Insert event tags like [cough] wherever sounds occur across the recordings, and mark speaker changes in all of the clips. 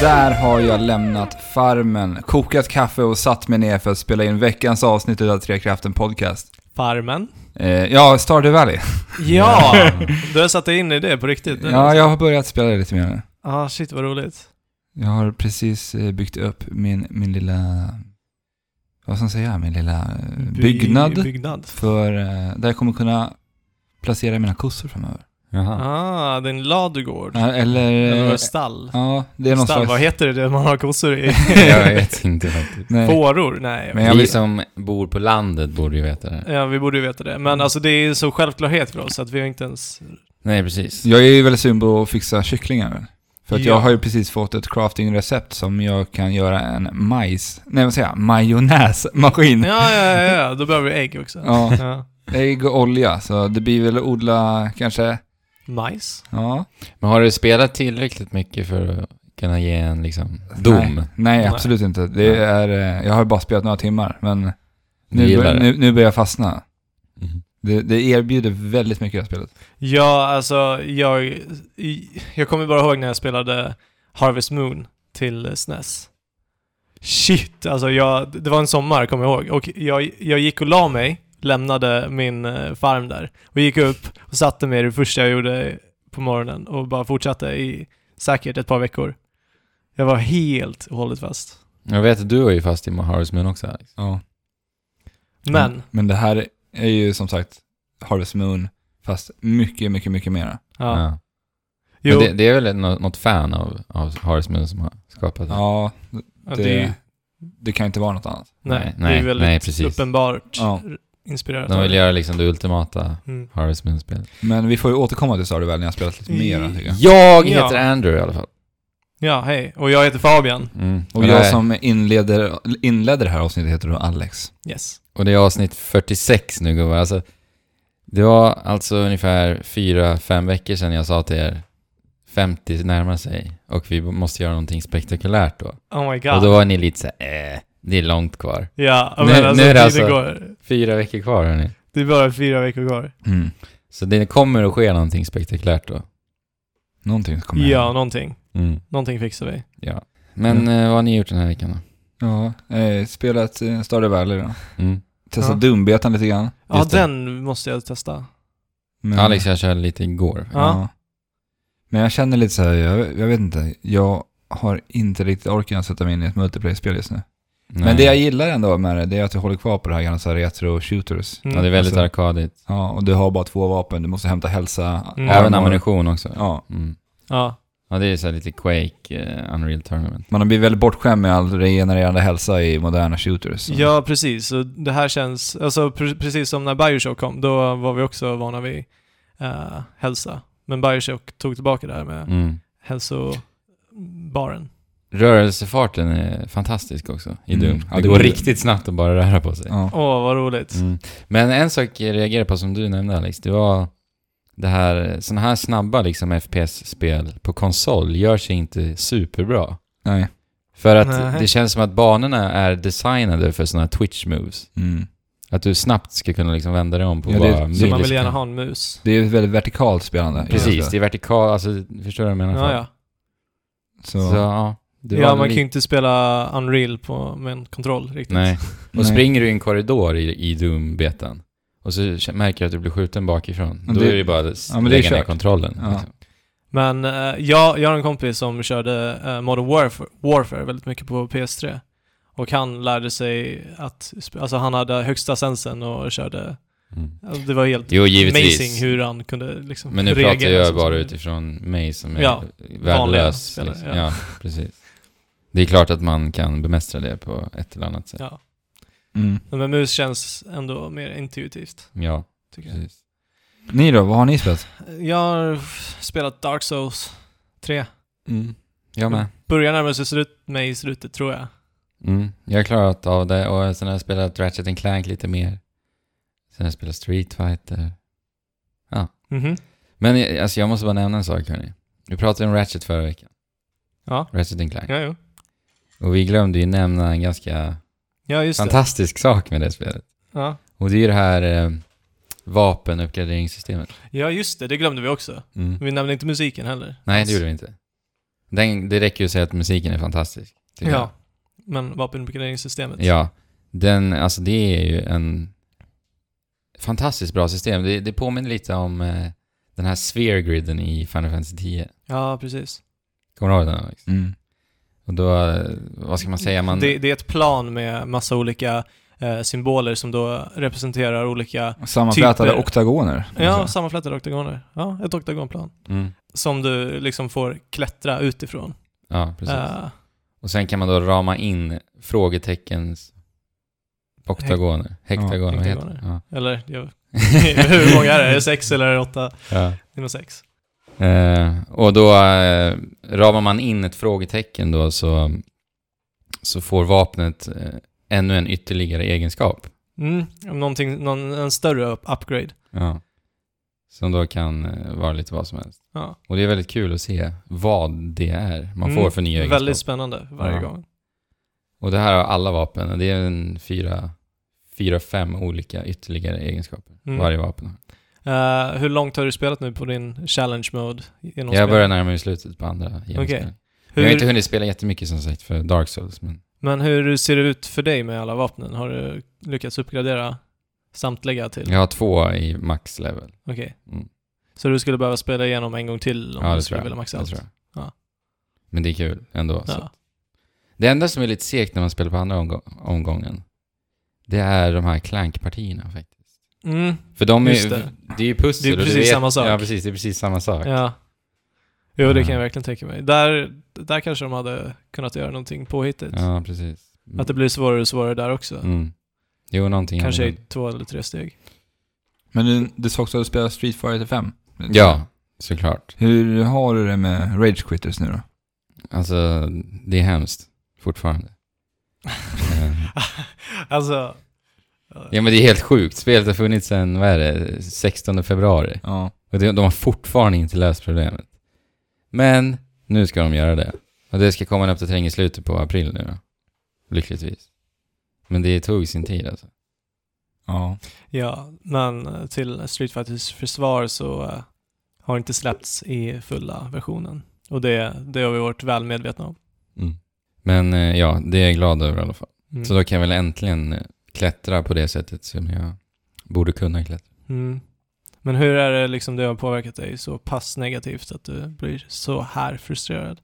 Speaker 1: Där har jag lämnat farmen, kokat kaffe och satt mig ner för att spela in veckans avsnitt av Tre Kraften Podcast.
Speaker 2: Farmen.
Speaker 1: Eh, ja, Stardew Valley.
Speaker 2: Ja! Du har satt dig in i det på riktigt nu?
Speaker 1: Ja, jag har börjat spela det lite mer nu.
Speaker 2: Ah, shit vad roligt.
Speaker 1: Jag har precis eh, byggt upp min, min lilla... Vad ska man säga? Min lilla eh,
Speaker 2: By-
Speaker 1: byggnad.
Speaker 2: Byggnad.
Speaker 1: För, eh, där jag kommer kunna placera mina kossor framöver.
Speaker 3: Jaha.
Speaker 2: Ah, det är en ladugård.
Speaker 1: Ja, Eller...
Speaker 2: Eller var
Speaker 1: eh,
Speaker 2: det stall?
Speaker 1: Ja, det är någon
Speaker 2: Stall, vad
Speaker 1: [laughs] slags...
Speaker 2: heter det det man har kossor i?
Speaker 3: [laughs] jag vet inte
Speaker 1: [laughs]
Speaker 3: faktiskt.
Speaker 1: Nej.
Speaker 2: Fåror? Nej.
Speaker 1: Men
Speaker 2: Men
Speaker 1: jag
Speaker 3: Vi
Speaker 1: vill-
Speaker 3: som bor på landet borde ju veta det här.
Speaker 2: Ja, vi borde ju veta det.
Speaker 1: Mm.
Speaker 2: Men alltså det är så självklarhet för oss att vi har inte ens...
Speaker 3: Nej, precis.
Speaker 1: Jag är ju väldigt sugen på att fixa kycklingar. För att
Speaker 2: Ja.
Speaker 1: jag har ju precis fått ett crafting-recept som jag kan göra en majs... Nej, vad säger jag? Majonnäsmaskin. Ja.
Speaker 2: Ja, ja, ja, ja. då behöver vi ägg också. Ja.
Speaker 1: ägg och olja. Så det blir väl att odla kanske...
Speaker 2: Majs?
Speaker 1: Ja.
Speaker 3: Men har du spelat tillräckligt mycket för att kunna ge en liksom dom?
Speaker 1: Nej, nej absolut inte. Det
Speaker 3: Nej.
Speaker 1: är... eh, Jag har ju bara spelat några timmar, men
Speaker 3: Du
Speaker 1: nu,
Speaker 3: gillar
Speaker 1: bör,
Speaker 3: det?
Speaker 1: nu, nu börjar jag fastna.
Speaker 3: Mhm.
Speaker 1: Det, det erbjuder väldigt mycket i det här spelet.
Speaker 2: Ja, alltså jag... i- Jag kommer bara ihåg när jag spelade Harvest Moon till SNES. Shit, alltså jag... Det var en sommar, kommer jag ihåg. Och jag, jag gick och la mig, lämnade min eh, farm där. Och gick upp och satte mig det första jag gjorde på morgonen och bara fortsatte i säkert ett par veckor. Jag var helt och hållet fast.
Speaker 3: Jag vet att du är ju fast i Harvest Moon också, Alex.
Speaker 1: Ja.
Speaker 3: Mm.
Speaker 2: Men,
Speaker 1: Men det här är ju som sagt Harvest Moon, fast mycket, mycket, mycket mera.
Speaker 2: ja.
Speaker 3: Ja.
Speaker 2: Jo,
Speaker 3: Men det, det är väl ett- nå- något fan av, av Harvest Moon som har skapat det?
Speaker 1: Ja,
Speaker 2: ja, det,
Speaker 1: det, det kan inte vara något annat.
Speaker 2: nej,
Speaker 3: nej,
Speaker 2: det är väldigt
Speaker 3: nej, precis.
Speaker 2: uppenbart
Speaker 1: Ja.
Speaker 2: inspirerat.
Speaker 3: De
Speaker 2: av
Speaker 3: vill
Speaker 2: det.
Speaker 3: göra liksom det ultimata
Speaker 2: Mm.
Speaker 3: Harvest Moon-spelet.
Speaker 1: Men vi får ju återkomma till Stardew Valley när jag har spelat lite mer, tycker jag.
Speaker 3: Jag
Speaker 2: Ja.
Speaker 3: heter Andrew i alla fall.
Speaker 2: Ja, hej. Och jag heter Fabian.
Speaker 3: Mm.
Speaker 1: Och
Speaker 3: det
Speaker 1: jag
Speaker 3: här-
Speaker 1: som inleder, inledde det här avsnittet heter då Alex.
Speaker 2: Yes.
Speaker 3: Och det är avsnitt 46 nu gubbar. Alltså, det var alltså ungefär fyra, fem veckor sedan jag sa till er 50 närmar sig och vi måste göra någonting spektakulärt då.
Speaker 2: Oh my god.
Speaker 3: Och då var ni lite såhär, eh, det är långt kvar.
Speaker 2: ja,
Speaker 3: Nu-
Speaker 2: men alltså,
Speaker 3: nu är det
Speaker 2: tiden
Speaker 3: alltså-
Speaker 2: går.
Speaker 3: Fyra veckor kvar hörni.
Speaker 2: Det är bara fyra veckor kvar.
Speaker 1: Mm.
Speaker 3: Så det kommer att ske någonting spektakulärt då.
Speaker 1: Någonting kommer
Speaker 2: Ja,
Speaker 1: hända.
Speaker 2: någonting.
Speaker 3: Mm.
Speaker 2: Någonting fixar vi.
Speaker 3: Ja. Men eh, vad har ni gjort den här veckan då?
Speaker 1: Ja, eh, spelat eh, Stardew Valley då.
Speaker 3: Mm.
Speaker 1: Testat
Speaker 2: Ja.
Speaker 1: dumbetan lite grann.
Speaker 2: Ja,
Speaker 3: Just det.
Speaker 2: den måste jag testa.
Speaker 1: Men-
Speaker 3: Mm. Alex jag körde lite igår.
Speaker 2: Ja.
Speaker 1: Men jag känner lite så här, jag, jag vet inte, jag har inte riktigt orken att sätta mig in i ett multiplayer-spel just nu.
Speaker 3: Mm.
Speaker 1: Men det jag gillar ändå med det, det är att du håller kvar på det här gamla så här retro-shooters.
Speaker 2: Mm.
Speaker 3: Ja, det är väldigt
Speaker 1: Alltså-
Speaker 3: arkadigt.
Speaker 1: Ja, och du har bara två vapen, du måste hämta hälsa.
Speaker 2: Mm.
Speaker 1: armor.
Speaker 3: Även ammunition också.
Speaker 1: Ja,
Speaker 3: Mm.
Speaker 2: Ja.
Speaker 3: Ja, det är så här lite Quake, eh, Unreal Tournament.
Speaker 1: man har blivit väldigt bortskämd med all regenererande hälsa i moderna shooters. Så.
Speaker 2: ja, precis. Så det här känns, alltså pre- precis som när Bioshock kom, då var vi också vana vid eh, hälsa. Men Bioshock tog tillbaka det här med
Speaker 3: Mm.
Speaker 2: hälsobaren.
Speaker 3: Rörelsefarten är fantastisk också i
Speaker 1: Mm.
Speaker 3: Doom.
Speaker 1: Ja,
Speaker 3: det,
Speaker 1: det
Speaker 3: går
Speaker 1: går-
Speaker 3: riktigt snabbt att bara röra på sig.
Speaker 1: Ja.
Speaker 2: Åh, vad roligt.
Speaker 3: Mm. Men en sak jag reagerade på som du nämnde Alex, det var det här, sådana här snabba liksom FPS-spel på konsol gör sig inte superbra.
Speaker 1: Nej.
Speaker 3: För att
Speaker 2: Nej.
Speaker 3: det känns som att banorna är designade för sådana här twitch moves.
Speaker 1: Mm.
Speaker 3: Att du snabbt ska kunna liksom vända dig om på
Speaker 1: Ja, det-
Speaker 3: bara
Speaker 1: så man
Speaker 2: Så man vill
Speaker 3: millisekund.
Speaker 2: gärna ha en mus.
Speaker 1: Det är ett väldigt vertikalt spelande.
Speaker 3: Precis, det är vertikal, alltså förstår du vad jag menar?
Speaker 2: Ja, ja.
Speaker 1: Så,
Speaker 3: Så, ja. det
Speaker 2: Ja,
Speaker 3: var
Speaker 2: man
Speaker 3: li-
Speaker 2: kan ju inte spela Unreal på, med en kontroll
Speaker 1: [laughs]
Speaker 2: riktigt.
Speaker 3: Nej. Och
Speaker 1: Nej.
Speaker 3: springer du i en korridor i, i Doom-betan och så k- märker du att du blir skjuten bakifrån,
Speaker 1: Men
Speaker 3: då
Speaker 1: det-
Speaker 3: är det ju bara att
Speaker 1: ja, men det är
Speaker 3: lägga ner
Speaker 1: kört.
Speaker 3: kontrollen.
Speaker 1: Ja.
Speaker 3: Liksom.
Speaker 2: Men eh, jag, jag har en kompis som körde eh, Modern Warfare, Warfare väldigt mycket på PS3. Och han lärde sig att, sp- alltså han hade högsta sensen och körde,
Speaker 3: Mm.
Speaker 2: alltså det var helt
Speaker 3: Jo,
Speaker 2: amazing
Speaker 3: givetvis.
Speaker 2: hur han kunde liksom
Speaker 3: Men nu
Speaker 2: reagera
Speaker 3: pratar jag
Speaker 2: som-
Speaker 3: bara utifrån mig som är
Speaker 2: Ja, vanliga
Speaker 3: värdelös.
Speaker 2: spelare,
Speaker 3: Liksom.
Speaker 2: ja.
Speaker 3: Ja. precis. Det är klart att man kan bemästra det på ett eller annat sätt.
Speaker 2: Ja.
Speaker 1: Mm.
Speaker 2: Men mus känns ändå mer intuitivt,
Speaker 3: Ja,
Speaker 2: tycker jag.
Speaker 3: precis.
Speaker 1: Ni då, vad har ni spelat?
Speaker 2: Jag har spelat Dark Souls 3.
Speaker 1: Mm.
Speaker 3: Jag med.
Speaker 2: Börjar närma sig slut, mig i slutet tror jag.
Speaker 3: Mm. Jag har klarat av det och sen har jag spelat Ratchet and Clank lite mer. Sen har jag spelat Street Fighter.
Speaker 2: Mhm.
Speaker 3: Men eh, alltså, jag måste bara nämna en sak hörni. Vi pratade om Ratchet förra veckan.
Speaker 2: Ja.
Speaker 3: Ratchet and Clank.
Speaker 2: Ja, jo.
Speaker 3: Och vi glömde ju nämna en ganska
Speaker 2: Ja, just det.
Speaker 3: fantastisk sak med det spelet.
Speaker 2: Ja.
Speaker 3: Och det är ju det här eh, vapenuppgraderingssystemet.
Speaker 2: Mm. ja, just det. Det glömde vi också. Vi nämnde inte musiken heller. Alltså,
Speaker 3: Nej, det gjorde vi inte. Den, det räcker ju att säga att musiken är fantastisk. tycker
Speaker 2: Ja. Men vapenbegränsningssystemet.
Speaker 3: jag. ja. Den, alltså det är ju en fantastiskt bra system. Det, det påminner lite om eh, den här sphere griden i Final Fantasy 10.
Speaker 2: Ja, precis.
Speaker 3: Kommer du ihåg den Alex?
Speaker 1: Mm.
Speaker 3: Och då, eh, vad ska man säga? Man,
Speaker 2: Det, det är ett plan med massa olika eh, symboler som då representerar olika,
Speaker 1: Sammanflätade
Speaker 2: Typer.
Speaker 1: oktagoner.
Speaker 2: ja,
Speaker 1: Alltså.
Speaker 2: sammanflätade oktagoner. Ja, ett oktagonplan.
Speaker 3: mm,
Speaker 2: Som du liksom får klättra utifrån.
Speaker 3: ja, precis.
Speaker 2: Eh,
Speaker 3: Och sen kan man då rama in frågeteckens oktagoner. Hektagoner, vad heter det? Ja.
Speaker 2: eller, jag, [laughs] hur många är det? Är
Speaker 3: [laughs]
Speaker 2: det sex eller är det åtta?
Speaker 3: Ja.
Speaker 2: Det är nog sex.
Speaker 3: Eh, och då eh, ramar man in ett frågetecken då så, så får vapnet eh, ännu en ytterligare egenskap.
Speaker 2: Mm, någonting, någon, en större up- upgrade.
Speaker 3: Ja. Som då kan eh, vara lite vad som helst.
Speaker 2: Ja.
Speaker 3: Och det är väldigt kul att se vad det är man
Speaker 2: Mm,
Speaker 3: får för nya egenskaper.
Speaker 2: Väldigt spännande varje
Speaker 3: Ja.
Speaker 2: gång.
Speaker 3: Och det här har alla vapen. och Det är en fyra, fyra fem olika ytterligare egenskaper
Speaker 2: Mm.
Speaker 3: varje vapen har.
Speaker 2: Eh, hur långt har du spelat nu på din challenge mode? Genom
Speaker 3: Jag
Speaker 2: spelet?
Speaker 3: börjar närma mig slutet på andra genomspelningen. Jag har
Speaker 2: hur,
Speaker 3: inte hunnit spela jättemycket som sagt för Dark Souls, men
Speaker 2: Men hur ser det ut för dig med alla vapnen? Har du lyckats uppgradera samtliga till?
Speaker 3: jag har två i max level.
Speaker 2: Okej.
Speaker 3: Mm.
Speaker 2: Så du skulle behöva spela igenom en gång till om
Speaker 3: Ja,
Speaker 2: du
Speaker 3: det tror
Speaker 2: skulle
Speaker 3: jag.
Speaker 2: vilja maxa
Speaker 3: Det
Speaker 2: allt?
Speaker 3: tror jag.
Speaker 2: Ja.
Speaker 3: Men det är kul ändå. Så.
Speaker 2: Ja.
Speaker 3: att- Det enda som är lite segt när man spelar på andra omgå- omgången, det är de här klankpartierna faktiskt.
Speaker 2: Mm,
Speaker 3: För de är,
Speaker 2: Just
Speaker 3: det.
Speaker 2: det.
Speaker 3: är ju pussel.
Speaker 2: Det är
Speaker 3: och du
Speaker 2: precis
Speaker 3: vet-
Speaker 2: samma sak.
Speaker 3: Ja, precis. Det är precis samma sak.
Speaker 2: ja. Jo, det
Speaker 3: Ja.
Speaker 2: kan jag verkligen tänka mig. Där, där kanske de hade kunnat göra någonting påhittigt.
Speaker 3: Ja, precis. Mm.
Speaker 2: Att det blir svårare och svårare där också.
Speaker 3: Mm. Jo, någonting.
Speaker 2: Kanske i
Speaker 3: annorlunda.
Speaker 2: två eller tre steg.
Speaker 1: Men du, du sa också att du spelar Street Fighter 5.
Speaker 3: Ja, såklart.
Speaker 1: Hur har du det med Rage Quitters nu då?
Speaker 3: Alltså, det är hemskt fortfarande. Eh,
Speaker 2: [laughs] Alltså...
Speaker 3: Ja men det är helt sjukt. Spelet har funnits sedan, vad är det, 16 februari.
Speaker 1: Ja.
Speaker 3: Och de, de har fortfarande inte löst problemet. Men nu ska de göra det. Och det ska komma en uppdatering i slutet på april nu då. Lyckligtvis. Men det tog sin tid alltså.
Speaker 1: Ja.
Speaker 2: Ja, men eh, till Street Fighters försvar så eh, har inte släppts i fulla versionen. Och det, det har vi varit väl medvetna om.
Speaker 3: Mm. Men eh, ja, det är jag glad över i alla fall.
Speaker 2: Mm.
Speaker 3: Så då kan jag väl äntligen eh, klättra på det sättet som jag borde kunna klättra.
Speaker 2: Mm. Men hur är det liksom det har påverkat dig så pass negativt att du blir så här frustrerad?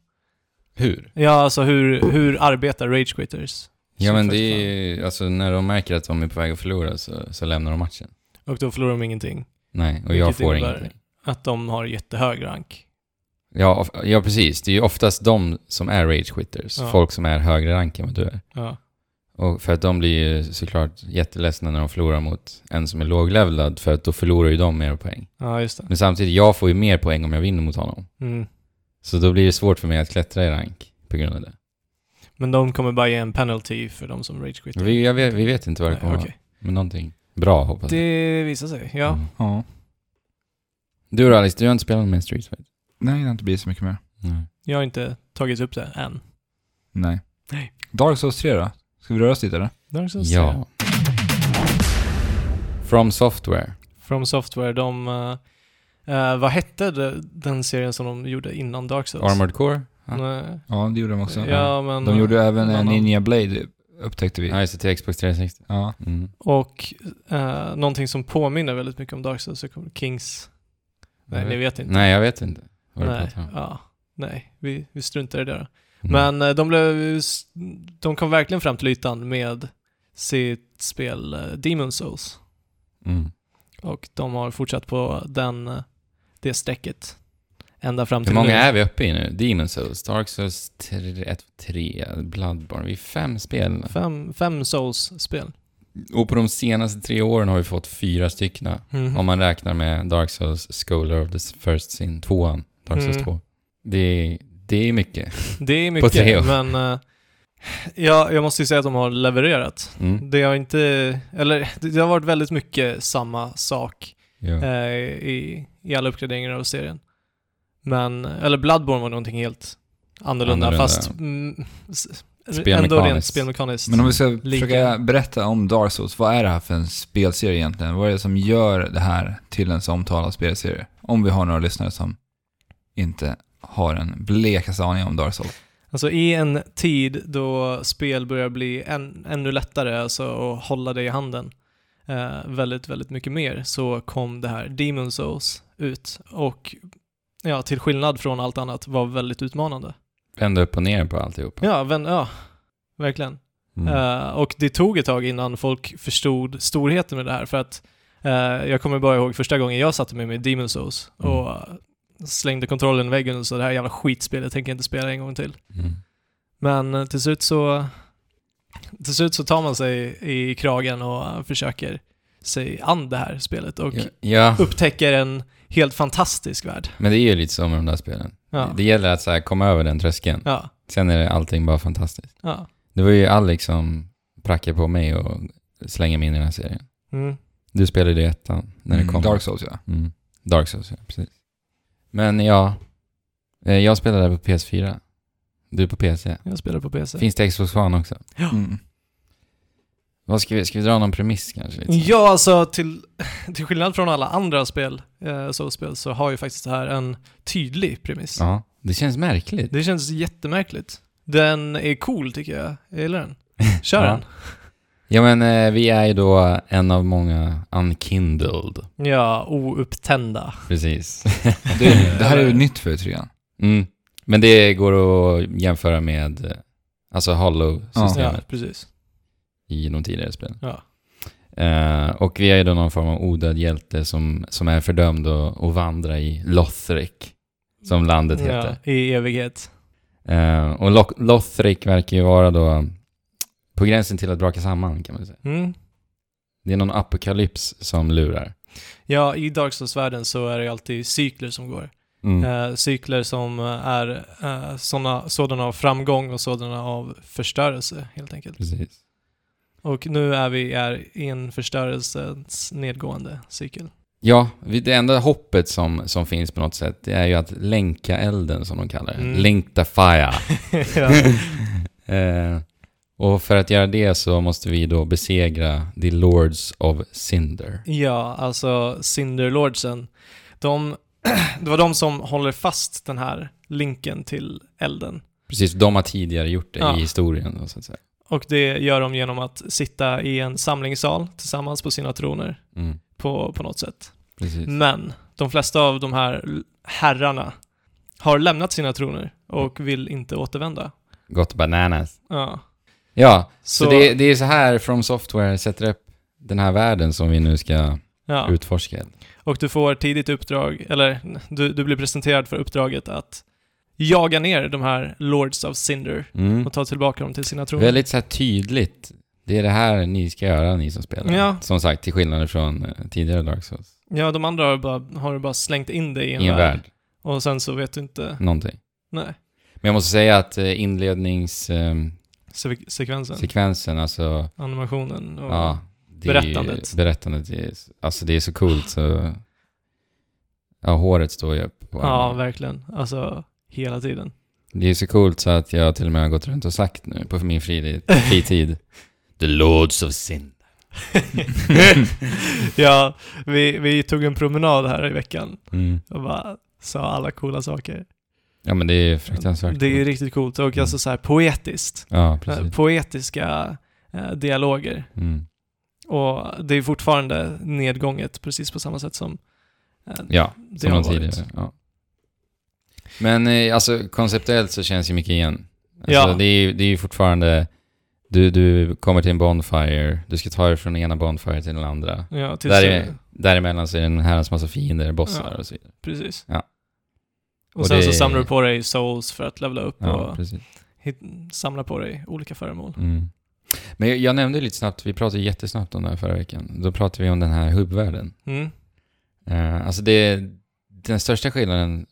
Speaker 3: Hur?
Speaker 2: Ja, alltså hur, hur arbetar Rage Quitters?
Speaker 3: Ja men det
Speaker 2: Street
Speaker 3: är
Speaker 2: Fighter
Speaker 3: ju, alltså när de märker att de är på väg att förlora så, så lämnar de matchen.
Speaker 2: fem? Och då förlorar de ingenting.
Speaker 3: Nej, och jag
Speaker 2: Vilket
Speaker 3: får
Speaker 2: innebär-
Speaker 3: ingenting.
Speaker 2: Att de har jättehög rank.
Speaker 3: Ja, of- ja, precis. Det är ju oftast de som är rage quitters.
Speaker 2: Ja.
Speaker 3: Folk som är högre rank än vad du är.
Speaker 2: Ja.
Speaker 3: Och för att de blir ju såklart jätteledsna när de förlorar mot en som är låglevlad för att då förlorar ju de mer poäng.
Speaker 2: ja, just det.
Speaker 3: Men samtidigt, jag får ju mer poäng om jag vinner mot honom.
Speaker 2: Mm.
Speaker 3: Så då blir det svårt för mig att klättra i rank på grund av det.
Speaker 2: Men de kommer bara ge en penalty för de som Rage Quitter.
Speaker 3: Vi, jag vet, vi vet inte vad det
Speaker 2: Nej,
Speaker 3: kommer vara.
Speaker 2: okej.
Speaker 3: Men någonting bra hoppas jag.
Speaker 2: Det visar sig, ja.
Speaker 3: Mm.
Speaker 1: ja.
Speaker 3: Du då Alice, du har inte spelat med Street Fighter?
Speaker 1: Nej, det har inte blivit så mycket mer.
Speaker 3: Nej.
Speaker 2: Jag har inte tagit upp det än.
Speaker 1: Nej.
Speaker 2: Nej.
Speaker 1: Dark Souls 3 då? Ska vi röra oss dit eller?
Speaker 2: Dark Souls
Speaker 3: Ja. From Software.
Speaker 2: 3. From Software, de... eh, eh, vad hette det, den serien som de gjorde innan Dark Souls?
Speaker 3: Armored Core? Ja.
Speaker 2: Nej.
Speaker 1: Ja, det gjorde de också.
Speaker 2: Ja, men... eh,
Speaker 1: De gjorde även
Speaker 2: någon
Speaker 1: en
Speaker 2: annan.
Speaker 1: Ninja Blade, upptäckte vi.
Speaker 3: Ja, just det, till Xbox 360.
Speaker 1: Ja.
Speaker 3: Mm.
Speaker 2: Och eh, någonting som påminner väldigt mycket om Dark Souls, så kommer Kings... Nej, ni vet inte.
Speaker 3: Nej, jag vet inte vad du
Speaker 2: Nej,
Speaker 3: pratar om.
Speaker 2: ja. Nej, vi, vi struntar i det då.
Speaker 3: Mm.
Speaker 2: Men eh, de blev... ju s- De kom verkligen fram till ytan med sitt spel eh, Demon Souls.
Speaker 3: Mm.
Speaker 2: Och de har fortsatt på den, eh, det strecket. Ända fram
Speaker 3: Hur
Speaker 2: till
Speaker 3: många
Speaker 2: nu.
Speaker 3: är vi uppe i nu? Demon Souls, Dark Souls 3, 1, 3 Bloodborne. Vi är fem spel.
Speaker 2: Fem, fem Souls-spel.
Speaker 3: Och på de senaste tre åren har vi fått fyra stycken.
Speaker 2: Mm.
Speaker 3: Om man räknar med Dark Souls, Scholar of the First Sin, tvåan, Dark Souls
Speaker 2: Mm.
Speaker 3: 2. Det är, det är mycket.
Speaker 2: Det är mycket,
Speaker 3: tre år.
Speaker 2: men eh, ja, jag måste ju säga att de har levererat.
Speaker 3: Mm.
Speaker 2: Det har inte, eller det det har varit väldigt mycket samma sak
Speaker 3: Ja.
Speaker 2: eh, i, i alla uppgraderingar av serien. Men, eller Bloodborne var någonting helt annorlunda,
Speaker 3: Annorlunda,
Speaker 2: fast
Speaker 3: ja.
Speaker 2: mm, s- ändå
Speaker 3: Spelmekaniskt.
Speaker 2: rent spelmekaniskt.
Speaker 1: Men om vi ska försöka
Speaker 2: Lika.
Speaker 1: berätta om Dark Souls, vad är det här för en spelserie egentligen? Vad är det som gör det här till en så omtalad spelserie? Om vi har några lyssnare som inte har en blekaste aning om Dark Souls.
Speaker 2: Alltså i en tid då spel börjar bli än, ännu lättare alltså, att hålla det i handen eh, väldigt, väldigt mycket mer så kom det här Demon Souls ut och ja, till skillnad från allt annat var väldigt utmanande.
Speaker 3: Vända upp och ner på alltihopa.
Speaker 2: Ja, vän, ja verkligen.
Speaker 3: Mm.
Speaker 2: Eh, och det tog ett tag innan folk förstod storheten med det här för att eh, jag kommer bara ihåg första gången jag satte mig med Demon Souls
Speaker 3: Mm.
Speaker 2: och eh, slängde kontrollen i väggen och sa det här jävla skitspelet tänker jag inte spela en gång till.
Speaker 3: Mm.
Speaker 2: Men eh, till slut så till slut så tar man sig i kragen och eh, försöker sig an det här spelet och
Speaker 3: Ja, ja,
Speaker 2: upptäcker en helt fantastisk värld.
Speaker 3: men det är ju lite så med de där spelen.
Speaker 2: Ja,
Speaker 3: Det gäller att så här komma över den tröskeln.
Speaker 2: ja,
Speaker 3: Sen är det allting bara fantastiskt.
Speaker 2: ja.
Speaker 3: Det var ju Alex som prackade på mig och slänger mig in i den här serien.
Speaker 2: Mm.
Speaker 3: Du spelade i ettan när det
Speaker 1: Mm,
Speaker 3: kom.
Speaker 1: Dark Souls ja.
Speaker 3: Mm. Dark Souls, ja, precis. Men ja, eh, jag spelade på PS4. Du på PC.
Speaker 2: Jag spelar på PC.
Speaker 3: Finns det Xbox One också?
Speaker 1: Mm.
Speaker 3: Vad ska, vi, ska vi dra någon premiss kanske? Lite?
Speaker 2: Ja, alltså till, [laughs] till skillnad från alla andra spel, eh, Souls-spel, så har ju faktiskt det här en tydlig premiss.
Speaker 3: ja. Det känns märkligt.
Speaker 2: Det känns jättemärkligt. Den är cool tycker jag. Jag gillar
Speaker 3: [laughs]
Speaker 2: den. Kör
Speaker 3: Ja.
Speaker 2: den.
Speaker 3: Ja men eh, vi är ju då en av många unkindled.
Speaker 2: Ja, oupptända.
Speaker 3: Precis. [laughs]
Speaker 1: Det, det här är ju nytt för trean.
Speaker 3: Mm. Men det går att jämföra med eh, alltså
Speaker 2: Ja,
Speaker 3: Hollow-systemet
Speaker 2: precis.
Speaker 3: i de tidigare spelen.
Speaker 2: Ja.
Speaker 3: Eh, och vi är ju då någon form av odöd hjälte som, som är fördömd att, att vandra i Lothric, som landet heter.
Speaker 2: Ja, I evighet.
Speaker 3: Eh, och Lo- Lothric verkar ju vara då på gränsen till att braka samman kan man säga.
Speaker 2: Mm.
Speaker 3: Det är någon apokalyps som lurar.
Speaker 2: Ja, i Dark Souls-världen så är det ju alltid cykler som går.
Speaker 3: Mm.
Speaker 2: Eh, cykler som eh, är eh, såna, sådana av framgång och sådana av förstörelse helt enkelt.
Speaker 3: Precis.
Speaker 2: Och nu är vi är i en förstörelsens nedgående cykel.
Speaker 3: Ja, vi- det enda hoppet som, som finns på något sätt, det är ju att länka elden som de kallar det.
Speaker 2: Mm.
Speaker 3: Link the fire.
Speaker 2: ja.
Speaker 3: eh, och för att göra det så måste vi då besegra the lords of cinder.
Speaker 2: ja, alltså Cinderlordsen. De, [clears throat] det var de som håller fast den här länken till elden.
Speaker 3: Precis, de har tidigare gjort det
Speaker 2: Ja.
Speaker 3: i historien. Då, så att säga.
Speaker 2: Och det gör de genom att sitta i en samlingssal tillsammans på sina troner
Speaker 3: Mm,
Speaker 2: på, på något sätt.
Speaker 3: precis.
Speaker 2: Men de flesta av de här l- herrarna har lämnat sina troner och vill inte återvända.
Speaker 3: Gott bananas.
Speaker 2: Ja.
Speaker 3: Ja,
Speaker 2: Så,
Speaker 3: så, det, det är så här From Software sätter upp den här världen som vi nu ska
Speaker 2: ja.
Speaker 3: utforska.
Speaker 2: Och du får tidigt uppdrag, eller du, du blir presenterad för uppdraget att jaga ner de här Lords of Cinder
Speaker 3: Mm.
Speaker 2: och ta tillbaka dem till sina troner.
Speaker 3: Väldigt så här tydligt. Det är det här ni ska göra, ni som spelar.
Speaker 2: Ja.
Speaker 3: Som sagt, till skillnad från eh, tidigare Dark Souls.
Speaker 2: Ja, de andra har bara, har bara slängt in dig i en,
Speaker 3: I en
Speaker 2: värld.
Speaker 3: värld, Mm.
Speaker 2: Och sen så vet du inte.
Speaker 3: någonting.
Speaker 2: Nej.
Speaker 3: Men jag måste säga att eh, inledningssekvensen,
Speaker 2: Se- sekvensen,
Speaker 3: alltså,
Speaker 2: animationen och...
Speaker 3: ja. det-
Speaker 2: berättandet.
Speaker 3: Berättandet, det är, alltså det är så coolt så... Ja, håret står ju upp. på
Speaker 2: ja,
Speaker 3: armarna.
Speaker 2: verkligen. Alltså, hela tiden.
Speaker 3: Det är så coolt så att jag till och med har gått runt och sagt nu på min fritid, fritid The Lords of Sin.
Speaker 2: [laughs] ja, vi, vi tog en promenad här i veckan
Speaker 3: Mm.
Speaker 2: och bara sa alla coola saker.
Speaker 3: Ja, men det är fruktansvärt.
Speaker 2: Det är riktigt coolt och alltså så här poetiskt.
Speaker 3: Ja,
Speaker 2: Eh,
Speaker 3: Mm. precis.
Speaker 2: Poetiska eh, dialoger.
Speaker 3: Mm.
Speaker 2: Och det är fortfarande nedgånget precis på samma sätt som eh,
Speaker 3: Ja.
Speaker 2: det
Speaker 3: Som
Speaker 2: har
Speaker 3: de
Speaker 2: varit.
Speaker 3: tidigare. Ja. Men eh, alltså konceptuellt så känns ju mycket igen. Alltså,
Speaker 2: Ja.
Speaker 3: det, är, ju- det är ju fortfarande, du, du kommer till en Bonfire, du ska ta dig från ena Bonfire till den andra.
Speaker 2: Ja, tills
Speaker 3: Där
Speaker 2: det-
Speaker 3: är, däremellan så är det en herrans massa fiender, bossar
Speaker 2: Ja.
Speaker 3: och så vidare.
Speaker 2: precis.
Speaker 3: Ja.
Speaker 2: Och,
Speaker 3: Och
Speaker 2: sen
Speaker 3: det-
Speaker 2: så samlar du på dig souls för att levla upp
Speaker 3: Ja,
Speaker 2: och
Speaker 3: precis.
Speaker 2: hit, samlar på dig olika föremål.
Speaker 3: Mm. Men jag, jag nämnde ju lite snabbt, vi pratade jättesnabbt om det här förra veckan. Då pratade vi om den här hubbvärlden.
Speaker 2: Mm.
Speaker 3: Uh, alltså det, den största skillnaden,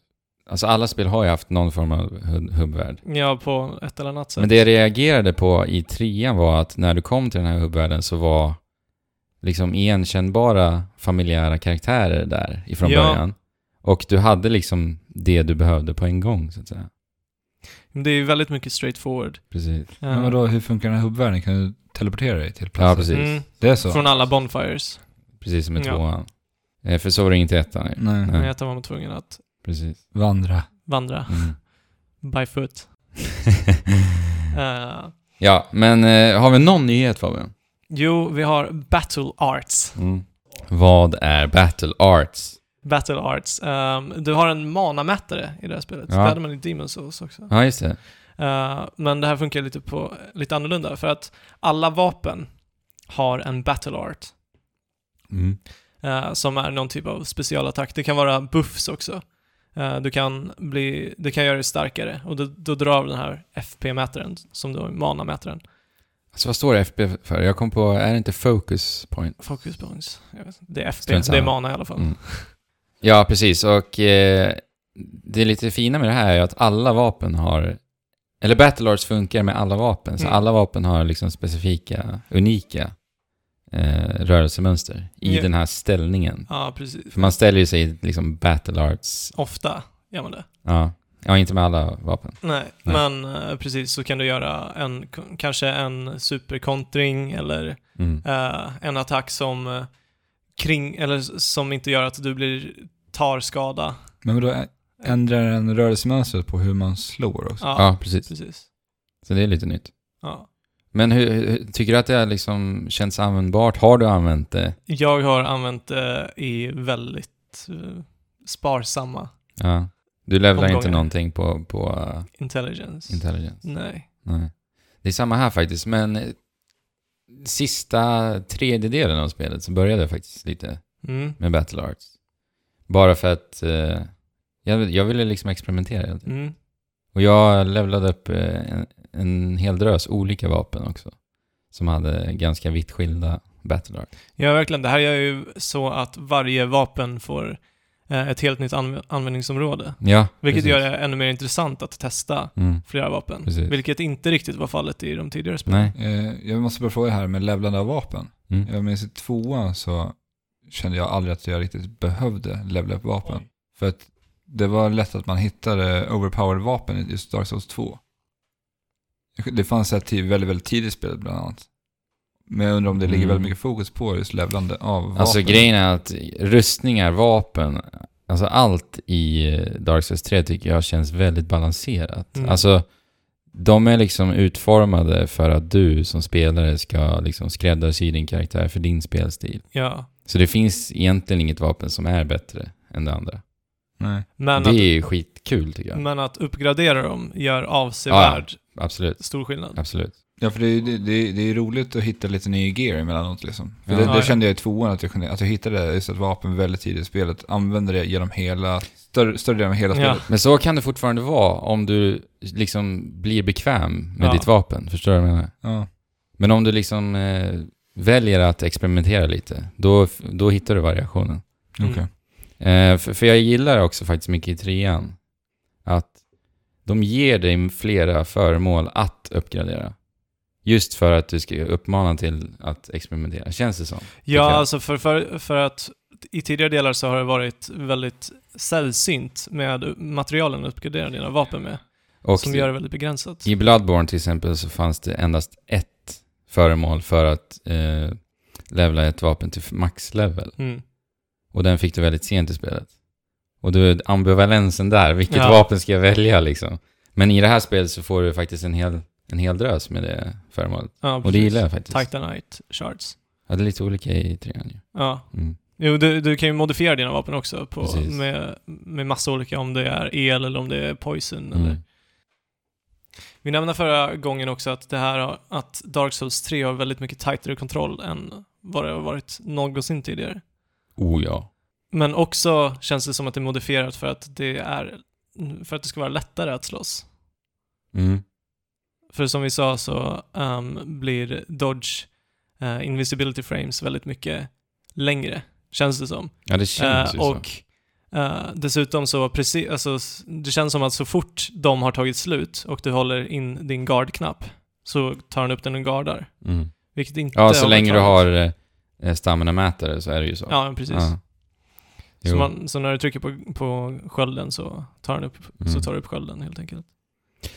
Speaker 3: alltså alla spel har ju haft någon form av hub- hubbvärld.
Speaker 2: Ja, på ett eller annat sätt.
Speaker 3: Men det jag reagerade på i trean var att när du kom till den här hubbvärlden så var liksom igenkännbara familjära karaktärer där ifrån
Speaker 2: Ja.
Speaker 3: början. Och du hade liksom det du behövde på en gång så att säga.
Speaker 2: Men det är ju väldigt mycket straightforward.
Speaker 3: Precis.
Speaker 1: Men vadå, hur funkar den här hubbvärlden? Kan du teleportera dig till platser?
Speaker 3: Ja, precis.
Speaker 2: Mm.
Speaker 1: Det är så?
Speaker 2: Från alla bonfires.
Speaker 3: Precis som i
Speaker 2: Ja.
Speaker 3: tvåan. Eh, För så var det inte i ettan. ju.
Speaker 1: Nej.
Speaker 3: Nej.
Speaker 2: Nej. Utan var man tvungen att
Speaker 3: Precis.
Speaker 1: Vandra.
Speaker 2: vandra
Speaker 3: Mm.
Speaker 2: by
Speaker 3: [laughs]
Speaker 2: foot. Eh,
Speaker 3: ja, men eh, har vi någon nyhet Fabian?
Speaker 2: jo, vi har Battle Arts.
Speaker 3: Vad är Battle Arts?
Speaker 2: Battle Arts. Ehm, du har en manamätare i det här spelet.
Speaker 3: Ja.
Speaker 2: Spelade man i Demon's Souls också.
Speaker 3: Ja, just det.
Speaker 2: Eh, men det här funkar lite, på, lite annorlunda för att alla vapen har en battle art
Speaker 3: Mm.
Speaker 2: eh, som är någon typ av specialattack. Det kan vara buffs också. Eh, du kan bli, det kan göra dig starkare och då, då drar den här FP-mätaren som då är mana-mätaren.
Speaker 3: Alltså vad står FB för? Jag kom på, är det inte focus point?
Speaker 2: Focus points. Jag vet inte. Det är FP,
Speaker 3: Strunt
Speaker 2: det är
Speaker 3: samma.
Speaker 2: mana i alla fall.
Speaker 3: Mm. Ja, precis. Och eh, det lite fina med det här är ju att alla vapen har... Eller Battle Arts funkar med alla vapen, så
Speaker 2: Mm.
Speaker 3: alla vapen har liksom specifika, unika eh, rörelsemönster i
Speaker 2: Ja.
Speaker 3: den här ställningen.
Speaker 2: Ja, precis.
Speaker 3: För man ställer ju sig i liksom Battle Arts...
Speaker 2: Ofta gör man det.
Speaker 3: Ja. ja, inte med alla vapen.
Speaker 2: Nej,
Speaker 3: Nej.
Speaker 2: men eh, precis så kan du göra en, k- kanske en superkontring eller
Speaker 3: Mm.
Speaker 2: eh, en attack som eh, kring, eller s- som inte gör att du blir, tar skada.
Speaker 1: Men då ändrar den rörelsemönstret på hur man slår också?
Speaker 2: Ja,
Speaker 3: Ja, precis.
Speaker 2: precis.
Speaker 3: Så det är lite nytt.
Speaker 2: Ja.
Speaker 3: Men hur, hur, tycker du att det har liksom känns användbart? Har du använt det?
Speaker 2: Jag har använt det i väldigt eh, sparsamma
Speaker 3: Ja. Du levlar inte
Speaker 2: Omgångar.
Speaker 3: någonting på, på eh,
Speaker 2: intelligence.
Speaker 3: intelligence?
Speaker 2: Nej.
Speaker 3: Nej. Det är samma här faktiskt, men eh, sista tredjedelen av spelet så började jag faktiskt lite
Speaker 2: Mm.
Speaker 3: med Battle Arts. Bara för att eh, jag, jag ville liksom experimentera. helt enkelt.
Speaker 2: Mm.
Speaker 3: Och jag levlade upp eh, en, en hel drös olika vapen också. Som hade ganska vitt skilda Battle Arts.
Speaker 2: Ja, verkligen. Det här gör ju så att varje vapen får eh, ett helt nytt anv- användningsområde.
Speaker 3: Ja,
Speaker 2: Vilket
Speaker 3: precis.
Speaker 2: gör det ännu mer intressant att testa
Speaker 3: Mm.
Speaker 2: flera vapen.
Speaker 3: Precis.
Speaker 2: Vilket inte riktigt var fallet i de tidigare spelen.
Speaker 3: Nej.
Speaker 1: Eh, jag måste bara fråga här med levlande av vapen.
Speaker 3: Mm.
Speaker 1: Jag minns i tvåan så kände jag aldrig att jag riktigt behövde levla upp vapen. För att det var lätt att man hittade overpowered vapen i just Dark Souls 2. Det fanns ett till väldigt, väldigt tidigt spel bland annat. Men jag undrar om det ligger
Speaker 3: Mm.
Speaker 1: väldigt mycket fokus på just levlande av vapen.
Speaker 3: Alltså grejen är att rustningar, vapen, alltså allt i eh, Dark Souls 3 tycker jag känns väldigt balanserat.
Speaker 2: Mm.
Speaker 3: Alltså de är liksom utformade för att du som spelare ska liksom skräddarsy din karaktär för din spelstil.
Speaker 2: Ja.
Speaker 3: Så det finns egentligen inget vapen som är bättre än det andra.
Speaker 1: Nej.
Speaker 2: Men,
Speaker 3: det är ju skitkul tycker
Speaker 2: att,
Speaker 3: jag.
Speaker 2: men att uppgradera dem gör avsevärd
Speaker 3: Absolut,
Speaker 2: stor skillnad.
Speaker 3: absolut.
Speaker 1: Ja, för det, är- det, det, det är roligt att hitta lite ny gear emellanåt liksom. För
Speaker 3: Ja.
Speaker 1: det,
Speaker 2: Ja,
Speaker 1: det
Speaker 2: ja.
Speaker 1: kände jag i tvåan, att jag, kunde, att jag hittade just ett vapen väldigt tidigt i spelet. Använde det genom hela, större, större delen av hela
Speaker 2: Ja.
Speaker 1: spelet.
Speaker 3: Men så kan det fortfarande vara om du liksom blir bekväm med
Speaker 2: Ja.
Speaker 3: ditt vapen. Förstår du vad jag menar?
Speaker 1: Ja.
Speaker 3: Men om du liksom eh, väljer att experimentera lite, då, då hittar du variationen.
Speaker 1: Okej.
Speaker 2: Mm.
Speaker 3: Eh, för, för jag gillar också faktiskt mycket i trean att de ger dig flera föremål att uppgradera. Just för att du ska uppmana till att experimentera, känns det som.
Speaker 2: Ja,
Speaker 3: Okej.
Speaker 2: alltså för, för, för att i tidigare delar så har det varit väldigt sällsynt med materialen att uppgradera dina vapen med.
Speaker 3: Och
Speaker 2: som gör det väldigt begränsat.
Speaker 3: i Bloodborne till exempel så fanns det endast ett föremål för att eh, levla ett vapen till max-level.
Speaker 2: Mm.
Speaker 3: Och den fick du väldigt sent i spelet. Och du ambivalensen där, vilket
Speaker 2: Ja.
Speaker 3: vapen ska jag välja liksom? Men i det här spelet så får du faktiskt en hel, en hel drös med det föremålet.
Speaker 2: Ja,
Speaker 3: Och det
Speaker 2: precis.
Speaker 3: gillar jag faktiskt.
Speaker 2: Titanite shards.
Speaker 3: Ja, det är lite olika i trean ju.
Speaker 2: Ja.
Speaker 3: Mm.
Speaker 2: Jo, du, du kan ju modifiera dina vapen också på,
Speaker 3: Precis.
Speaker 2: med, med massa olika, om det är el eller om det är poison. Eller.
Speaker 3: Mm.
Speaker 2: Vi nämnde förra gången också att det här har, att Dark Souls 3 har väldigt mycket tajtare kontroll än vad det har varit någonsin tidigare.
Speaker 3: Oh ja.
Speaker 2: Men också känns det som att det är modifierat för att det är för att det ska vara lättare att slåss.
Speaker 3: Mm.
Speaker 2: För som vi sa så ehm, blir Dodge eh, Invisibility Frames väldigt mycket längre, känns det som.
Speaker 3: Ja, det känns
Speaker 2: Eh,
Speaker 3: ju så.
Speaker 2: och eh, dessutom så, precis, alltså, s- det känns som att så fort de har tagit slut och du håller in din guard-knapp så tar den upp den och guardar.
Speaker 3: Mm.
Speaker 2: Vilket inte
Speaker 3: Ja,
Speaker 2: har
Speaker 3: så
Speaker 2: varit
Speaker 3: länge du
Speaker 2: vanligt.
Speaker 3: har eh, stamina-mätare så är det ju så.
Speaker 2: Ja, precis.
Speaker 3: Ja.
Speaker 2: Så,
Speaker 3: Jo.
Speaker 2: man, så när du trycker på, på skölden så tar, den upp, så
Speaker 3: Mm.
Speaker 2: tar du upp skölden helt enkelt.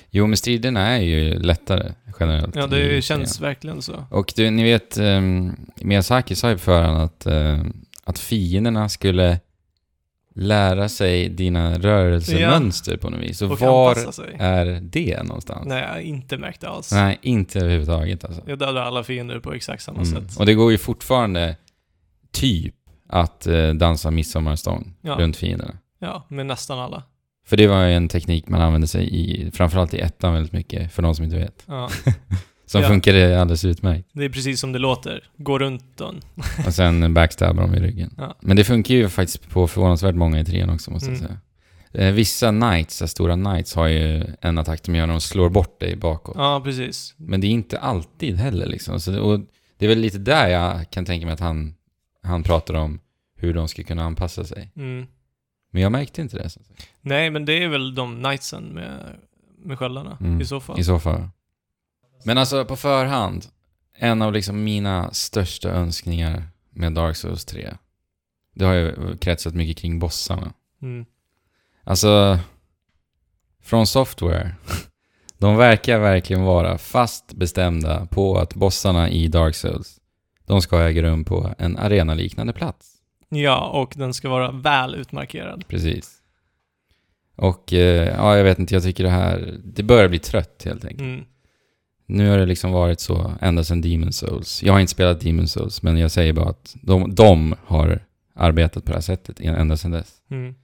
Speaker 3: Jo, men striderna är ju lättare generellt.
Speaker 2: Ja,
Speaker 3: i
Speaker 2: det
Speaker 3: trean.
Speaker 2: känns verkligen så.
Speaker 3: Och du, ni vet, um, Miyazaki sa ju på förhand att, ehm, att fienderna ehm, skulle lära sig dina rörelsemönster på något vis. Så
Speaker 2: och
Speaker 3: var
Speaker 2: anpassa sig.
Speaker 3: är det någonstans?
Speaker 2: Nej, jag har inte märkt det alls.
Speaker 3: Nej, inte överhuvudtaget alltså.
Speaker 2: Jag dödar alla fiender på exakt samma
Speaker 3: Mm.
Speaker 2: sätt.
Speaker 3: Och det går ju fortfarande typ att eh, dansa midsommarstång
Speaker 2: Ja.
Speaker 3: runt fienderna.
Speaker 2: Ja, med nästan alla.
Speaker 3: För det var ju en teknik man använde sig i, framförallt i ettan väldigt mycket, för de som inte vet.
Speaker 2: Ja.
Speaker 3: Som
Speaker 2: Ja.
Speaker 3: funkade alldeles utmärkt.
Speaker 2: Det är precis som det låter. Gå runt den.
Speaker 3: Och sen backstabbar de i ryggen.
Speaker 2: Ja.
Speaker 3: Men det funkar ju faktiskt på förvånansvärt många i trean också, måste jag
Speaker 2: Mm.
Speaker 3: säga. Eh, Vissa knights, så här stora knights, har ju en attack de gör när de slår bort dig bakåt.
Speaker 2: Ja, precis.
Speaker 3: Men det är inte alltid heller liksom. Så det, och det är väl lite där jag kan tänka mig att han, han pratar om hur de ska kunna anpassa sig.
Speaker 2: Mm.
Speaker 3: Men jag märkte inte det. Som sagt.
Speaker 2: Nej, men det är väl de knightsen med, med sköldarna
Speaker 3: Mm.
Speaker 2: i så fall.
Speaker 3: I så fall. Men alltså på förhand, en av liksom mina största önskningar med Dark Souls 3, det har ju kretsat mycket kring bossarna.
Speaker 2: Mm.
Speaker 3: Alltså, från software, [laughs] de verkar verkligen vara fast bestämda på att bossarna i Dark Souls, de ska äga rum på en arenaliknande plats.
Speaker 2: Ja, och den ska vara väl utmarkerad.
Speaker 3: Precis. Och eh, ja, jag vet inte, jag tycker det här, det börjar bli trött helt enkelt.
Speaker 2: Mm.
Speaker 3: Nu har det liksom varit så ända sedan Demon Souls. Jag har inte spelat Demon Souls, men jag säger bara att de, de har arbetat på det här sättet en- ända sedan dess.
Speaker 2: Mm.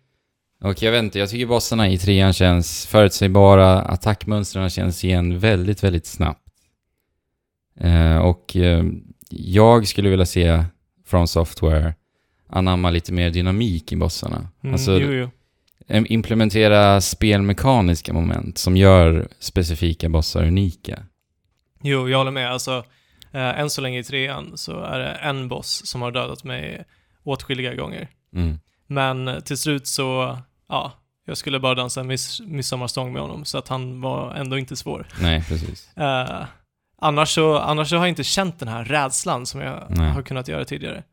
Speaker 3: Och jag vet inte, jag tycker bossarna i trean känns förutsägbara, attackmönstren känns igen väldigt, väldigt snabbt. Eh, och eh, jag skulle vilja se From Software anamma lite mer dynamik i bossarna.
Speaker 2: Mm.
Speaker 3: Alltså,
Speaker 2: jo, jo.
Speaker 3: Em- implementera spelmekaniska moment som gör specifika bossar unika.
Speaker 2: jo, jag håller med. Alltså, eh, än så länge i trean så är det en boss som har dödat mig åtskilliga gånger. Men eh, till slut så, ja, jag skulle bara dansa miss, midsommarstång med honom, så att han var ändå inte svår.
Speaker 3: Nej, precis.
Speaker 2: Eh, annars, så, annars så har jag inte känt den här rädslan som jag
Speaker 3: Nej.
Speaker 2: har kunnat göra tidigare.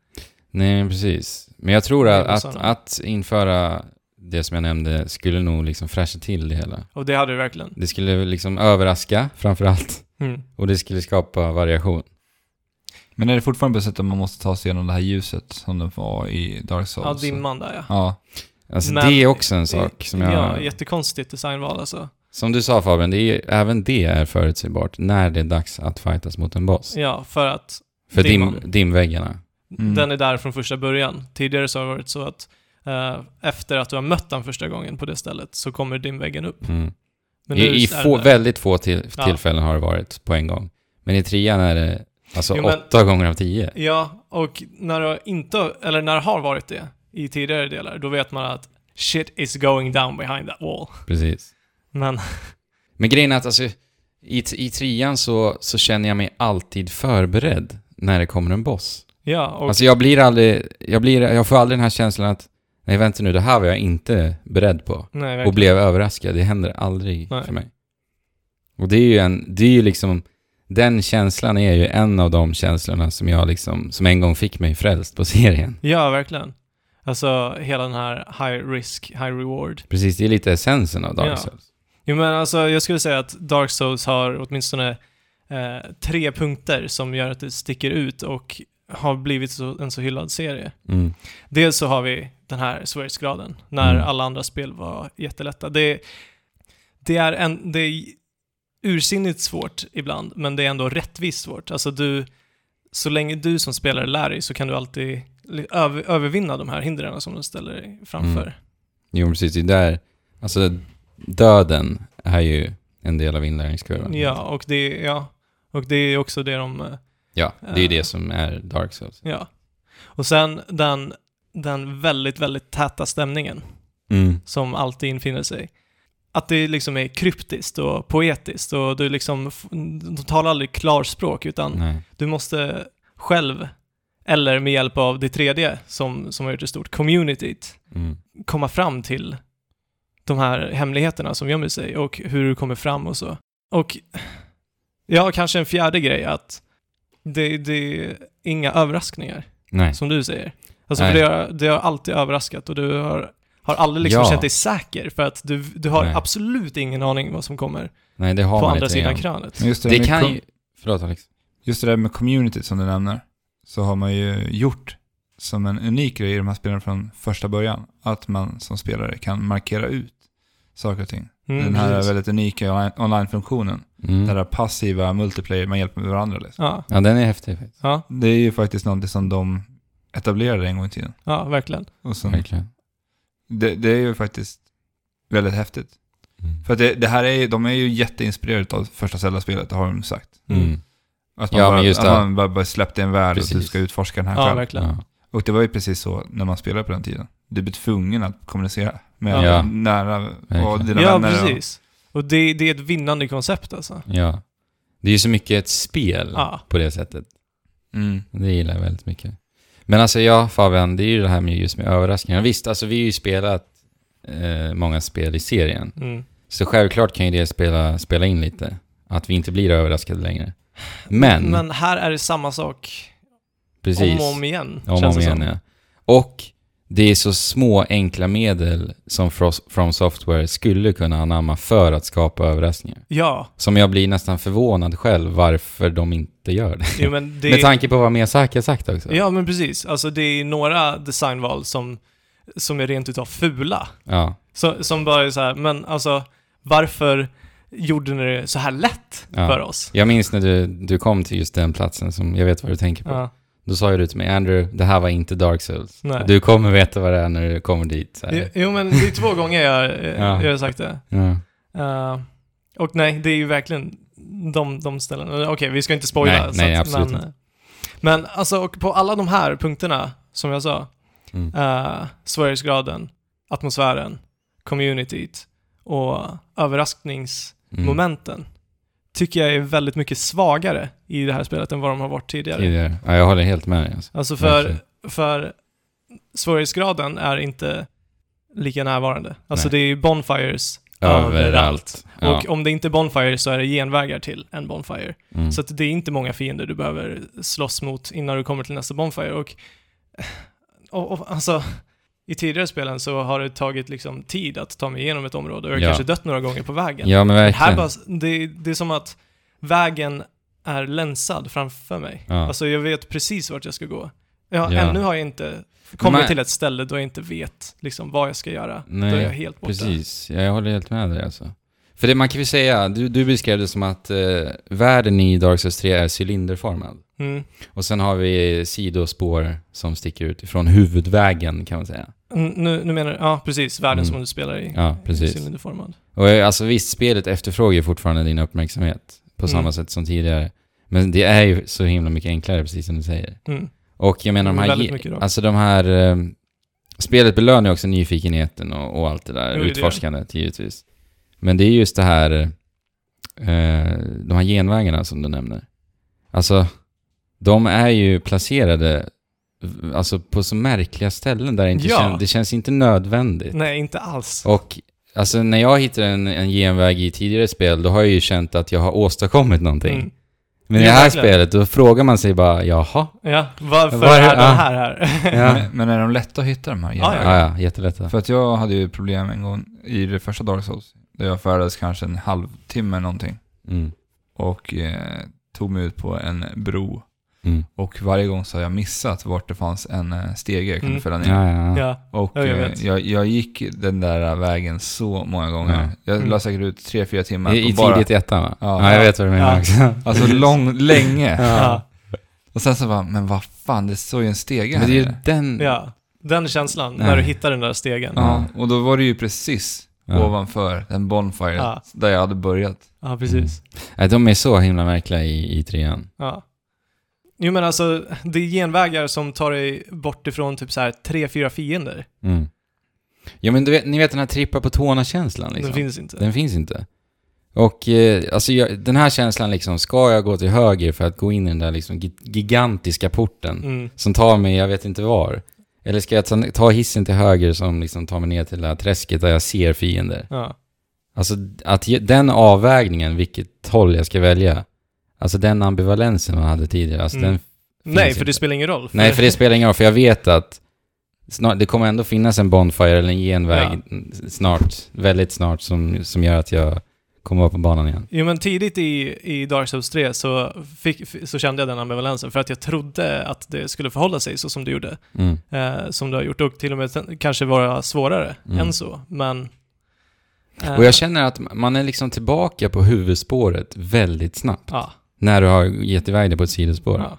Speaker 3: Nej, men precis. Men jag tror
Speaker 2: Nej,
Speaker 3: att, att,
Speaker 2: bossarna.
Speaker 3: att införa det som jag nämnde skulle nog liksom fräscha till det hela.
Speaker 2: Och det hade du verkligen.
Speaker 3: Det skulle liksom överraska framför allt
Speaker 2: Mm.
Speaker 3: och det skulle skapa variation.
Speaker 1: Men är det fortfarande på sätt att man måste ta sig igenom det här ljuset som det var i Dark
Speaker 2: Ja,
Speaker 1: Souls?
Speaker 2: dimman där ja.
Speaker 1: Ja,
Speaker 3: Alltså
Speaker 2: Men-
Speaker 3: det är också en sak som jag...
Speaker 2: Ja, jättekonstigt designval alltså.
Speaker 3: Som du sa Fabian, det är, även det är förutsägbart när det är dags att fightas mot en boss.
Speaker 2: Ja, för att
Speaker 3: För dim,
Speaker 2: Dimman.
Speaker 3: dimväggarna.
Speaker 1: Mm.
Speaker 2: den är där från första början. Tidigare så har det varit så att eh, efter att du har mött den första gången på det stället så kommer dimväggen upp.
Speaker 3: Mm.
Speaker 2: Men nu
Speaker 3: I i
Speaker 2: är
Speaker 3: få,
Speaker 2: det-
Speaker 3: väldigt få till,
Speaker 2: Ja.
Speaker 3: tillfällen har det varit på en gång. Men i trean är det alltså
Speaker 2: Jo, men-
Speaker 3: åtta gånger av tio.
Speaker 2: Ja, och när du inte, eller när det har varit det i tidigare delar, då vet man att shit is going down behind that wall.
Speaker 3: Precis.
Speaker 2: Men
Speaker 3: Men grejen är att alltså, i, t- i trean så, så känner jag mig alltid förberedd när det kommer en boss.
Speaker 2: ja, och
Speaker 3: Alltså jag blir aldrig, jag, blir, jag får aldrig den här känslan att nej vänta nu, det här var jag inte beredd på.
Speaker 2: nej,
Speaker 3: Och
Speaker 2: verkligen.
Speaker 3: blev överraskad, det händer aldrig
Speaker 2: Nej.
Speaker 3: för mig. Och det är ju en, det är ju liksom, den känslan är ju en av de känslorna som jag liksom, som en gång fick mig frälst på [laughs] serien.
Speaker 2: ja, verkligen. Alltså hela den här high risk, high reward.
Speaker 3: Precis, det är lite essensen av Dark
Speaker 2: Ja.
Speaker 3: Souls.
Speaker 2: Jo men alltså jag skulle säga att Dark Souls har åtminstone eh, tre punkter som gör att det sticker ut och har blivit så, en så hyllad serie.
Speaker 3: Mm.
Speaker 2: Dels så har vi den här svårighetsgraden, när
Speaker 3: Mm.
Speaker 2: alla andra spel var jättelätta. Det, det är en, det är ursinnigt svårt ibland, men det är ändå rättvist svårt. Alltså du, så länge du som spelare lär dig så kan du alltid li- över, övervinna de här hindren som du ställer dig framför.
Speaker 3: Mm. Jo, precis. Det är där, alltså döden är ju en del av inlärningskurvan.
Speaker 2: Ja, och det, ja, och det är också det de eh,
Speaker 3: Ja, det är ju
Speaker 2: Eh.
Speaker 3: det som är Dark Souls.
Speaker 2: Ja. Och sen den, den väldigt, väldigt täta stämningen
Speaker 3: Mm.
Speaker 2: som alltid infinner sig. Att det liksom är kryptiskt och poetiskt och du liksom, f- de talar aldrig klarspråk utan
Speaker 3: Nej.
Speaker 2: du måste själv, eller med hjälp av det tredje som, som har gjort det stort, communityt,
Speaker 3: Mm.
Speaker 2: komma fram till de här hemligheterna som gömmer sig och hur du kommer fram och så. Och ja, kanske en fjärde grej att det, det är inga överraskningar
Speaker 3: Nej.
Speaker 2: som du säger. Alltså för
Speaker 3: Nej.
Speaker 2: det har, det har alltid överraskat och du har, har aldrig liksom
Speaker 3: Ja.
Speaker 2: känt dig säker för att du, du har
Speaker 3: Nej.
Speaker 2: absolut ingen aning vad som kommer
Speaker 3: Nej, det har
Speaker 2: på
Speaker 3: man
Speaker 2: andra
Speaker 3: inte
Speaker 2: sidan
Speaker 3: igen.
Speaker 2: krönet.
Speaker 1: men just det,
Speaker 3: Det
Speaker 1: med
Speaker 3: kan
Speaker 1: com-
Speaker 3: ju... Förlåt Alex.
Speaker 1: just det där med communityt som du nämner, så har man ju gjort som en unik grej i de här spelen från första början. Att man som spelare kan markera ut saker och ting.
Speaker 2: Mm,
Speaker 1: Den här
Speaker 2: precis.
Speaker 1: väldigt unika online- online-funktionen.
Speaker 3: Mm.
Speaker 1: Den här passiva multiplayer, man hjälper med varandra. Liksom.
Speaker 2: Ja,
Speaker 3: Ja, den är häftig faktiskt.
Speaker 2: ja,
Speaker 1: Det är ju faktiskt någonting som de etablerade en gång i tiden.
Speaker 2: ja, verkligen.
Speaker 1: Och som,
Speaker 3: Mm. Verkligen.
Speaker 1: det, det är ju faktiskt väldigt häftigt.
Speaker 3: Mm.
Speaker 1: För att det, det här är, ju- de är ju jätteinspirerade av första Zelda-spelet, det har de sagt.
Speaker 3: Mm.
Speaker 1: Att man
Speaker 3: Ja,
Speaker 1: bara,
Speaker 3: men just
Speaker 1: att
Speaker 3: det.
Speaker 1: man bara, bara släppte en värld och du
Speaker 3: Precis.
Speaker 1: ska utforska den här
Speaker 2: Ja,
Speaker 1: själv.
Speaker 2: verkligen.
Speaker 3: Ja.
Speaker 1: Och det var ju precis så när man spelade på den tiden. Du blev tvungen att kommunicera med
Speaker 3: Ja.
Speaker 1: nära och dina
Speaker 2: Ja,
Speaker 1: vänner. och-
Speaker 2: precis. Och det, det är ett vinnande koncept alltså.
Speaker 3: ja. Det är ju så mycket ett spel
Speaker 2: Ja.
Speaker 3: på det sättet.
Speaker 2: [laughs]
Speaker 1: Mm.
Speaker 3: Det gillar jag väldigt mycket. Men alltså ja, Fabian, det är ju det här med just med överraskningar. Visst, alltså vi har ju spelat eh, många spel i serien.
Speaker 2: Mm.
Speaker 3: Så självklart kan ju det spela, spela in lite. Att vi inte blir överraskade längre. Men,
Speaker 2: Men här är det samma sak om
Speaker 3: precis.
Speaker 2: och om igen.
Speaker 3: Om och
Speaker 2: känns
Speaker 3: om
Speaker 2: det
Speaker 3: igen,
Speaker 2: som.
Speaker 3: ja. Och det är så små enkla medel som Fros- From Software skulle kunna anamma för att skapa överraskningar.
Speaker 2: Ja,
Speaker 3: Som jag blir nästan förvånad själv varför de inte gör det.
Speaker 2: jo,
Speaker 3: [laughs]
Speaker 2: men det...
Speaker 3: Med tanke på vad Miyazaki har sagt också.
Speaker 2: Ja, men precis. Alltså det är några designval som, som är rent utav fula.
Speaker 3: Ja,
Speaker 2: Så, som bara är så här, men alltså varför gjorde ni det så här lätt
Speaker 3: Ja.
Speaker 2: för oss?
Speaker 3: Jag minns när du, du kom till just den platsen som jag vet vad du tänker på.
Speaker 2: Ja.
Speaker 3: Då sa ju du till mig, Andrew, det här var inte Dark Souls.
Speaker 2: Nej.
Speaker 3: Du kommer veta vad det är när du kommer dit. Så här.
Speaker 2: Jo- Jo, men det är två gånger jag, eh,
Speaker 3: Ja.
Speaker 2: jag har sagt det.
Speaker 3: Ja. Mm.
Speaker 2: Eh, och nej, det är ju verkligen de, de ställena. Eller, Okej, vi ska inte spoila.
Speaker 3: Nej, nej, absolut
Speaker 2: men, eh, men alltså, och på alla de här punkterna, som jag sa,
Speaker 3: Mm.
Speaker 2: eh, svårighetsgraden, atmosfären, communityt och överraskningsmomenten,
Speaker 3: Mm.
Speaker 2: tycker jag är väldigt mycket svagare i det här spelet än vad de har varit tidigare.
Speaker 3: Tidigare. Ja, jag håller helt med dig. Alltså.
Speaker 2: Alltså för,
Speaker 3: Verkligen.
Speaker 2: för svårighetsgraden är inte lika närvarande. Alltså
Speaker 3: Nej.
Speaker 2: det är ju bonfires
Speaker 3: Överallt. Ja.
Speaker 2: och om det inte är Bonfire så är det genvägar till en Bonfire.
Speaker 3: mm.
Speaker 2: Så att det är inte många fiender du behöver slåss mot innan du kommer till nästa Bonfire. Och, [sighs] och, och alltså, i tidigare spelen så har det tagit liksom tid att ta mig igenom ett område och jag har
Speaker 3: Ja.
Speaker 2: kanske dött några gånger på vägen.
Speaker 3: ja, men
Speaker 2: Men här
Speaker 3: verkligen.
Speaker 2: bara, det, det är som att vägen är länsad framför mig.
Speaker 3: Ja.
Speaker 2: Alltså jag vet precis vart jag ska gå. Ja,
Speaker 3: Ja.
Speaker 2: Ännu har jag inte kommit
Speaker 3: Men-
Speaker 2: till ett ställe då jag inte vet liksom vad jag ska göra. då
Speaker 3: Nej,
Speaker 2: är jag helt borta.
Speaker 3: Precis, ja, jag håller helt med dig alltså. För det man kan ju säga, du, du beskrev det som att eh, världen i Dark Souls 3 är cylinderformad.
Speaker 2: Mm.
Speaker 3: Och sen har vi sidospår som sticker ut ifrån huvudvägen kan man säga.
Speaker 2: Mm, Nu, nu menar du, ja precis, världen
Speaker 3: Mm.
Speaker 2: som du spelar i.
Speaker 3: Ja, precis.
Speaker 2: Cylinderformad.
Speaker 3: Och eh, alltså visst, spelet efterfrågar ju fortfarande din uppmärksamhet på
Speaker 2: Mm.
Speaker 3: samma sätt som tidigare. Men det är ju så himla mycket enklare, precis som du säger.
Speaker 2: Mm.
Speaker 3: Och jag menar de
Speaker 2: Mm,
Speaker 3: här...
Speaker 2: väldigt
Speaker 3: ge-
Speaker 2: mycket då.
Speaker 3: alltså de här... Eh, spelet belönar ju också nyfikenheten och, och allt det där
Speaker 2: Jo, det gör det.
Speaker 3: utforskandet givetvis. Men det är just det här... Eh, de här genvägarna som du nämner. Alltså, de är ju placerade v- alltså, på så märkliga ställen där det inte
Speaker 2: Ja.
Speaker 3: kän, det känns inte nödvändigt.
Speaker 2: Nej, inte alls.
Speaker 3: Och alltså, när jag hittar en, en genväg i tidigare spel, då har jag ju känt att jag har åstadkommit någonting.
Speaker 2: Mm.
Speaker 3: Men i
Speaker 2: Ja,
Speaker 3: det här
Speaker 2: verkligen.
Speaker 3: spelet, då frågar man sig bara, jaha?
Speaker 2: Mm. Ja, varför
Speaker 3: Var-
Speaker 2: är
Speaker 3: ja.
Speaker 2: den här här? [laughs]
Speaker 3: Ja,
Speaker 1: Men, men är de lätta att hitta de här
Speaker 2: Ja,
Speaker 3: ja, ja jättelätta.
Speaker 1: För att jag hade ju problem en gång i det första Dark Souls. Där jag färdades kanske en halvtimme eller någonting.
Speaker 3: Mm.
Speaker 1: Och eh, tog mig ut på en bro.
Speaker 3: Mm.
Speaker 1: Och varje gång så har jag missat vart det fanns en eh, stege jag kunde
Speaker 2: Mm.
Speaker 1: fälla ner.
Speaker 3: Ja, ja, ja.
Speaker 2: ja.
Speaker 1: Och
Speaker 2: Ja, jag
Speaker 1: jag,
Speaker 2: vet.
Speaker 1: jag, jag gick den där vägen så många gånger.
Speaker 3: Ja.
Speaker 1: Jag
Speaker 2: Mm.
Speaker 1: la säkert ut tre, fyra timmar
Speaker 3: I,
Speaker 1: på
Speaker 3: I
Speaker 1: bara...
Speaker 3: tidigt i ettan va?
Speaker 1: Ja.
Speaker 3: Ja, jag vet vad du menar
Speaker 2: Ja.
Speaker 3: också.
Speaker 1: Alltså lång, länge.
Speaker 2: Ja.
Speaker 1: Och sen så bara, men vad fan, det står ju en stege här
Speaker 3: Men det är ju
Speaker 1: nere.
Speaker 3: den...
Speaker 2: ja. Den känslan,
Speaker 3: Nej.
Speaker 2: när du hittar den där stegen. Ja,
Speaker 1: Ja, och då var det ju precis
Speaker 3: Ja.
Speaker 1: ovanför den bonfire
Speaker 2: Ja.
Speaker 1: där jag hade börjat.
Speaker 2: precis.
Speaker 3: Nej, de är så himla märkliga i, i trean.
Speaker 2: Ja. Jo men alltså, det är genvägar som tar dig bort ifrån typ så här tre, fyra fiender.
Speaker 3: Mm. Ja, men du vet, ni vet den här trippa på tårna-känslan liksom.
Speaker 2: Den finns inte.
Speaker 3: Den finns inte. Och eh, alltså, jag, den här känslan liksom, ska jag gå till höger för att gå in i den där liksom, gi- gigantiska porten
Speaker 2: Mm.
Speaker 3: som tar mig, jag vet inte var? Eller ska jag ta, ta hissen till höger som liksom tar mig ner till det här träsket där jag ser fiender?
Speaker 2: Ja.
Speaker 3: Alltså att ge, den avvägningen, vilket håll jag ska välja, alltså den ambivalensen man hade tidigare, alltså
Speaker 2: Mm.
Speaker 3: den...
Speaker 2: Nej, för
Speaker 3: inte.
Speaker 2: det spelar ingen roll.
Speaker 3: Nej, för det spelar ingen roll, för jag vet att snart, det kommer ändå finnas en bonfire eller en genväg snart, väldigt snart, som, som gör att jag komma upp på banan igen.
Speaker 2: Jo men tidigt i, i Dark Souls 3 så, fick, f- så kände jag den ambivalensen för att jag trodde att det skulle förhålla sig så som det gjorde.
Speaker 3: Mm.
Speaker 2: Eh, som det har gjort och till och med sen- kanske vara svårare
Speaker 3: Mm.
Speaker 2: än så. Men... eh,
Speaker 3: Och jag känner att man är liksom tillbaka på huvudspåret väldigt snabbt.
Speaker 2: Ja,
Speaker 3: När du har gett iväg dig på ett sidospår.
Speaker 2: ja.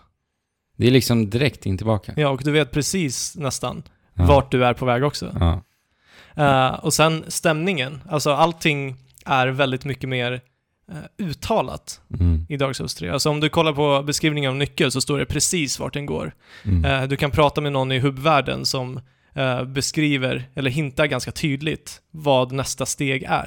Speaker 3: Det är liksom direkt in tillbaka.
Speaker 2: ja, och du vet precis nästan
Speaker 3: Ja.
Speaker 2: vart du är på väg också.
Speaker 3: Ja.
Speaker 2: Eh, och sen stämningen, alltså allting är väldigt mycket mer eh, uttalat
Speaker 3: Mm.
Speaker 2: i Dark Souls 3. Alltså om du kollar på beskrivningen av nyckel så står det precis vart den går.
Speaker 3: Mm.
Speaker 2: Eh, Du kan prata med någon i hubbvärlden som eh, beskriver, eller hintar ganska tydligt, vad nästa steg är.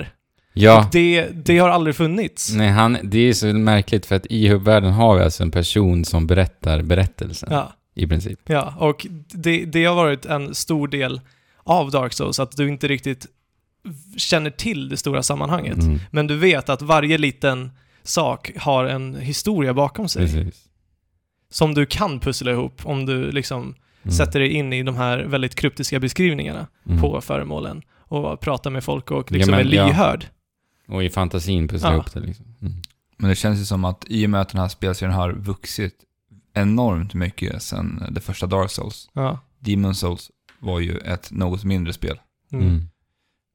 Speaker 2: Och
Speaker 3: ja.
Speaker 2: det, det har aldrig funnits.
Speaker 3: Nej, han, det är så märkligt för att i hubbvärlden har vi alltså en person som berättar berättelsen
Speaker 2: Ja,
Speaker 3: i princip.
Speaker 2: ja. och det, det har varit en stor del av Dark Souls, att du inte riktigt känner till det stora sammanhanget.
Speaker 3: Mm,
Speaker 2: Men du vet att varje liten sak har en historia bakom sig
Speaker 3: precis.
Speaker 2: som du kan pussla ihop om du liksom
Speaker 3: Mm.
Speaker 2: sätter dig in i de här väldigt kryptiska beskrivningarna
Speaker 3: Mm.
Speaker 2: på föremålen och pratar med folk och
Speaker 3: Ja,
Speaker 2: liksom
Speaker 3: men,
Speaker 2: är
Speaker 3: ja.
Speaker 2: lyhörd.
Speaker 3: Och i fantasin pusslar
Speaker 2: Ja.
Speaker 3: ihop det liksom. Mm.
Speaker 1: Men det känns ju som att i och med att den här spelserien har vuxit enormt mycket sedan det första Dark Souls.
Speaker 2: Ja.
Speaker 1: Demon Souls var ju ett något mindre spel.
Speaker 2: Mm.
Speaker 3: Mm.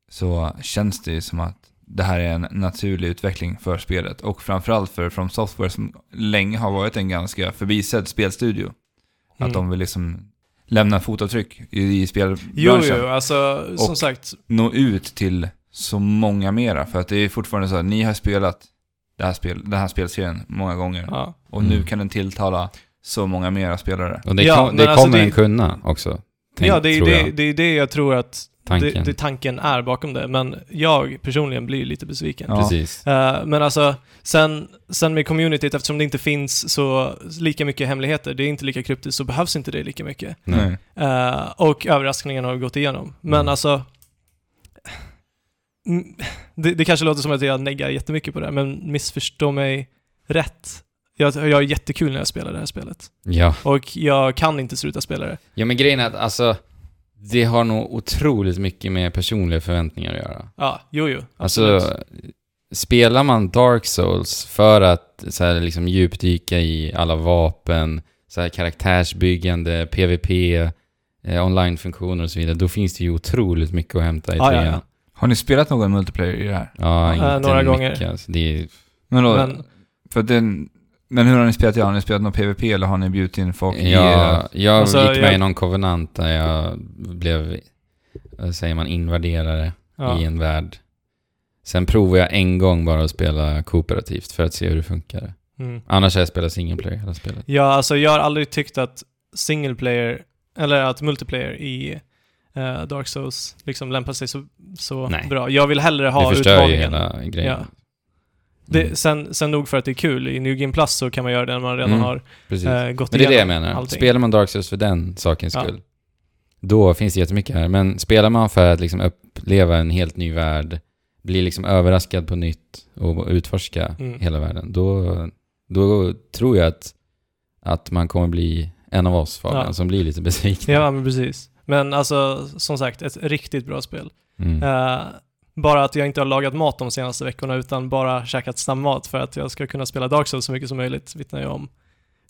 Speaker 1: Så känns det ju som att det här är en naturlig utveckling för spelet. Och framförallt för From Software som länge har varit en ganska förbisedd spelstudio. Att de vill liksom lämna fotavtryck i, i spelbranschen.
Speaker 2: Mm. Jo, jo, alltså som
Speaker 1: Och-
Speaker 2: sagt,
Speaker 1: nå ut till så många mera. För att det är fortfarande så att ni har spelat det här spel, den här spelserien många gånger.
Speaker 2: ja.
Speaker 1: Och
Speaker 3: Mm.
Speaker 1: nu kan den tilltala så många mera spelare.
Speaker 3: Och det,
Speaker 2: Ja,
Speaker 3: kom,
Speaker 2: men
Speaker 3: det
Speaker 2: alltså
Speaker 3: kommer
Speaker 2: det-
Speaker 3: den kunna också. Tänk,
Speaker 2: ja det, är
Speaker 3: tror
Speaker 2: det,
Speaker 3: jag.
Speaker 2: det är det jag tror att
Speaker 3: Tanken.
Speaker 2: Det, det tanken är bakom det, men jag personligen blir lite besviken.
Speaker 1: Ja.
Speaker 3: Precis.
Speaker 2: Eh, men alltså, sen, sen med communityt, eftersom det inte finns så lika mycket hemligheter, det är inte lika kryptiskt, så behövs inte det lika mycket.
Speaker 3: Nej.
Speaker 2: Eh, och överraskningen har vi gått igenom. Men
Speaker 3: Mm.
Speaker 2: alltså... mm, Det, det kanske låter som att jag neggar jättemycket på det här, men missförstå mig rätt. Jag, jag har jättekul när jag spelar det här spelet.
Speaker 3: Ja.
Speaker 2: Och jag kan inte sluta spela det.
Speaker 3: ja, men grejen är att alltså, det har nog otroligt mycket med personliga förväntningar att göra.
Speaker 2: Ja, jo, jo. Absolut.
Speaker 3: Alltså, spelar man Dark Souls för att så här, liksom, djupdyka i alla vapen, så här, karaktärsbyggande, PVP, eh, online-funktioner och så vidare, då finns det ju otroligt mycket att hämta i
Speaker 2: Ah, Ja, ja,
Speaker 3: trean.
Speaker 2: ja.
Speaker 1: Har ni spelat någon multiplayer i det här?
Speaker 3: Ja,
Speaker 2: Eh,
Speaker 3: inte
Speaker 2: några
Speaker 3: mycket,
Speaker 2: gånger.
Speaker 3: Alltså, det är,
Speaker 1: Men, då,
Speaker 2: men,
Speaker 1: för att den, men hur har ni spelat det? Har ni spelat något PVP eller har ni bjudit in folk i era-
Speaker 3: jag, jag
Speaker 2: Alltså,
Speaker 3: gick med
Speaker 2: jag-
Speaker 3: i någon kovenant där jag blev, vad säger man, invaderare
Speaker 2: ja.
Speaker 3: i en värld. Sen provade jag en gång bara att spela kooperativt för att se hur det funkar.
Speaker 2: Mm.
Speaker 3: Annars har jag spelat single player hela spelet.
Speaker 2: ja, alltså jag har aldrig tyckt att single player, eller att multiplayer i eh, Dark Souls liksom lämpar sig så, så
Speaker 3: Nej.
Speaker 2: bra. Jag vill hellre ha
Speaker 3: det förstör ju
Speaker 2: utmaningen.
Speaker 3: hela grejen. Mm,
Speaker 2: Ja. Det, Mm, sen, sen nog för att det är kul, i New Game Plus så kan man göra det när man redan
Speaker 3: Mm,
Speaker 2: har
Speaker 3: Precis.
Speaker 2: eh, gått
Speaker 3: Men det är det jag
Speaker 2: igenom
Speaker 3: menar.
Speaker 2: allting.
Speaker 3: Spelar man Dark Souls för den sakens
Speaker 2: Ja.
Speaker 3: skull, då finns det jättemycket här. Men spelar man för att liksom uppleva en helt ny värld, bli liksom överraskad på nytt och utforska
Speaker 2: Mm.
Speaker 3: hela världen, då, då tror jag att, att man kommer bli en av oss Fabian,
Speaker 2: Ja.
Speaker 3: som blir lite besviken.
Speaker 2: Ja, men precis. Men alltså, som sagt, ett riktigt bra spel.
Speaker 3: Mm.
Speaker 2: Eh, bara att jag inte har lagat mat de senaste veckorna utan bara käkat snabbmat för att jag ska kunna spela Dark Souls så mycket som möjligt vittnar ju om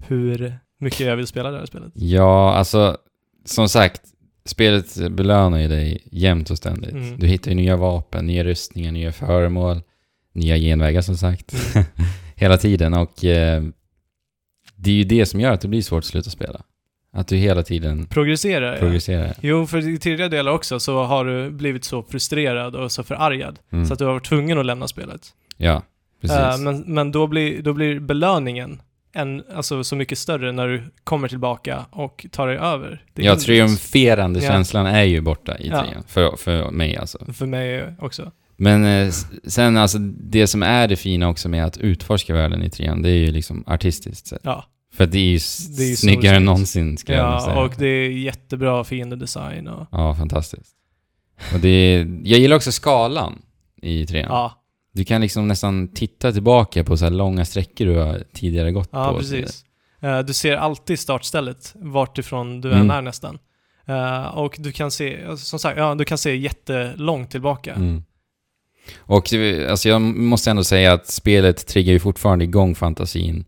Speaker 2: hur mycket jag vill spela det här spelet.
Speaker 3: Ja, alltså som sagt, spelet belönar ju dig jämt och ständigt.
Speaker 2: Mm.
Speaker 3: Du hittar ju nya vapen, nya rustningar, nya föremål, nya genvägar som sagt. [laughs] hela tiden och eh, det är ju det som gör att det blir svårt att sluta spela. Att du hela tiden
Speaker 2: Progresserar jag.
Speaker 3: progresserar.
Speaker 2: Jo, för i tidigare delar också så har du blivit så frustrerad och så förargad
Speaker 3: Mm.
Speaker 2: så att du har varit tvungen att lämna spelet.
Speaker 3: Ja, precis.
Speaker 2: Eh, men men då, blir, då blir belöningen en, alltså, så mycket större när du kommer tillbaka och tar dig över. det
Speaker 3: ja,
Speaker 2: hindret.
Speaker 3: triumferande
Speaker 2: Ja.
Speaker 3: känslan är ju borta i
Speaker 2: Ja.
Speaker 3: trean. För, för mig alltså.
Speaker 2: För mig också.
Speaker 3: Men eh, s- sen alltså, det som är det fina också med att utforska världen i trean, det är ju liksom artistiskt sett.
Speaker 2: Ja,
Speaker 3: För att det är ju s-
Speaker 2: Det är ju så
Speaker 3: snyggare
Speaker 2: snyggt.
Speaker 3: än någonsin, ska jag nog säga.
Speaker 2: ja och det är jättebra fiendedesign och...
Speaker 3: Ja, fantastiskt. Och det är, jag gillar också skalan i trean.
Speaker 2: Ja,
Speaker 3: Du kan liksom nästan titta tillbaka på så här långa sträckor du har tidigare gått
Speaker 2: ja,
Speaker 3: på.
Speaker 2: precis. Eh, du ser alltid startstället, vart ifrån du
Speaker 3: Mm.
Speaker 2: än är nästan. Eh, och du kan se, alltså, som sagt, ja, du kan se jättelångt tillbaka.
Speaker 3: Mm. Och eh, alltså, jag måste ändå säga att spelet triggar ju fortfarande igång fantasin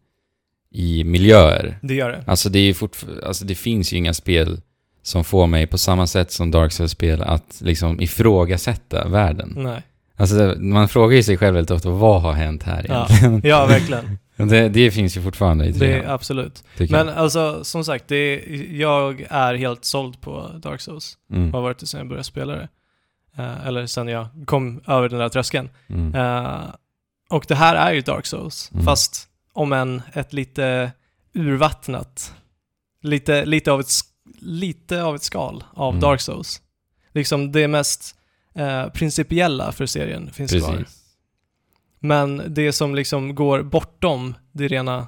Speaker 3: i miljöer.
Speaker 2: Det gör det.
Speaker 3: Alltså det, är ju fortf- alltså det finns ju inga spel som får mig på samma sätt som Dark Souls-spel att liksom ifrågasätta världen.
Speaker 2: Nej.
Speaker 3: Alltså det, man frågar ju sig själv väldigt ofta, vad har hänt här
Speaker 2: Ja.
Speaker 3: egentligen? [laughs]
Speaker 2: Ja, verkligen.
Speaker 3: Det, det finns ju fortfarande i
Speaker 2: Det,
Speaker 3: trean,
Speaker 2: absolut.
Speaker 3: tycker
Speaker 2: Men
Speaker 3: jag.
Speaker 2: alltså, som sagt, det, jag är helt såld på Dark Souls.
Speaker 3: Mm,
Speaker 2: Har varit det sedan jag började spela det. Eh, eller sen jag kom över den där tröskeln.
Speaker 3: mm.
Speaker 2: Eh, och det här är ju Dark Souls,
Speaker 3: Mm.
Speaker 2: fast om än ett lite urvattnat, lite, lite, av, ett, sk- lite av ett skal av
Speaker 3: Mm.
Speaker 2: Dark Souls. Liksom det mest eh, principiella för serien finns kvar.
Speaker 3: Precis.
Speaker 2: Men det som liksom går bortom det rena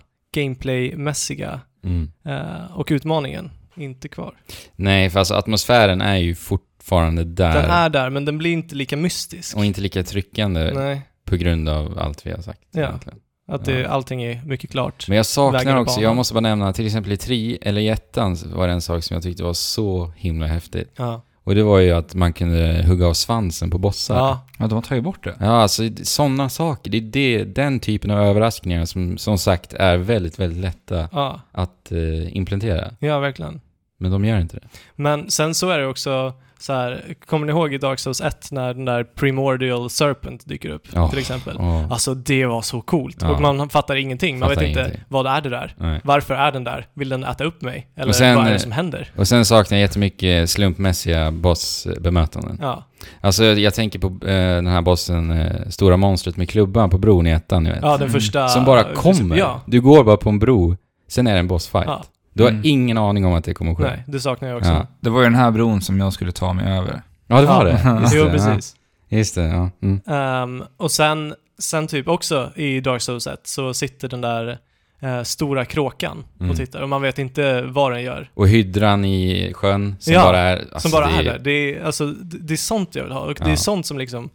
Speaker 2: gameplaymässiga
Speaker 3: Mm.
Speaker 2: eh, och utmaningen, inte kvar.
Speaker 3: Nej, för alltså atmosfären är ju fortfarande där.
Speaker 2: Den är där, men den blir inte lika mystisk.
Speaker 3: Och inte lika tryckande
Speaker 2: Nej,
Speaker 3: på grund av allt vi har sagt.
Speaker 2: Ja.
Speaker 3: egentligen.
Speaker 2: att det,
Speaker 3: Ja.
Speaker 2: allting är mycket klart.
Speaker 3: Men jag
Speaker 2: Vägen
Speaker 3: saknar
Speaker 2: är
Speaker 3: också,
Speaker 2: banan.
Speaker 3: jag måste bara nämna, till exempel i Tri, eller i ettan, så var det en sak som jag tyckte var så himla häftigt.
Speaker 2: Ja.
Speaker 3: Och det var ju att man kunde hugga av svansen på bossar.
Speaker 2: Ja.
Speaker 1: Ja, de har tagit bort det.
Speaker 3: Ja, alltså sådana saker. Det är det, den typen av överraskningar som som sagt är väldigt, väldigt lätta
Speaker 2: ja,
Speaker 3: att eh, implementera.
Speaker 2: ja, verkligen.
Speaker 3: Men de gör inte det.
Speaker 2: Men sen så är det också så här, kommer ni ihåg i Dark Souls 1 när den där Primordial Serpent dyker upp
Speaker 3: Ja.
Speaker 2: till exempel?
Speaker 3: Åh,
Speaker 2: Alltså det var så coolt
Speaker 3: Ja.
Speaker 2: och man fattar ingenting. Man
Speaker 3: Fattar
Speaker 2: vet inte,
Speaker 3: ingenting.
Speaker 2: vad är det där?
Speaker 3: nej.
Speaker 2: Varför är den där? Vill den äta upp mig? Eller
Speaker 3: Och sen,
Speaker 2: vad är det
Speaker 3: eh,
Speaker 2: som händer?
Speaker 3: Och sen saknar jag jättemycket slumpmässiga bossbemötanden.
Speaker 2: Ja,
Speaker 3: Alltså jag tänker på eh, den här bossen, eh, stora monstret med klubban på bron i ettan, ni vet.
Speaker 2: ja den första...
Speaker 3: Som bara kommer.
Speaker 2: Ja,
Speaker 3: Du går bara på en bro, sen är det en bossfight.
Speaker 2: ja
Speaker 3: Du har
Speaker 1: Mm.
Speaker 3: ingen aning om att det kommer att ske.
Speaker 2: nej, det saknar jag också.
Speaker 3: Ja.
Speaker 1: Det var ju den här bron som jag skulle ta mig över.
Speaker 3: Ja, det var det. Just
Speaker 2: [laughs] jo,
Speaker 3: det. Ja.
Speaker 2: precis.
Speaker 3: Just det, ja. Mm.
Speaker 2: Ehm, och sen, sen typ också i Dark Souls 1 så sitter den där eh, stora kråkan
Speaker 3: Mm.
Speaker 2: och tittar och man vet inte vad den gör.
Speaker 3: Och hydran i sjön som
Speaker 2: Ja,
Speaker 3: bara är... alltså,
Speaker 2: som bara
Speaker 3: det
Speaker 2: är där. Det är, alltså, det, det är sånt jag vill ha och det
Speaker 3: Ja.
Speaker 2: är sånt som liksom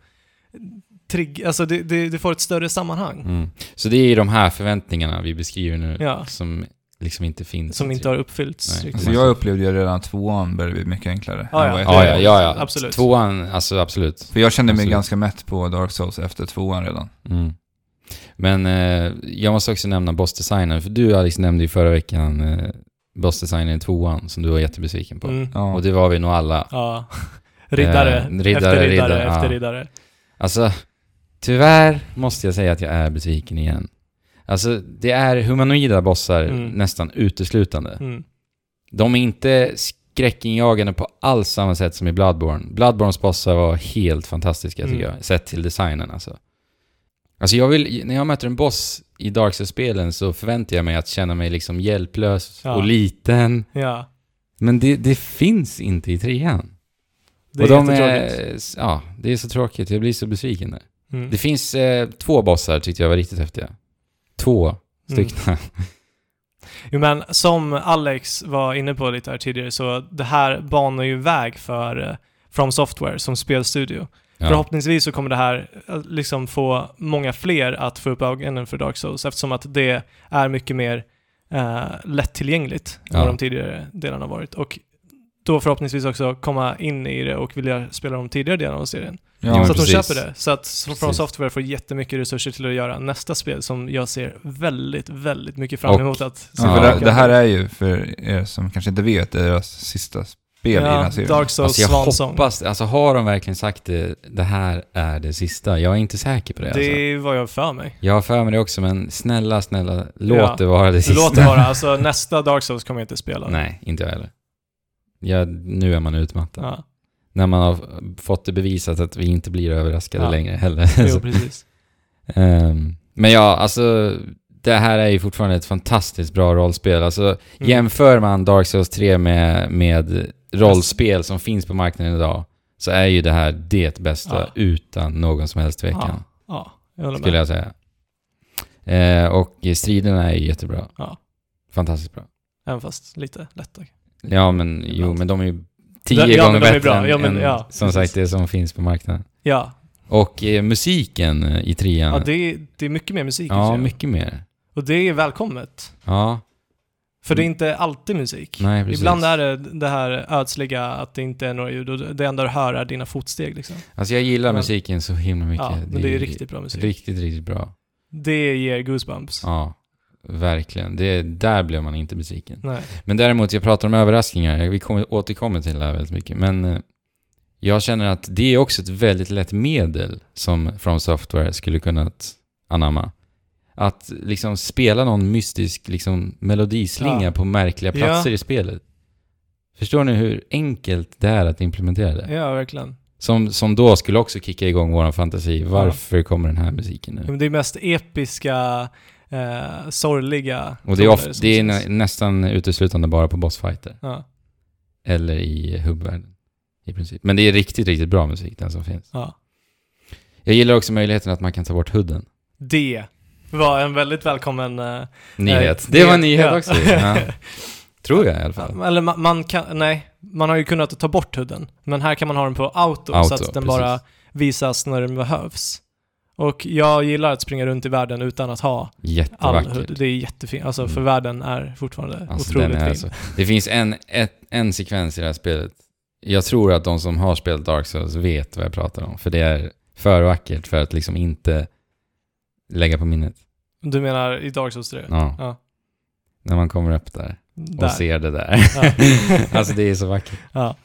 Speaker 2: trigg, alltså det, det, det får ett större sammanhang
Speaker 3: Mm. Så det är ju de här förväntningarna vi beskriver nu
Speaker 2: Ja.
Speaker 3: som liksom inte finns.
Speaker 2: som inte har uppfyllts.
Speaker 3: Nej.
Speaker 2: riktigt.
Speaker 1: Alltså jag upplevde ju redan att tvåan började bli mycket enklare.
Speaker 2: Ja,
Speaker 1: än vad ettan
Speaker 2: ja.
Speaker 3: Ja, ja,
Speaker 1: var.
Speaker 3: ja, ja.
Speaker 2: Absolut.
Speaker 3: Tvåan, alltså absolut.
Speaker 1: För jag kände mig
Speaker 3: Absolut.
Speaker 1: ganska mätt på Dark Souls efter tvåan redan.
Speaker 3: Mm. Men eh, jag måste också nämna bossdesignen, för du Alex nämnde ju förra veckan eh, bossdesignen i tvåan som du var jättebesviken på.
Speaker 2: Mm.
Speaker 1: Ja.
Speaker 3: Och det var vi nog alla.
Speaker 2: Ja. [laughs] Riddare,
Speaker 3: Eh, riddare,
Speaker 2: efter riddare,
Speaker 3: riddare, ja.
Speaker 2: efter riddare.
Speaker 3: Alltså, tyvärr måste jag säga att jag är besviken igen. Alltså, det är humanoida bossar
Speaker 2: Mm.
Speaker 3: nästan uteslutande.
Speaker 2: Mm.
Speaker 3: De är inte skräckinjagande på alls samma sätt som i Bloodborne. Bloodbornes bossar var helt fantastiska tycker
Speaker 2: Mm.
Speaker 3: jag, sett till designen alltså. Alltså jag vill, när jag möter en boss i Dark Souls-spelen så förväntar jag mig att känna mig liksom hjälplös
Speaker 2: Ja.
Speaker 3: och liten.
Speaker 2: Ja.
Speaker 3: Men det, det finns inte i trean.
Speaker 2: Det
Speaker 3: och
Speaker 2: är
Speaker 3: de
Speaker 2: jättetråkigt.
Speaker 3: är, Ja, det är så tråkigt. Jag blir så besviken där.
Speaker 2: Mm.
Speaker 3: Det finns eh, två bossar tyckte jag var riktigt häftiga.
Speaker 2: Mm.
Speaker 3: Två stycken.
Speaker 2: [laughs] Jo, men som Alex var inne på lite här tidigare så det här banar ju väg för eh, From Software som spelstudio.
Speaker 3: ja.
Speaker 2: Förhoppningsvis så kommer det här eh, liksom få många fler att få upp ögonen för Dark Souls eftersom att det är mycket mer eh, lättillgängligt än
Speaker 3: Ja.
Speaker 2: vad de tidigare delarna har varit. Och då förhoppningsvis också komma in i det och vilja spela de tidigare delarna av serien.
Speaker 1: Ja,
Speaker 3: Jo, men
Speaker 2: så att de
Speaker 3: precis.
Speaker 2: köper det. Så att From
Speaker 3: Precis.
Speaker 2: Software får jättemycket resurser till att göra nästa spel som jag ser väldigt, väldigt mycket fram
Speaker 3: Och-
Speaker 2: emot att se
Speaker 1: Så
Speaker 3: Ja.
Speaker 1: för
Speaker 2: tillbaka.
Speaker 1: det, det här är ju, för er som kanske inte vet, deras sista spel i den här serien.
Speaker 2: Dark Souls
Speaker 3: Alltså jag
Speaker 2: Svansång.
Speaker 3: hoppas, alltså har de verkligen sagt det, det här är det sista? Jag är inte säker på det, Alltså.
Speaker 2: Det var jag för mig.
Speaker 3: Jag har för mig det också, men snälla, snälla, låt
Speaker 2: Ja.
Speaker 3: det vara det sista.
Speaker 2: Låt det vara, alltså nästa Dark Souls kommer jag inte spela.
Speaker 3: [laughs] Nej, inte jag heller. Jag, nu är man utmattad.
Speaker 2: Ja,
Speaker 3: När man har fått det bevisat att vi inte blir överraskade
Speaker 2: Ja. [laughs]
Speaker 3: längre heller.
Speaker 2: jo,
Speaker 3: Så,
Speaker 2: precis.
Speaker 3: ehm, men ja, alltså, det här är ju fortfarande ett fantastiskt bra rollspel. Alltså,
Speaker 2: Mm.
Speaker 3: Jämför man Dark Souls 3 med, med rollspel som finns på marknaden idag så är ju det här det bästa
Speaker 2: Ja.
Speaker 3: utan någon som helst tvekan,
Speaker 2: Ja, jag håller
Speaker 3: skulle
Speaker 2: med.
Speaker 3: jag säga. Eh, och striderna är ju jättebra.
Speaker 2: Ja.
Speaker 3: Fantastiskt bra.
Speaker 2: Även fast lite lättare.
Speaker 3: Ja, men jo, men de är ju tio
Speaker 2: Ja, men
Speaker 3: gånger
Speaker 2: de är
Speaker 3: bättre
Speaker 2: bra. Ja,
Speaker 3: än,
Speaker 2: men, ja,
Speaker 3: än, som
Speaker 2: precis.
Speaker 3: sagt, det som finns på marknaden.
Speaker 2: Ja,
Speaker 3: Och eh, musiken eh, i trean.
Speaker 2: ja det, är, det är mycket mer musik i
Speaker 3: ja
Speaker 2: serien.
Speaker 3: mycket mer.
Speaker 2: Och det är välkommet.
Speaker 3: Ja,
Speaker 2: För det är inte alltid musik.
Speaker 3: Mm. Nej, precis.
Speaker 2: Ibland är det det här ödsliga att det inte är några ljud och det enda du hör är dina fotsteg liksom.
Speaker 3: Alltså jag gillar
Speaker 2: Men-
Speaker 3: musiken så himla mycket.
Speaker 2: Ja, men det är ju riktigt bra musik.
Speaker 3: Riktigt, riktigt bra.
Speaker 2: Det ger goosebumps.
Speaker 3: Ja, verkligen. Det, där blev man inte besviken.
Speaker 2: Nej.
Speaker 3: Men däremot, jag pratar om överraskningar. Vi kommer, återkommer till det här väldigt mycket. Men eh, jag känner att det är också ett väldigt lätt medel som From Software skulle kunnat anamma. Att liksom spela någon mystisk liksom, melodislinga
Speaker 2: Ja.
Speaker 3: på märkliga platser
Speaker 2: Ja.
Speaker 3: i spelet. Förstår ni hur enkelt det är att implementera det?
Speaker 2: Ja, verkligen.
Speaker 3: Som, som då skulle också kicka igång vår fantasi. Varför kommer den här musiken nu?
Speaker 2: Men det är mest episka, eh, sorgliga
Speaker 3: Och det är,
Speaker 2: toner
Speaker 3: of,
Speaker 2: som
Speaker 3: det är
Speaker 2: syns.
Speaker 3: nä, nästan uteslutande bara på bossfighter.
Speaker 2: Ja,
Speaker 3: Eller i hubbvärlden. I princip. Men det är riktigt, riktigt bra musik, den som finns.
Speaker 2: ja.
Speaker 3: Jag gillar också möjligheten att man kan ta bort hooden.
Speaker 2: Det var en väldigt välkommen... eh,
Speaker 3: Nyhet.
Speaker 2: eh,
Speaker 3: det var en nyhet också. Ja.
Speaker 2: [laughs] Ja.
Speaker 3: Tror jag i alla fall.
Speaker 2: Eller man, man kan, nej, man har ju kunnat ta bort hudden. Men här kan man ha den på auto, så
Speaker 3: Auto,
Speaker 2: att den
Speaker 3: precis.
Speaker 2: bara visas när den behövs. Och jag gillar att springa runt i världen utan att ha all
Speaker 3: Jättevackert.
Speaker 2: hud. Det är jättefint. Alltså för
Speaker 3: Mm.
Speaker 2: världen är fortfarande
Speaker 3: Alltså, den
Speaker 2: otroligt
Speaker 3: är
Speaker 2: fin.
Speaker 3: så- Det finns en, ett, en sekvens i det här spelet. Jag tror att de som har spelat Dark Souls vet vad jag pratar om. För det är för vackert för att liksom inte lägga på minnet.
Speaker 2: Du menar i Dark Souls 3?
Speaker 3: Ja.
Speaker 2: Ja.
Speaker 3: När man kommer upp där och
Speaker 2: Där.
Speaker 3: ser det där.
Speaker 2: Ja.
Speaker 3: [laughs] alltså det är så vackert.
Speaker 2: Ja.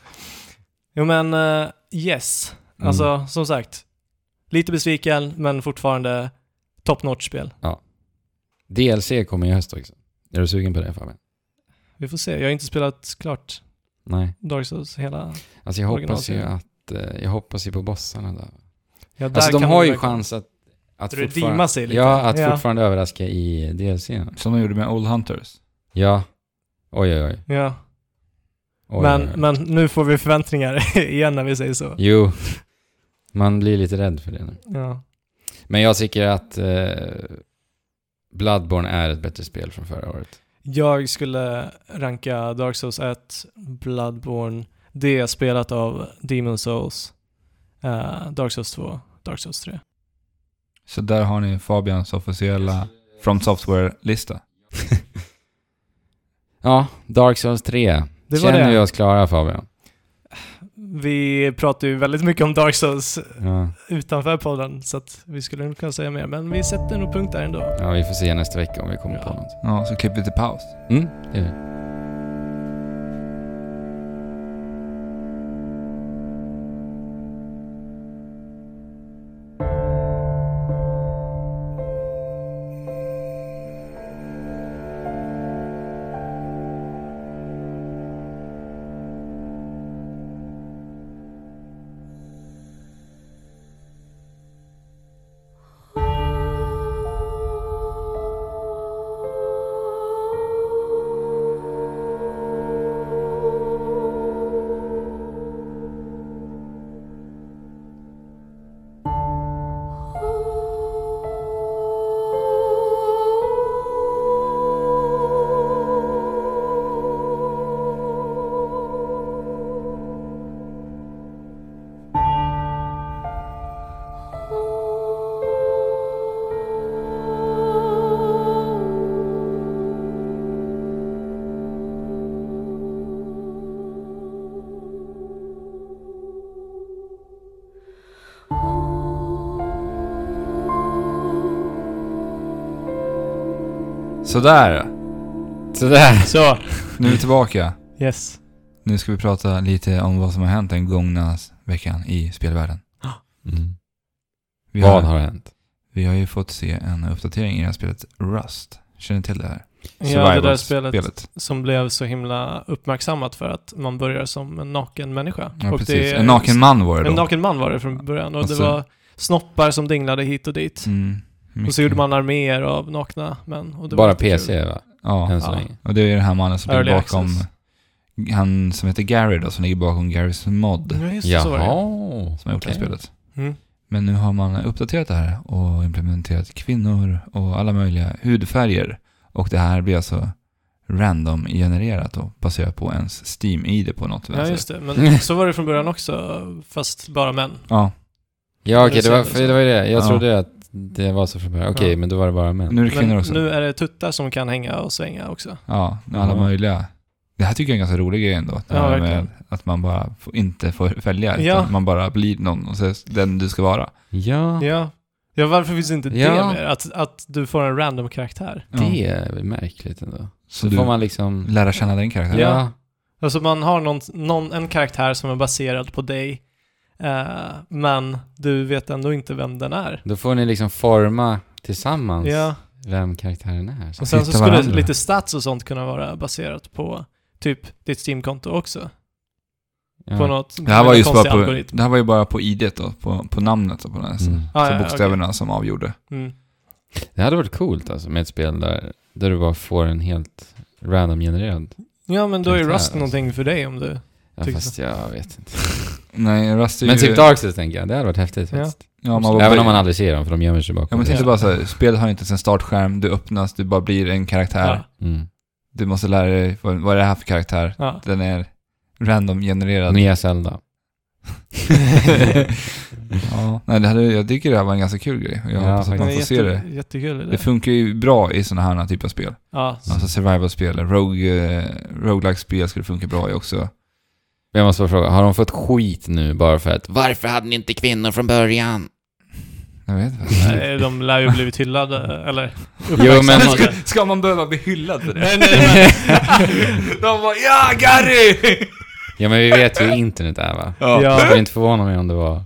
Speaker 2: Jo men, eh, yes.
Speaker 3: Mm.
Speaker 2: Alltså som sagt, lite besviken men fortfarande top notch-spel.
Speaker 3: DLC kommer i höst också. Är du sugen på det Fabian?
Speaker 2: Vi får se, jag har inte spelat klart
Speaker 3: Nej.
Speaker 2: Dark Souls hela...
Speaker 3: Alltså jag hoppas ju
Speaker 2: Originalserien.
Speaker 3: att, eh, jag hoppas ju på bossarna där.
Speaker 2: Ja, där
Speaker 3: alltså de
Speaker 2: kan
Speaker 3: har
Speaker 2: man
Speaker 3: ju
Speaker 2: verkligen-
Speaker 3: chans att, att
Speaker 2: Redeema sig lite.
Speaker 3: Ja, att
Speaker 2: Ja.
Speaker 3: fortfarande överraska i DLC. -erna.
Speaker 1: Som de gjorde med Old Hunters.
Speaker 3: Ja. Oj, oj, oj.
Speaker 2: Ja,
Speaker 3: oj
Speaker 2: men,
Speaker 3: oj,
Speaker 1: eh,
Speaker 3: oj.
Speaker 2: men nu får vi förväntningar [laughs] igen när vi säger så.
Speaker 3: Jo. Man blir lite rädd för det nu.
Speaker 2: Ja.
Speaker 3: Men jag tycker att eh, Bloodborne är ett bättre spel från förra året.
Speaker 2: Jag skulle ranka Dark Souls 1, Bloodborne, det jag spelat av Demon Souls, eh, Dark Souls 2, Dark Souls 3.
Speaker 1: Så där har ni Fabians officiella From Software-lista.
Speaker 3: [laughs] Ja, Dark Souls 3.
Speaker 2: Det var
Speaker 3: Känner
Speaker 2: det.
Speaker 3: vi oss klara Fabian?
Speaker 2: Vi pratar ju väldigt mycket om Dark Souls
Speaker 3: Ja.
Speaker 2: utanför podden, så att vi skulle nog kunna säga mer, men vi sätter nog punkt
Speaker 1: [laughs]
Speaker 2: där ändå.
Speaker 3: ja, vi får se nästa vecka om vi kommer på
Speaker 2: Ja.
Speaker 3: något.
Speaker 1: Ja, så klipper vi till paus.
Speaker 3: Mm, det gör vi.
Speaker 1: Sådär!
Speaker 3: Sådär.
Speaker 2: Så,
Speaker 1: Nu är vi tillbaka.
Speaker 2: yes.
Speaker 1: Nu ska vi prata lite om vad som har hänt den gångna veckan i spelvärlden.
Speaker 3: Mm.
Speaker 1: Vi
Speaker 3: Vad
Speaker 1: har,
Speaker 3: har hänt?
Speaker 1: vi har ju fååt se en uppdatering i det här spelet Rust. Känner ni till det här?
Speaker 2: Ja, det där
Speaker 1: Survival-spelet.
Speaker 2: spelet som blev så himla uppmärksammat för att man börjar som en naken människa.
Speaker 1: Ja,
Speaker 2: Och
Speaker 1: precis.
Speaker 2: det-
Speaker 1: En naken man var det
Speaker 2: En
Speaker 1: då.
Speaker 2: naken man var det från början och
Speaker 1: Och
Speaker 2: det
Speaker 1: så-
Speaker 2: var snoppar som dinglade hit och dit.
Speaker 1: Mm,
Speaker 2: Och
Speaker 1: mycket.
Speaker 2: så gjorde man arméer av nakna män. Och det var
Speaker 3: Bara
Speaker 2: lite kul.
Speaker 3: PC va?
Speaker 1: Ja,
Speaker 3: Än så
Speaker 2: Ja.
Speaker 3: länge.
Speaker 1: och det är den här mannen som
Speaker 2: Early
Speaker 1: ligger bakom...
Speaker 2: access.
Speaker 1: Han som heter Gary då, som ligger bakom Garys mod.
Speaker 2: Ja, just det, så var
Speaker 3: Jaha.
Speaker 2: det.
Speaker 1: Som har gjort det här
Speaker 3: okej.
Speaker 1: spelet.
Speaker 2: Mm.
Speaker 1: Men nu har man uppdaterat det här och implementerat kvinnor och alla möjliga hudfärger. Och det här blir alltså random genererat och baserat på ens Steam-ID på något
Speaker 2: Ja,
Speaker 1: vänster.
Speaker 2: just det. Men så var det från början också, fast bara män.
Speaker 1: Ja,
Speaker 3: Ja okej, det, var,
Speaker 2: Det ser ut
Speaker 3: för det var ju det. Jag
Speaker 1: Ja.
Speaker 3: trodde att det var så från början. Okej,
Speaker 2: Ja.
Speaker 3: men då var det bara män.
Speaker 1: Nu är det kvinnor
Speaker 2: Men
Speaker 1: också.
Speaker 2: nu är det tuttar som kan hänga och svänga också.
Speaker 1: Ja, med alla
Speaker 3: Ja.
Speaker 1: möjliga. Det här tycker jag är en ganska rolig grej ändå. Det
Speaker 2: Ja,
Speaker 1: här
Speaker 2: verkligen.
Speaker 1: med att man bara får, inte får välja, utan
Speaker 2: Ja.
Speaker 1: man bara blir någon och så är den du ska vara.
Speaker 3: Ja,
Speaker 2: Ja. Ja, varför finns inte
Speaker 3: Ja.
Speaker 2: det mer? Att, att du får en random karaktär.
Speaker 1: Ja.
Speaker 3: det är väl märkligt ändå.
Speaker 1: så
Speaker 3: Så
Speaker 1: du
Speaker 3: får man liksom...
Speaker 1: lära känna den karaktären.
Speaker 2: Ja. Alltså man har någon, någon, en karaktär som är baserad på dig, eh, men du vet ändå inte vem den är.
Speaker 3: Då får ni liksom forma tillsammans
Speaker 2: Ja,
Speaker 3: vem karaktären är.
Speaker 2: och sen så
Speaker 1: hitta
Speaker 2: skulle
Speaker 1: varandra.
Speaker 2: lite stats och sånt kunna vara baserat på typ ditt Steam-konto också.
Speaker 3: Ja.
Speaker 2: På något
Speaker 1: Det, här var just bara
Speaker 2: konstig
Speaker 1: på,
Speaker 2: algoritm.
Speaker 1: det här var ju bara på idet då, på, på namnet och på den här.
Speaker 3: Mm.
Speaker 2: Ah,
Speaker 1: så
Speaker 2: ja, ja,
Speaker 1: bokstäverna som avgjorde.
Speaker 2: okej. Mm.
Speaker 3: Det hade varit coolt alltså med ett spel där, där du bara får en helt random genererad.
Speaker 2: Ja, men då är
Speaker 3: Karaktär,
Speaker 2: Rust
Speaker 3: alltså.
Speaker 2: någonting för dig om du...
Speaker 3: Ja,
Speaker 2: Tycker
Speaker 3: fast jag
Speaker 2: [laughs]
Speaker 3: vet inte.
Speaker 1: Nej, Rust är
Speaker 3: Men
Speaker 1: ju...
Speaker 3: typ Dark Souls tänker jag, det hade varit häftigt
Speaker 2: Ja.
Speaker 3: faktiskt.
Speaker 1: ja, man bara,
Speaker 3: Även om man aldrig ser dem för de gömmer sig
Speaker 1: Ja,
Speaker 3: bakom
Speaker 1: men
Speaker 3: det.
Speaker 1: tänkte bara så här, spelet har inte ens en startskärm, du öppnas, du bara blir en karaktär.
Speaker 2: Ja,
Speaker 3: Mm.
Speaker 1: Du måste lära dig, vad, vad är det här för karaktär?
Speaker 2: ja.
Speaker 1: Den är random genererad.
Speaker 3: Nya Zelda.
Speaker 1: Ja, nej, det hade, jag tycker det här var en ganska kul grej. och Jag
Speaker 3: Ja,
Speaker 1: hoppas att
Speaker 3: faktiskt.
Speaker 1: man får
Speaker 2: Den är
Speaker 1: se
Speaker 2: jätte-
Speaker 1: det.
Speaker 2: Jättekul. är
Speaker 1: Det funkar ju bra i sådana här typer av spel.
Speaker 3: Mm.
Speaker 2: Ja, så-
Speaker 1: Alltså survival-spel, rogue, eh, roguelike-spel skulle funka bra i också.
Speaker 3: Men jag måste bara fråga, har de fått skit nu bara för att varför hade ni inte kvinnor från början?
Speaker 1: Jag vet inte.
Speaker 2: Nej, de lär ju blivit hyllade, eller
Speaker 3: Jo men,
Speaker 2: Ska-
Speaker 1: [laughs] Ska man behöva bli hyllad för
Speaker 2: Nej, nej, nej.
Speaker 1: [laughs] De var ja, Gary!
Speaker 3: ja, men vi vet ju hur internet är va?
Speaker 1: Ja.
Speaker 3: Det
Speaker 2: Ja.
Speaker 3: skulle inte förvåna mig om det var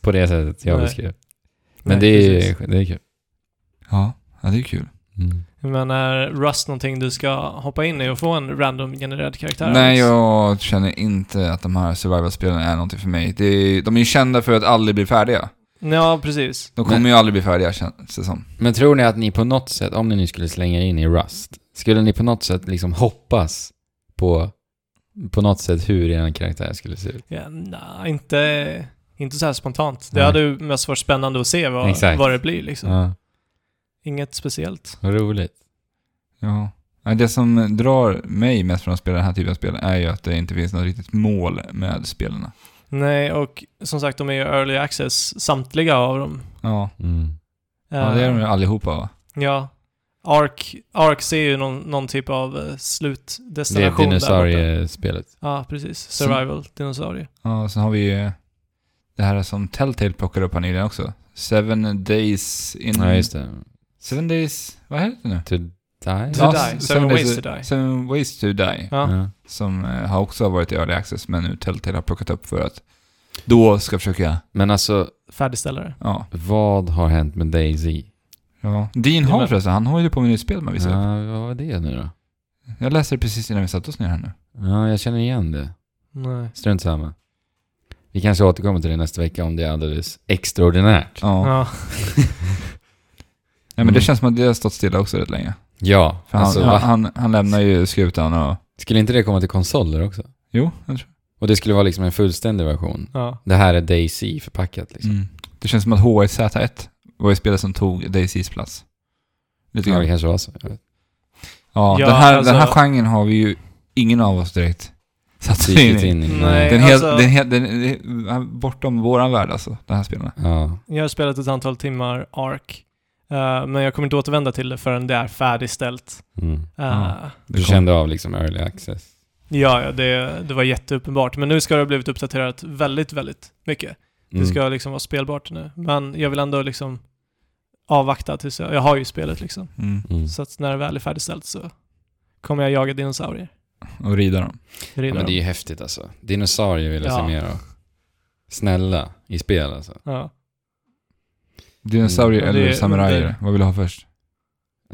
Speaker 3: på det sättet jag
Speaker 2: Nej.
Speaker 3: beskrev. Men
Speaker 2: Nej,
Speaker 3: det,
Speaker 2: precis.
Speaker 3: är, det är kul.
Speaker 1: ja, ja, det är kul.
Speaker 3: Mm.
Speaker 2: Men är Rust någonting du ska hoppa in i och få en random genererad karaktär?
Speaker 1: Nej, jag känner inte att de här survival-spelen är någonting för mig. Det är, de är ju kända för att aldrig bli färdiga.
Speaker 2: Ja, precis.
Speaker 1: De kommer
Speaker 3: Men-
Speaker 1: ju aldrig bli färdiga, känns det som.
Speaker 3: Men tror ni att ni på något sätt, om ni nu skulle slänga in i Rust, skulle ni på något sätt liksom hoppas på, på något sätt hur er karaktär skulle se ut?
Speaker 2: Ja, nej, inte, inte så här spontant. Det
Speaker 3: Nej.
Speaker 2: hade ju mest varit spännande att se vad,
Speaker 3: Exakt.
Speaker 2: vad det blir liksom.
Speaker 3: Ja,
Speaker 2: Inget speciellt.
Speaker 3: vad roligt.
Speaker 1: Ja. Nej, Det som drar mig mest från att spela den här typen av spel är ju att det inte finns något riktigt mål med spelarna.
Speaker 2: Nej, och som sagt, de är ju early access, samtliga av dem.
Speaker 1: Ja,
Speaker 3: Mm.
Speaker 1: ja det är
Speaker 2: Eh.
Speaker 1: de ju allihopa va?
Speaker 2: Ja. Ark, Ark ser ju någon, någon typ av eh,
Speaker 3: Det är
Speaker 2: slutdestination där borta.
Speaker 3: dinosauriespelet.
Speaker 2: Ja, precis. Survival, dinosaurie.
Speaker 1: Ja, och sen har vi ju det här som Telltale plockade upp här nyligen också. Seven Days in...
Speaker 2: Mm.
Speaker 3: Ja, just det.
Speaker 1: Seven Days... Vad heter det nu?
Speaker 3: To die?
Speaker 2: To
Speaker 1: Ja,
Speaker 2: die. Seven ways to die.
Speaker 1: Seven Ways to Die.
Speaker 2: Ja.
Speaker 1: Som eh, har också varit i Early Access, men nu Telltale har plockat upp för att då ska försöka...
Speaker 3: Men alltså,
Speaker 2: Färdigställare.
Speaker 1: Ja.
Speaker 3: vad har hänt med Daisy?
Speaker 1: ja. Dean
Speaker 2: Ja,
Speaker 1: Hall
Speaker 2: men-
Speaker 1: förresten, han håller ju på med nytt spel man visar upp.
Speaker 3: Ja, vad var det nu då?
Speaker 1: Jag läste det precis innan vi satte oss ner här nu.
Speaker 3: Ja, jag känner igen det.
Speaker 2: Nej.
Speaker 3: Strunt samma. Vi kanske återkommer till det nästa vecka om det är alldeles extraordinärt.
Speaker 1: Ja.
Speaker 2: Ja.
Speaker 1: Nej, men det
Speaker 3: Mm.
Speaker 1: känns som att det har stått stilla också rätt länge.
Speaker 3: Ja,
Speaker 1: För han,
Speaker 3: alltså,
Speaker 1: han,
Speaker 3: va?
Speaker 1: han, han lämnar ju skutan och...
Speaker 3: skulle inte det komma till konsoler också?
Speaker 1: Jo, jag tror
Speaker 3: Och det skulle vara liksom en fullständig version.
Speaker 2: ja.
Speaker 3: Det här är Daisy förpackat liksom.
Speaker 1: mm. Det känns som att H1Z1 var ju spelet som tog DayZs plats. Lite
Speaker 3: Ja,
Speaker 1: grann.
Speaker 3: det kanske var så. Jag vet.
Speaker 1: Ja,
Speaker 2: Ja,
Speaker 1: den, här,
Speaker 2: alltså-
Speaker 1: den här genren har vi ju ingen av oss direkt satt sig in
Speaker 3: Dykt
Speaker 1: i.
Speaker 3: in i.
Speaker 2: Nej.
Speaker 1: Den helt,
Speaker 2: alltså-
Speaker 1: den helt, den, den, den, bortom våran värld alltså, de här spelen.
Speaker 3: Ja.
Speaker 2: Jag har spelat ett antal timmar Ark. eh, men jag kommer inte återvända till det förrän det är färdigställt.
Speaker 3: Mm.
Speaker 2: Eh,
Speaker 1: Ja.
Speaker 3: Du kände av liksom early access.
Speaker 2: Ja, ja det, det var jätteuppenbart. Men nu ska det ha blivit uppdaterat väldigt, väldigt mycket.
Speaker 3: Mm.
Speaker 2: Det ska liksom vara spelbart nu. Men jag vill ändå liksom avvakta tills jag... Jag har ju spelet liksom.
Speaker 1: Mm.
Speaker 3: Mm.
Speaker 2: Så att när det väl är färdigställt så kommer jag jaga dinosaurier.
Speaker 1: Och rida dem.
Speaker 3: Ja,
Speaker 2: Rida
Speaker 3: men det är
Speaker 2: dem.
Speaker 3: ju häftigt alltså. Dinosaurier vill jag
Speaker 2: Ja.
Speaker 3: se mer av. Snälla, i spel alltså.
Speaker 2: Ja.
Speaker 1: Dinosaurier
Speaker 2: Mm. Ja, det
Speaker 1: eller
Speaker 2: är
Speaker 1: samurajer?
Speaker 2: under-
Speaker 1: Vad vill du ha först?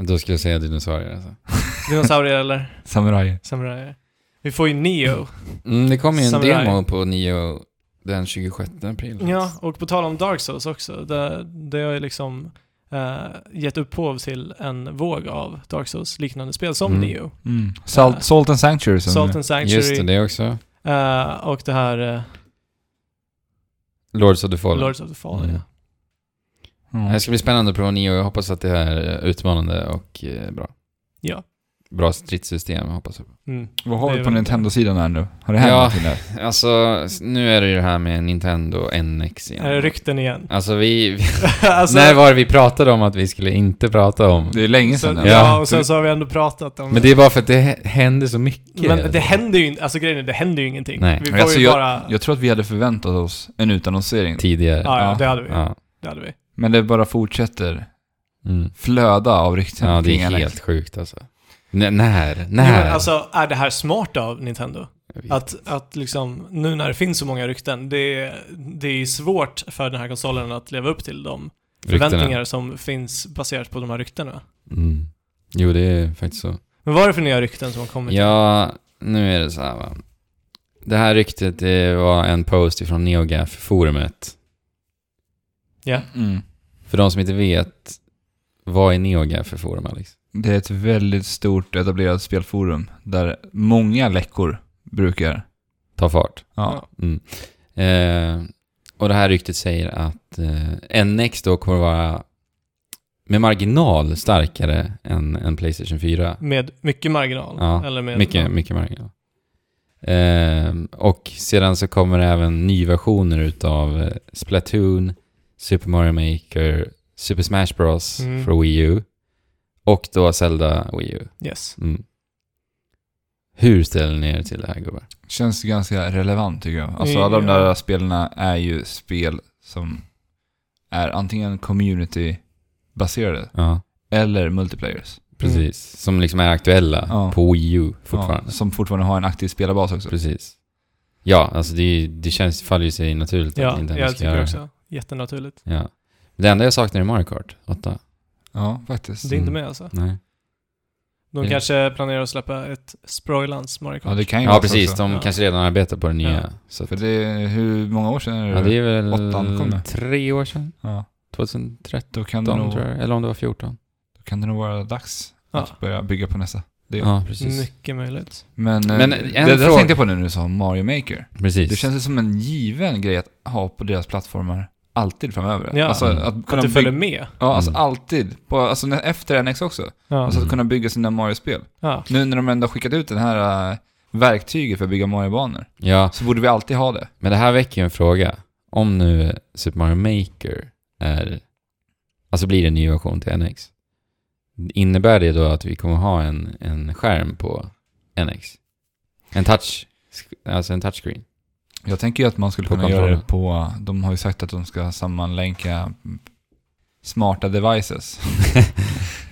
Speaker 3: Då skulle jag säga dinosaurier alltså.
Speaker 2: Dinosaurier eller
Speaker 1: Samurajer.
Speaker 2: samurajer. Vi får ju
Speaker 3: [laughs]
Speaker 2: Neo.
Speaker 3: Mm, det kommer ju en
Speaker 2: Samurai.
Speaker 3: demo på Nio den 26 april.
Speaker 2: Ja, och på tal om Dark Souls också, det, det har ju liksom eh, gett upphov till en våg av Dark Souls-liknande spel som
Speaker 3: Mm.
Speaker 2: Neo.
Speaker 1: Mm. Salt,
Speaker 2: Ja.
Speaker 1: Salt and Sanctuary som...
Speaker 2: Salt and
Speaker 3: Just det,
Speaker 2: Sanctuary
Speaker 3: det också.
Speaker 2: eh, och det här eh,
Speaker 3: Lords of the Fallen.
Speaker 2: Lords of the Fallen.
Speaker 3: Mm.
Speaker 2: Ja.
Speaker 1: Ja.
Speaker 3: Det här ska bli spännande på Nio. Jag hoppas att det här är utmanande och eh, bra.
Speaker 2: ja.
Speaker 3: bra stridssystem, jag hoppas jag.
Speaker 2: Mm.
Speaker 1: Vad har
Speaker 2: Det
Speaker 1: vi
Speaker 2: är
Speaker 1: på
Speaker 2: väl-
Speaker 1: Nintendo-sidan här nu? Har det hänt
Speaker 3: Ja.
Speaker 1: någonting där?
Speaker 3: Alltså, nu är det ju det här med Nintendo NX igen.
Speaker 2: Är det rykten
Speaker 3: [laughs]
Speaker 2: igen?
Speaker 3: Alltså vi... vi
Speaker 2: alltså,
Speaker 3: [laughs] när var det vi pratade om att vi skulle inte prata om?
Speaker 1: Det är länge sedan.
Speaker 2: sen,
Speaker 1: nu.
Speaker 2: ja.
Speaker 3: Ja.
Speaker 2: och sen så har vi ändå pratat om
Speaker 3: Men det är bara för att det hä- händer så mycket.
Speaker 2: Men det händer ju inte, alltså grejen är, det händer ju ingenting.
Speaker 3: Nej.
Speaker 2: Vi
Speaker 1: Men
Speaker 2: får
Speaker 1: alltså,
Speaker 2: ju bara...
Speaker 1: Jag tror att vi hade förväntat oss en utannonsering.
Speaker 3: Tidigare.
Speaker 2: ja, ja,
Speaker 1: ja.
Speaker 2: det hade vi.
Speaker 3: Ja.
Speaker 2: Det hade vi.
Speaker 1: Men det bara fortsätter
Speaker 3: Mm.
Speaker 1: flöda av rykten
Speaker 3: ja, det
Speaker 1: kring
Speaker 3: är
Speaker 1: Alex.
Speaker 3: helt sjukt alltså. N- när?
Speaker 2: Jo,
Speaker 3: När?
Speaker 2: men alltså, är det här smart av Nintendo?
Speaker 3: Jag vet.
Speaker 2: Att, att liksom, nu när det finns så många rykten, det är, det är svårt för den här konsolen att leva upp till de
Speaker 3: Ryktena.
Speaker 2: förväntningar som finns baserat på de här ryktena.
Speaker 3: Mm. Jo, det är faktiskt så.
Speaker 2: Men vad är det för nya rykten som har kommit?
Speaker 3: Ja, nu är det så här va. Det här ryktet det var en post ifrån NeoGaf-forumet.
Speaker 1: Mm.
Speaker 3: För de som inte vet, vad är NeoGaf för forum Alex?
Speaker 1: Det är ett väldigt stort etablerat spelforum där många läckor brukar...
Speaker 3: Ta fart.
Speaker 1: Ja.
Speaker 3: Mm. Eh, och det här ryktet säger att eh, NX då kommer vara med marginal starkare än, än Playstation 4.
Speaker 2: Med mycket marginal?
Speaker 3: Ja,
Speaker 2: eller med
Speaker 3: Mycket, mycket marginal. Ehm, och sedan så kommer det även nyversioner utav eh, Splatoon, Super Mario Maker, Super Smash Bros
Speaker 2: Mm.
Speaker 3: för Wii U och då Zelda Wii U.
Speaker 2: Yes.
Speaker 3: Mm. Hur ställer ni er till det här gubbar?
Speaker 1: Känns ganska relevant tycker jag. Alltså
Speaker 2: Ja.
Speaker 1: alla de där spelarna är ju spel som är antingen community-baserade
Speaker 3: Ja,
Speaker 1: eller multiplayers.
Speaker 3: precis. Som liksom är aktuella
Speaker 1: Ja.
Speaker 3: på Wii U
Speaker 1: Ja,
Speaker 3: fortfarande.
Speaker 1: som fortfarande har en aktiv spelarbas också.
Speaker 3: Precis. Ja, alltså det, är- det känns, faller ju sig naturligt att
Speaker 2: Mm. Ja,
Speaker 3: Nintendo
Speaker 2: jag
Speaker 3: ska göra
Speaker 2: tycker
Speaker 3: det.
Speaker 2: också. Jättenaturligt.
Speaker 3: Ja. Det enda jag saknar är Mario Kart 8.
Speaker 1: Ja, faktiskt.
Speaker 2: Det är inte
Speaker 3: Mm.
Speaker 2: med alltså.
Speaker 3: Nej.
Speaker 2: De
Speaker 3: Ja.
Speaker 2: kanske planerar att släppa ett sproilans Mario Kart.
Speaker 1: Ja, det kan ju
Speaker 3: Ja,
Speaker 1: vara så
Speaker 3: precis.
Speaker 1: också.
Speaker 3: De
Speaker 2: Ja.
Speaker 3: kanske redan arbetar på det nya.
Speaker 2: Ja.
Speaker 3: Så att,
Speaker 1: För det är, hur många år sedan är det?
Speaker 3: ja, det är väl
Speaker 1: åttan kom det.
Speaker 3: tre år sedan?
Speaker 1: Ja,
Speaker 3: 2013
Speaker 1: då, kan det nog,
Speaker 3: tror jag. Eller om det var 14.
Speaker 1: då kan det nog vara dags
Speaker 2: Ja.
Speaker 1: att börja bygga på nästa. Det-
Speaker 3: Ja, precis.
Speaker 2: Mycket möjligt.
Speaker 1: Men,
Speaker 3: Men
Speaker 1: Men
Speaker 3: en
Speaker 1: det där
Speaker 3: fråga-
Speaker 1: tänkte jag på nu när du sa Mario Maker.
Speaker 3: precis.
Speaker 1: Det känns ju som en given grej att ha på deras plattformar alltid framöver.
Speaker 2: Ja.
Speaker 1: Alltså
Speaker 3: Mm.
Speaker 1: att kunna
Speaker 2: Att du
Speaker 1: byg-
Speaker 2: följer med.
Speaker 1: Ja, alltså
Speaker 3: Mm.
Speaker 1: alltid. På, alltså nä- efter NX också.
Speaker 2: Ja.
Speaker 1: Alltså
Speaker 3: Mm.
Speaker 1: att kunna bygga sina Mario-spel.
Speaker 2: ja.
Speaker 1: Nu när de ändå har skickat ut det här äh, verktyget för att bygga Mario-banor
Speaker 3: Ja,
Speaker 1: så borde vi alltid ha det.
Speaker 3: men det här väcker ju en fråga. Om nu Super Mario Maker är... Alltså blir det en ny version till NX? Innebär det då att vi kommer ha en, en skärm på NX? En touch... Alltså
Speaker 1: [laughs]
Speaker 3: en touchscreen?
Speaker 1: Jag tänker ju att man skulle
Speaker 3: På
Speaker 1: kunna göra det
Speaker 3: kontrollen.
Speaker 1: på... De har ju sagt att de ska sammanlänka smarta devices. Eh,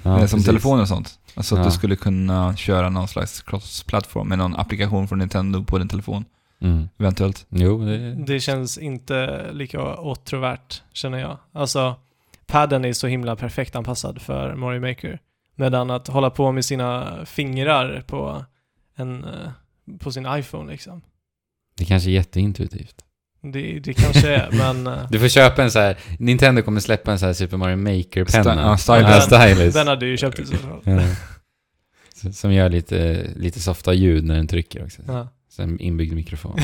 Speaker 3: Ja,
Speaker 1: som
Speaker 3: precis.
Speaker 1: telefoner och sånt. Alltså att
Speaker 3: Ja.
Speaker 1: du skulle kunna köra någon slags cross-plattform med någon applikation från Nintendo på din telefon.
Speaker 3: Mm.
Speaker 1: Eventuellt.
Speaker 3: Jo, det...
Speaker 2: Det känns inte lika åtråvärt, känner jag. Alltså, padden är så himla perfekt anpassad för Mario Maker. Medan att hålla på med sina fingrar på, en, eh, på sin iPhone, liksom.
Speaker 3: det kanske är jätteintuitivt.
Speaker 2: Det, det kanske är, men eh,
Speaker 3: Du får köpa en så här, Nintendo kommer släppa en så här Super Mario Maker-penna.
Speaker 1: Sty- ja, stylus.
Speaker 3: Ja, stylus.
Speaker 2: den hade ju köpt i så fall.
Speaker 3: Ja. S- Som gör lite, lite softa ljud när den trycker också.
Speaker 2: Ja. [laughs]
Speaker 3: Sen inbyggd mikrofon.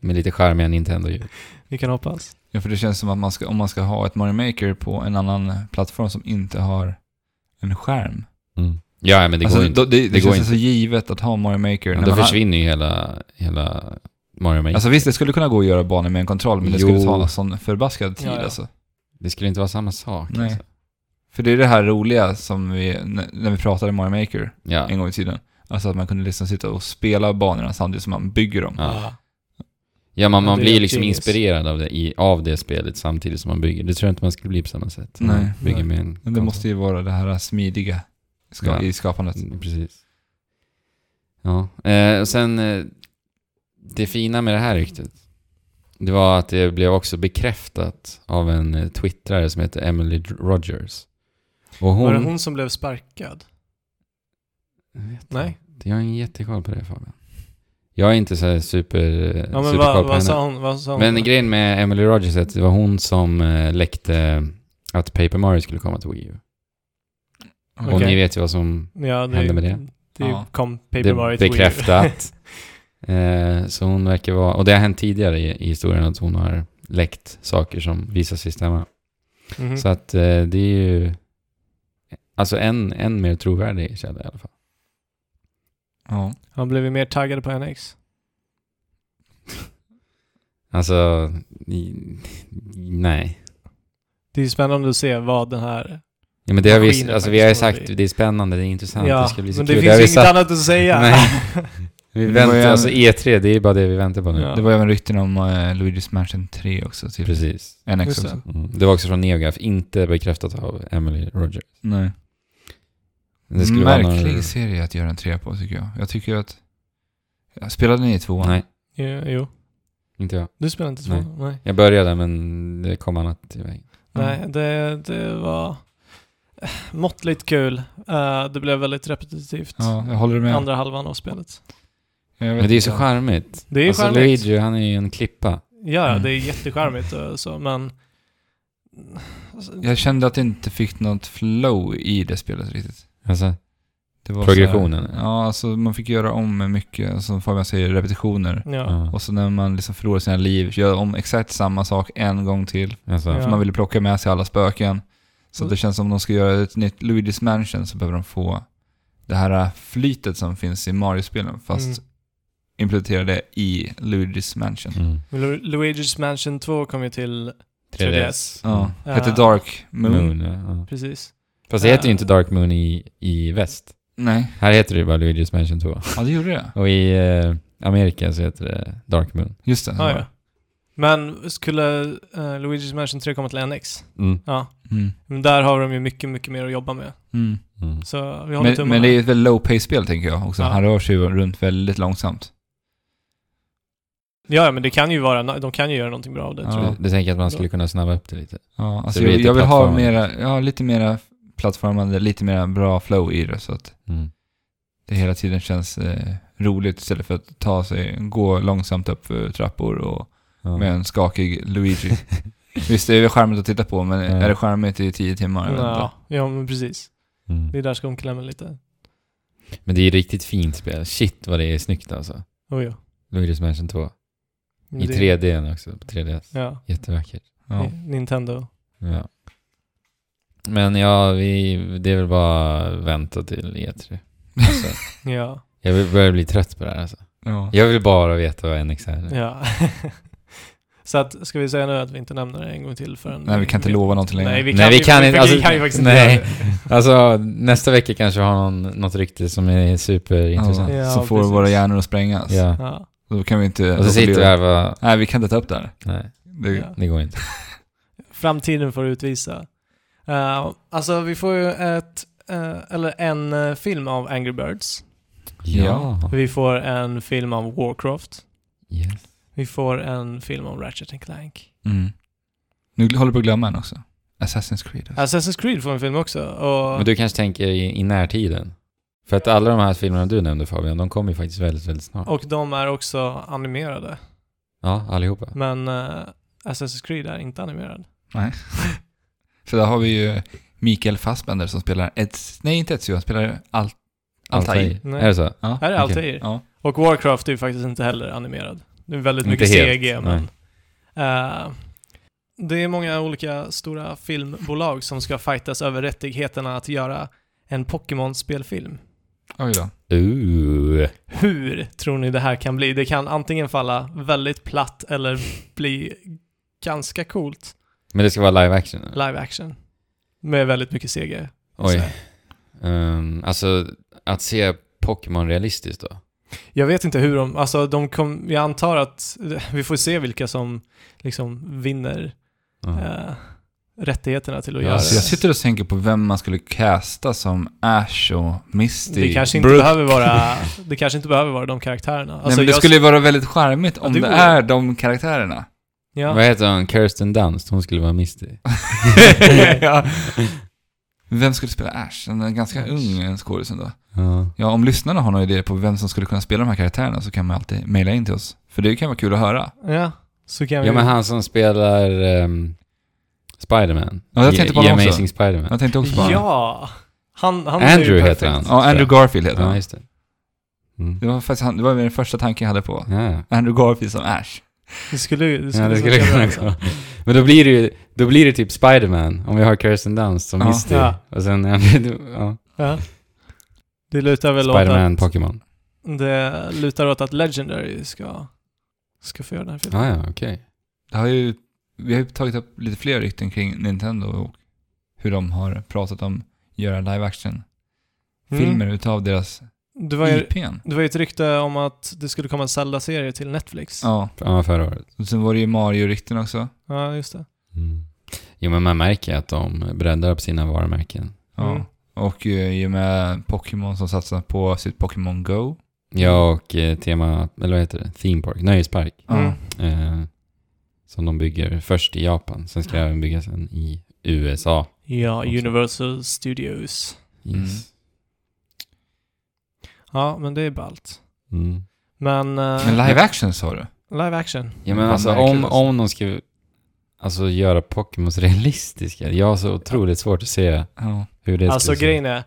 Speaker 3: Med lite charmiga Nintendo-ljud.
Speaker 2: Vi kan hoppas.
Speaker 1: Ja, för det känns som att man ska, om man ska ha ett Mario Maker på en annan plattform som inte har en skärm.
Speaker 3: Mm. Ja, ja, men det
Speaker 1: alltså,
Speaker 3: går ju inte.
Speaker 1: då, det, det,
Speaker 3: Det går
Speaker 1: känns så givet att ha Mario Maker.
Speaker 3: Ja,
Speaker 1: när
Speaker 3: Då
Speaker 1: man har-
Speaker 3: försvinner ju hela, hela Mario Maker.
Speaker 1: Alltså visst, det skulle kunna gå att göra banor med en kontroll, men det
Speaker 3: Jo.
Speaker 1: skulle ta en sån förbaskad tid
Speaker 2: Ja, ja.
Speaker 1: alltså.
Speaker 3: det skulle inte vara samma sak.
Speaker 1: Nej.
Speaker 3: Alltså.
Speaker 1: För det är det här roliga som vi, n- när vi pratade Mario Maker
Speaker 3: Ja.
Speaker 1: en gång i tiden. Alltså att man kunde liksom sitta och spela banorna samtidigt som man bygger dem.
Speaker 3: Ja. ja, man,
Speaker 2: Ja,
Speaker 3: man
Speaker 2: det
Speaker 3: blir
Speaker 2: är
Speaker 3: ju liksom
Speaker 2: genius.
Speaker 3: inspirerad av det, i, av det spelet samtidigt som man bygger. Det tror jag inte man skulle bli på samma sätt.
Speaker 1: Nej.
Speaker 3: Man Bygger
Speaker 1: Nej.
Speaker 3: med en
Speaker 1: Men det måste ju vara det här smidiga ska,
Speaker 3: Ja.
Speaker 1: i skapandet.
Speaker 3: Mm, Precis. Ja, eh, och sen eh, det fina med det här ryktet, det var att det blev också bekräftat av en eh, twittrare som heter Emily Dr- Rogers. Och hon...
Speaker 2: Var det hon som blev sparkad?
Speaker 3: Jag vet
Speaker 2: Nej.
Speaker 3: inte. Jag har ingen jättekall på det Fabian. Jag är inte så här super,
Speaker 2: Ja, men
Speaker 3: superkoll
Speaker 2: vad,
Speaker 3: på
Speaker 2: vad
Speaker 3: henne.
Speaker 2: sa hon? Vad sa hon?
Speaker 3: Men grejen med Emily Rogers är att det var hon som eh, läckte att Paper Mario skulle komma till Wii U. Och
Speaker 2: Okej.
Speaker 3: ni vet ju vad som
Speaker 2: ja, det,
Speaker 3: hände med det?
Speaker 2: Det
Speaker 1: Ja.
Speaker 2: kom Paper
Speaker 3: Det
Speaker 2: Mario
Speaker 3: är
Speaker 2: till Wii U.
Speaker 3: bekräftat. eh, så hon verkar vara, och det har hänt tidigare i, i historien att hon har läckt saker som visar sig stämma.
Speaker 2: [laughs] Mhm.
Speaker 3: Så att eh, det är ju, alltså en, en mer trovärdig källa i alla fall. [laughs]
Speaker 1: Ja.
Speaker 2: Han blev ju mer taggad på NX.
Speaker 3: Alltså, i- nej.
Speaker 2: Det är ju spännande att se vad den här...
Speaker 3: Ja, men det har vi,
Speaker 2: Maskinen
Speaker 3: alltså, vi har ju
Speaker 2: faktiskt håller i.
Speaker 3: sagt, det är spännande, det är intressant, det ska bli så
Speaker 2: men
Speaker 3: kul.
Speaker 2: det
Speaker 3: har
Speaker 2: finns
Speaker 3: vi
Speaker 2: ju inget
Speaker 3: sagt-
Speaker 2: annat att säga. [laughs]
Speaker 3: Nej.
Speaker 1: Det
Speaker 3: Vi
Speaker 1: var ju
Speaker 3: väntar,
Speaker 1: en-
Speaker 3: alltså E3, det är bara det vi väntar på nu.
Speaker 2: Ja.
Speaker 1: Det var även rykten om eh, Luigi's Mansion 3 också typ. till
Speaker 3: Precis.
Speaker 1: NX
Speaker 2: Just det.
Speaker 1: också.
Speaker 3: Mm. Det var också från NeoGaf, inte bekräftat av Emily Rogers.
Speaker 1: Nej.
Speaker 3: Det skulle vara
Speaker 1: Märklig
Speaker 3: några-
Speaker 1: serie att göra en 3 på tycker jag. Jag tycker att... Jag spelade ni i tvåan?
Speaker 3: Nej,
Speaker 2: Jo, jo.
Speaker 3: inte jag.
Speaker 2: Du spelar inte så?
Speaker 3: Nej.
Speaker 2: Nej. Nej.
Speaker 3: Jag började men det kom annat i vägen.
Speaker 1: Mm.
Speaker 2: Nej, det, det var eh, måttligt kul. Eh, det blev väldigt repetitivt.
Speaker 1: Ja, jag håller med.
Speaker 2: Andra halvan av spelet.
Speaker 1: Jag vet
Speaker 3: Men det är ju så
Speaker 1: inte.
Speaker 3: charmigt.
Speaker 2: Det är ju
Speaker 3: alltså
Speaker 2: charmigt.
Speaker 3: Luigi, han är ju en klippa.
Speaker 2: Ja, ja,
Speaker 1: Mm.
Speaker 2: det är jättecharmigt och så, men... Alltså,
Speaker 1: Jag kände att det inte fick något flow i det spelet riktigt.
Speaker 3: Alltså,
Speaker 1: Det var
Speaker 3: Progressionen,
Speaker 1: så här-
Speaker 3: ja.
Speaker 1: Ja, alltså man fick göra om mycket, alltså, som Fabian säger, repetitioner.
Speaker 2: ja.
Speaker 3: ja.
Speaker 1: Och så när man liksom förlorar sina liv, gör om exakt samma sak en gång till.
Speaker 3: alltså
Speaker 1: För
Speaker 2: Ja. Mm.
Speaker 1: man ville plocka med sig alla spöken. Så att det känns som om de ska göra ett nytt Luigi's Mansion så behöver de få det här flytet som finns i Mario-spelen, fast
Speaker 2: Mm.
Speaker 1: implementera det i Luigi's Mansion.
Speaker 3: mm.
Speaker 2: Men Lu- Luigi's Mansion 2 kom ju till 3DS.
Speaker 1: Ja,
Speaker 2: Mm. Ja.
Speaker 1: hette Dark Moon.
Speaker 3: Moon. Mm. Moon ja, ja.
Speaker 2: Precis.
Speaker 3: Fast det heter ju inte Dark Moon i, i väst.
Speaker 1: Nej,
Speaker 3: Här heter det ju bara Luigi's Mansion 2.
Speaker 1: ja det gjorde det.
Speaker 3: Och i eh, Amerika så heter det Dark Moon.
Speaker 1: Just det.
Speaker 2: Ah, Ja, ja. Men skulle eh, Luigi's Mansion 3 komma till NX?
Speaker 3: Mm.
Speaker 2: Ja.
Speaker 1: Mm.
Speaker 2: Men där har de ju mycket, mycket mer att jobba med.
Speaker 1: Mm.
Speaker 3: Mm.
Speaker 2: Så vi håller
Speaker 1: Men,
Speaker 2: tummarna.
Speaker 1: men det är ju ett väldigt low pace spel tänker jag också.
Speaker 2: Ja.
Speaker 1: Han rör sig ju runt väldigt långsamt.
Speaker 2: Ja, ja, men det kan ju vara... De kan ju göra någonting bra av det,
Speaker 1: Ja.
Speaker 2: tror
Speaker 3: Du,
Speaker 2: jag.
Speaker 3: du tänker att man skulle kunna snabba upp det lite?
Speaker 1: Ja, alltså
Speaker 3: det blir
Speaker 1: jag,
Speaker 3: lite
Speaker 1: jag vill ha
Speaker 3: plattformande.
Speaker 1: mera, ja, lite mera plattformande, lite mera bra flow i det så att
Speaker 3: Mm.
Speaker 1: det hela tiden känns eh, roligt istället för att ta sig, gå långsamt upp för trappor och
Speaker 3: Ja.
Speaker 1: med en skakig
Speaker 3: [laughs]
Speaker 1: Luigi. Visst, det är väl charmigt att titta på, men
Speaker 3: Ja.
Speaker 1: är det charmigt i tio timmar? Jag vet
Speaker 2: Ja,
Speaker 1: inte.
Speaker 2: ja, men precis.
Speaker 3: Mm.
Speaker 2: Det är där skon klämmer lite.
Speaker 3: Men det är ju riktigt fint spel. Shit vad det är snyggt alltså.
Speaker 2: Oh, ja.
Speaker 3: Luigi's Mansion 2.
Speaker 2: Men
Speaker 3: I
Speaker 2: det-
Speaker 3: 3D också, på 3DS.
Speaker 2: Ja,
Speaker 3: Jättevackert.
Speaker 1: Ja.
Speaker 2: Ni- Nintendo.
Speaker 3: Ja. Men ja, vi, det är väl bara vänta till E3. Alltså,
Speaker 2: Ja.
Speaker 3: jag vill- börjar bli trött på det här alltså.
Speaker 1: Ja.
Speaker 3: Jag vill bara veta vad NX är.
Speaker 2: ja. [laughs] så att, ska vi säga nu att vi inte nämner det en gång till förrän...
Speaker 1: Nej, vi kan inte lova någonting längre.
Speaker 2: Nej, vi kan,
Speaker 3: Nej, vi
Speaker 2: ju-
Speaker 3: kan
Speaker 2: vi,
Speaker 3: inte-
Speaker 2: vi
Speaker 3: alltså,
Speaker 2: kan ju faktiskt
Speaker 3: nej.
Speaker 2: inte göra
Speaker 3: Alltså nästa vecka kanske vi har någon, något rykte som är superintressant.
Speaker 1: Ja,
Speaker 2: Ja,
Speaker 1: så får
Speaker 2: precis.
Speaker 1: våra hjärnor att sprängas.
Speaker 3: Ja.
Speaker 2: det. Ja.
Speaker 1: Då kan vi inte...
Speaker 3: Och så sitter vi här och bara,
Speaker 1: Nej, vi kan inte ta upp det här.
Speaker 3: nej,
Speaker 1: Det,
Speaker 2: Ja.
Speaker 3: det går inte.
Speaker 2: Framtiden får utvisa. Eh, alltså, vi får ju ett... eh, eller en eh, film av Angry Birds.
Speaker 1: Ja.
Speaker 2: Vi får en film av Warcraft.
Speaker 3: Yes.
Speaker 2: Vi får en film av Ratchet and Clank.
Speaker 1: Mm. Nu håller du på att glömma en också. Assassin's Creed. Alltså.
Speaker 2: Assassin's Creed får en film också. Och
Speaker 3: Men du kanske tänker i, i närtiden? För att alla de här filmerna du nämnde Fabian, de kommer ju faktiskt väldigt, väldigt snart.
Speaker 2: Och de är också animerade.
Speaker 3: Ja, allihopa.
Speaker 2: Men eh, Assassin's Creed är inte animerad.
Speaker 1: [laughs] För där har vi ju Mikael Fassbender som spelar ett, nej inte Ezio, han spelar Al, Altair.
Speaker 2: Nej.
Speaker 3: Är det så?
Speaker 1: Ja.
Speaker 2: Här är
Speaker 3: Okej.
Speaker 2: Altair.
Speaker 1: Ja.
Speaker 2: Och Warcraft är ju faktiskt inte heller animerad. Det är väldigt
Speaker 3: Inte
Speaker 2: mycket
Speaker 3: helt,
Speaker 2: CG, men... eh, det är många olika stora filmbolag som ska fightas över rättigheterna att göra en Pokémon-spelfilm.
Speaker 1: Oj då.
Speaker 3: Ooh.
Speaker 2: Hur tror ni det här kan bli? Det kan antingen falla väldigt platt eller bli ganska coolt.
Speaker 3: Men det ska vara live action? eller?
Speaker 2: Live action. Med väldigt mycket CG.
Speaker 3: Oj.
Speaker 2: Så.
Speaker 3: Ehm, alltså, att se Pokémon realistiskt då?
Speaker 2: Jag vet inte hur de, alltså de kom, jag antar att vi får se vilka som liksom vinner
Speaker 3: Ja.
Speaker 2: eh, rättigheterna till att
Speaker 3: Ja,
Speaker 2: göra
Speaker 1: Alltså, jag
Speaker 2: det.
Speaker 1: sitter och tänker på vem man skulle casta som Ash och Misty.
Speaker 2: Det kanske, inte
Speaker 1: Brooke.
Speaker 2: behöver vara,
Speaker 3: [laughs]
Speaker 2: det kanske inte behöver vara de karaktärerna. Alltså,
Speaker 1: nej, men det
Speaker 2: jag-
Speaker 1: skulle ju vara väldigt charmigt om
Speaker 2: det
Speaker 1: det,
Speaker 2: vore-
Speaker 1: är de karaktärerna.
Speaker 2: ja.
Speaker 3: Vad heter hon? Kirsten Dunst? Hon skulle vara Misty.
Speaker 1: [laughs]
Speaker 3: [laughs]
Speaker 1: ja. Vem skulle spela Ash? En ganska ung en skådis ändå.
Speaker 3: Ja.
Speaker 1: Ja, om lyssnarna har några idéer på vem som skulle kunna spela de här karaktärerna så kan man alltid mejla in till oss. För det kan vara kul att höra.
Speaker 2: ja, så kan vi...
Speaker 3: ja, men han som spelar ehm, Spiderman.
Speaker 1: Ja, jag tänkte på
Speaker 3: I, i
Speaker 1: honom också.
Speaker 3: Amazing Spiderman.
Speaker 1: Jag tänkte också på honom.
Speaker 2: ja! Han, han
Speaker 3: Andrew
Speaker 2: är ju
Speaker 3: heter
Speaker 2: perfekt.
Speaker 3: han.
Speaker 1: Ja, Andrew Garfield heter
Speaker 3: Ja,
Speaker 1: han.
Speaker 3: just det. Mm.
Speaker 1: Det var faktiskt han, det var den första tanken jag hade på.
Speaker 3: Ja, ja.
Speaker 1: Andrew Garfield som Ash.
Speaker 2: Det skulle ju... Det skulle,
Speaker 3: ja, det skulle
Speaker 2: funka bra
Speaker 3: kunna
Speaker 2: också.
Speaker 3: gå. Men då blir det ju, då blir det typ Spiderman, om vi har Kirsten Dunst som
Speaker 1: Ja.
Speaker 3: Misty.
Speaker 2: Ja.
Speaker 3: Och sen, ja, [laughs] men då- ja,
Speaker 2: Ja. Det lutar väl åt
Speaker 3: Spiderman,
Speaker 2: att,
Speaker 3: Pokémon.
Speaker 2: Det lutar åt att Legendary ska, ska få göra den här filmen.
Speaker 3: Ah, ja, okej.
Speaker 1: Det har ju, vi har ju tagit upp lite fler rykten kring Nintendo och hur de har pratat om att göra live action-filmer
Speaker 2: Mm.
Speaker 1: utav deras
Speaker 2: Det var ju
Speaker 1: IPn.
Speaker 2: det var ju ett rykte om att det skulle komma en Zelda-serie till Netflix.
Speaker 1: Ja,
Speaker 3: Ja, förra året.
Speaker 1: och sen var det ju Mario-rykten också.
Speaker 2: Ja, just det.
Speaker 3: Jo, men man märker att de breddar upp sina varumärken.
Speaker 1: Ja.
Speaker 2: Mm.
Speaker 1: Och eh, i och med Pokémon som satsar på sitt Pokémon Go.
Speaker 3: Ja, och eh, tema, eller vad heter det? Theme Park, nöjespark.
Speaker 1: Ja.
Speaker 2: Mm.
Speaker 3: Eh, som de bygger först i Japan, sen ska även byggas en i USA.
Speaker 2: Ja,
Speaker 3: Också.
Speaker 2: Universal Studios.
Speaker 3: Yes.
Speaker 2: Ja, men det är ballt.
Speaker 3: Mm.
Speaker 2: Men, eh,
Speaker 1: Men live action sa du?
Speaker 2: live action.
Speaker 3: Ja, men
Speaker 1: Fan,
Speaker 3: alltså
Speaker 1: verkligen
Speaker 3: om,
Speaker 1: alltså.
Speaker 3: om de ska alltså, göra Pokémons [laughs] realistiska, jag har så otroligt svårt att se
Speaker 1: Ja.
Speaker 3: hur det
Speaker 2: Alltså
Speaker 3: skulle se ut.
Speaker 2: grejen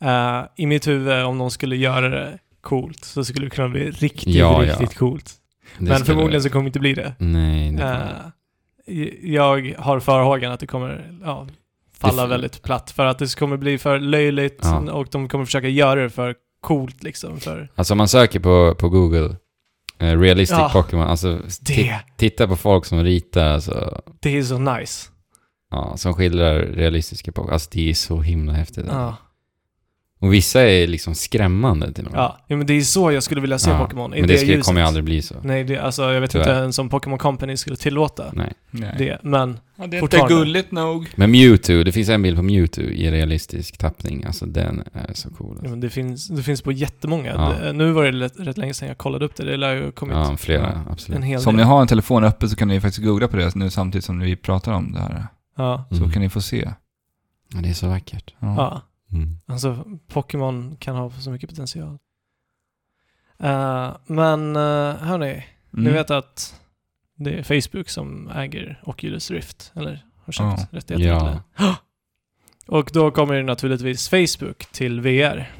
Speaker 2: är, eh, i mitt huvud om de skulle göra det coolt så skulle det kunna bli riktigt,
Speaker 3: Ja, ja.
Speaker 2: riktigt coolt.
Speaker 3: Det
Speaker 2: Men
Speaker 3: skulle-
Speaker 2: förmodligen så kommer det inte bli det.
Speaker 3: Nej, det kommer-
Speaker 2: Eh, j- jag har farhågan att det kommer ja, falla
Speaker 3: Det-
Speaker 2: väldigt platt för att det kommer bli för löjligt
Speaker 3: Ja.
Speaker 2: och de kommer försöka göra det för coolt liksom. För
Speaker 3: Alltså om man söker på, på Google, eh, realistic
Speaker 2: Ja.
Speaker 3: Pokémon, alltså ti-
Speaker 2: det,
Speaker 3: titta på folk som ritar, alltså,
Speaker 2: det är så nice.
Speaker 3: ja, som skildrar realistiska Pokémon, alltså det är så himla häftigt.
Speaker 2: Ja.
Speaker 3: Och vissa är liksom skrämmande till och med.
Speaker 2: Ja. ja, men det är så jag skulle vilja se
Speaker 3: Ja,
Speaker 2: Pokémon. i
Speaker 3: Men det, skulle,
Speaker 2: ljuset.
Speaker 3: kommer ju aldrig bli så.
Speaker 2: Nej, det, alltså jag vet
Speaker 3: Tyvärr.
Speaker 2: inte ens om Pokémon Company skulle tillåta
Speaker 3: Nej.
Speaker 1: Nej.
Speaker 2: det,
Speaker 1: ja,
Speaker 2: men
Speaker 1: det är inte
Speaker 2: fortfarande.
Speaker 1: gulligt nog.
Speaker 3: Men Mewtwo, det finns en bild på Mewtwo i realistisk tappning, alltså den är så cool.
Speaker 2: Ja,
Speaker 3: Alltså.
Speaker 2: men det, finns, det finns på jättemånga.
Speaker 3: Ja.
Speaker 2: Det, nu var det rätt, rätt länge sedan jag kollade upp det. Det lär ju ha kommit
Speaker 3: Ja, flera, absolut.
Speaker 2: en hel
Speaker 1: Så om ni
Speaker 2: del.
Speaker 1: har en telefon öppen så kan ni faktiskt googla på det nu samtidigt som vi pratar om det här.
Speaker 2: Ja.
Speaker 1: Så
Speaker 3: Mm.
Speaker 1: kan ni få se.
Speaker 3: Ja, det är så vackert.
Speaker 1: Ja.
Speaker 2: ja.
Speaker 3: Mm.
Speaker 2: Alltså, Pokémon kan ha så mycket potential. Eh, men uh, hörni, ni
Speaker 1: Mm.
Speaker 2: vet att det är Facebook som äger Oculus Rift, eller har köpt
Speaker 1: Ja.
Speaker 2: rättigheterna till
Speaker 3: Ja.
Speaker 2: det. [gasps] Och då kommer ju naturligtvis Facebook till VR.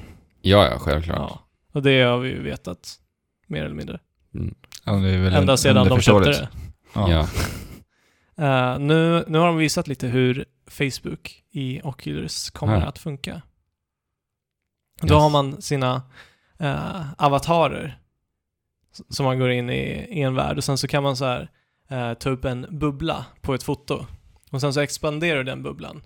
Speaker 3: Ja, ja, självklart.
Speaker 2: Ja. Och det har vi ju vetat, mer eller mindre.
Speaker 1: Ja, det är väl
Speaker 2: Ända sedan de köpte
Speaker 1: underförståeligt.
Speaker 2: det.
Speaker 1: Ja.
Speaker 2: [laughs]
Speaker 3: Ja.
Speaker 2: Eh, nu, nu har de visat lite hur Facebook i Oculus kommer
Speaker 3: Ja.
Speaker 2: att funka. Då
Speaker 3: Yes.
Speaker 2: har man sina eh, avatarer s- som man går in i, i en värld och sen så kan man så här eh, ta upp en bubbla på ett foto och sen så expanderar den bubblan.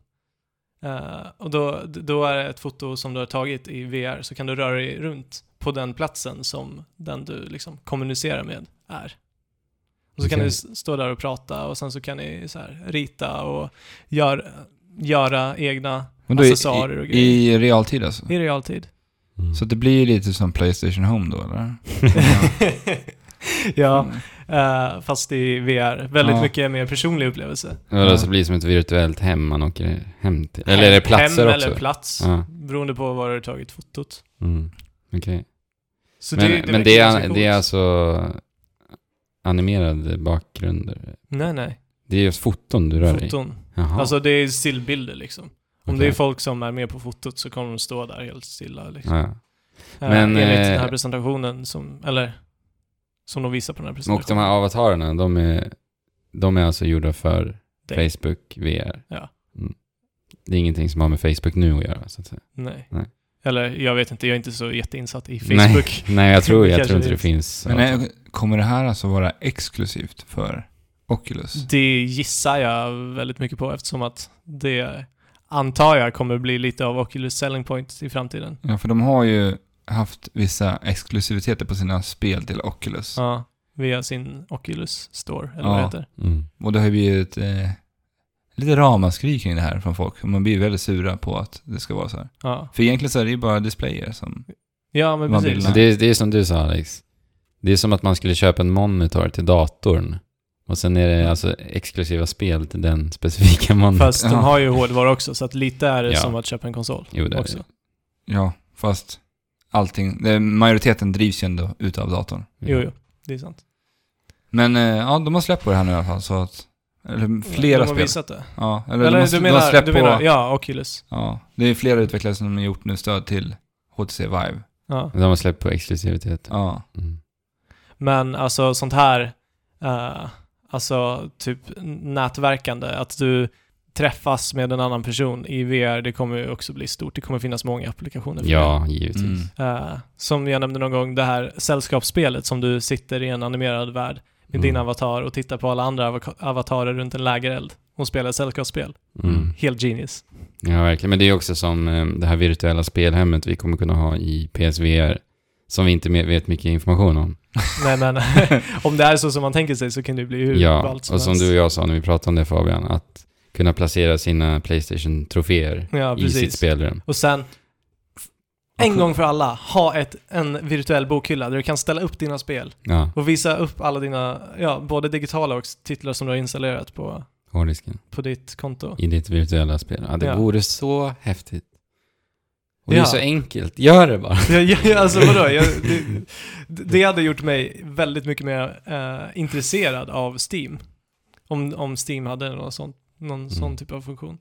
Speaker 2: Eh, och då, då är det ett foto som du har tagit i VR så kan du röra dig runt på den platsen som den du liksom kommunicerar med är. Och så kan
Speaker 3: Okej.
Speaker 2: ni s- stå där och prata och sen så kan ni så här rita och gör, göra egna
Speaker 1: Men då i-
Speaker 2: Accessoarer och
Speaker 1: i, i realtid alltså?
Speaker 2: i realtid.
Speaker 3: Mm. [laughs]
Speaker 1: Så det blir lite som Playstation Home då eller?
Speaker 2: [laughs] ja, eh, fast i VR. Väldigt
Speaker 1: Ja.
Speaker 2: mycket mer personlig upplevelse.
Speaker 3: Eller
Speaker 1: Ja.
Speaker 3: så blir det som ett virtuellt hem man åker hem till. Eller är det platser
Speaker 2: Hem
Speaker 3: också?
Speaker 2: eller plats,
Speaker 3: Ja.
Speaker 2: beroende på var du har tagit fotot.
Speaker 3: Mm. Okej.
Speaker 2: Så
Speaker 3: Men,
Speaker 2: det, det
Speaker 3: men
Speaker 2: verkar
Speaker 3: det,
Speaker 2: ganska
Speaker 3: är,
Speaker 2: coolt.
Speaker 3: det är alltså animerade bakgrunder?
Speaker 2: Nej, nej.
Speaker 3: Det är just foton du rör dig i?
Speaker 2: Foton.
Speaker 3: Jaha.
Speaker 2: Alltså det är stillbilder liksom. Om
Speaker 3: Okej.
Speaker 2: det är folk som är med på fotot så kommer de stå där helt stilla. Liksom.
Speaker 3: ja.
Speaker 2: Eh,
Speaker 3: Men,
Speaker 2: Enligt
Speaker 3: eh,
Speaker 2: den här presentationen som, eller som de visar på den här
Speaker 3: Och de
Speaker 2: presentationen.
Speaker 3: här avatarerna, de är, de är alltså gjorda för
Speaker 2: Dig.
Speaker 3: Facebook VR?
Speaker 2: Ja.
Speaker 3: Mm. Det är ingenting som har med Facebook nu att göra, så att säga.
Speaker 2: Nej.
Speaker 3: Nej.
Speaker 2: Eller jag vet inte, jag är inte så jätteinsatt i Facebook.
Speaker 3: Nej, nej jag tror,
Speaker 2: Det
Speaker 3: jag
Speaker 2: kanske
Speaker 3: tror inte det
Speaker 2: finns.
Speaker 3: finns.
Speaker 1: Men
Speaker 3: avatar.
Speaker 1: nej, kommer det här alltså vara exklusivt för Oculus?
Speaker 2: Det gissar jag väldigt mycket på eftersom att det antar jag kommer bli lite av Oculus selling point i framtiden.
Speaker 1: Ja, för de har ju haft vissa exklusiviteter på sina spel till Oculus.
Speaker 2: Ja, via sin Oculus store, eller vad
Speaker 1: Ja.
Speaker 2: det heter.
Speaker 3: Mm.
Speaker 1: Och det har ju blivit eh, lite ramaskri kring det här från folk. Man blir väldigt sura på att det ska vara så här.
Speaker 2: Ja,
Speaker 1: För egentligen så är det ju bara displayer som...
Speaker 2: ja men
Speaker 1: Man
Speaker 2: precis.
Speaker 1: vill-
Speaker 3: Så det, är- det är som du sa Alex. Det är som att man skulle köpa en monitor till datorn. Och sen är det alltså exklusiva spel till den specifika monitorn.
Speaker 2: Fast de
Speaker 1: Ja.
Speaker 2: har ju hårdvara också, så att lite är det
Speaker 3: Ja.
Speaker 2: som att köpa en konsol.
Speaker 3: Jo, det är
Speaker 2: också.
Speaker 1: Ja, fast allting... eh, Majoriteten drivs ju ändå utav datorn.
Speaker 3: det.
Speaker 2: Jo, jo, det är sant.
Speaker 1: Men eh, ja, de har släppt på det här nu i alla fall så att... Eller
Speaker 2: Mm, de
Speaker 1: flera
Speaker 2: har
Speaker 1: spel.
Speaker 2: visat det.
Speaker 1: Ja, eller,
Speaker 2: Eller
Speaker 1: de har,
Speaker 2: du
Speaker 1: de har
Speaker 2: menar,
Speaker 1: släppt
Speaker 2: du menar
Speaker 1: på... Ja.
Speaker 2: ja, Oculus.
Speaker 1: Det är flera utvecklare som har gjort nu stöd till HTC Vive.
Speaker 2: Ja.
Speaker 3: De har släppt på exklusivitet.
Speaker 1: Ja.
Speaker 3: Mm.
Speaker 2: Men alltså sånt här, eh, alltså typ nätverkande, att du träffas med en annan person i VR, det kommer ju också bli stort. Det kommer finnas många applikationer för
Speaker 3: Ja, givetvis.
Speaker 1: Mm.
Speaker 2: det. Eh, som jag nämnde någon gång, det här sällskapsspelet som du sitter i en animerad värld med din
Speaker 3: Mm.
Speaker 2: avatar och tittar på alla andra avaka- avatarer runt en lägereld och spelar ett sällskapsspel.
Speaker 3: Mm.
Speaker 2: Helt genius.
Speaker 3: Ja, verkligen. Men det är också som eh, det här virtuella spelhemmet vi kommer kunna ha i PSVR, som vi inte me- vet mycket information om.
Speaker 2: Nej men, [laughs] om det är så som man tänker sig så kan det ju bli hur
Speaker 3: Ja,
Speaker 2: ballt
Speaker 3: och som
Speaker 2: helst.
Speaker 3: du och jag sa när vi pratade om det Fabian, att kunna placera sina Playstation-troféer
Speaker 2: ja,
Speaker 3: i sitt
Speaker 2: precis.
Speaker 3: spelrum.
Speaker 2: Och sen, en gång för alla, ha ett, en virtuell bokhylla där du kan ställa upp dina spel
Speaker 3: Ja,
Speaker 2: och visa upp alla dina, ja, både digitala och titlar som du har installerat på,
Speaker 3: hårddisken.
Speaker 2: på ditt konto.
Speaker 3: [laughs] I ditt virtuella spel. Ja, det
Speaker 2: Ja.
Speaker 3: vore så häftigt. Och det
Speaker 2: Ja.
Speaker 3: är så enkelt. Gör det bara.
Speaker 2: Jag, jag, alltså vadå? Jag, det, det hade gjort mig väldigt mycket mer eh, intresserad av Steam. Om, om Steam hade någon, sån, någon
Speaker 3: Mm.
Speaker 2: sån typ av funktion.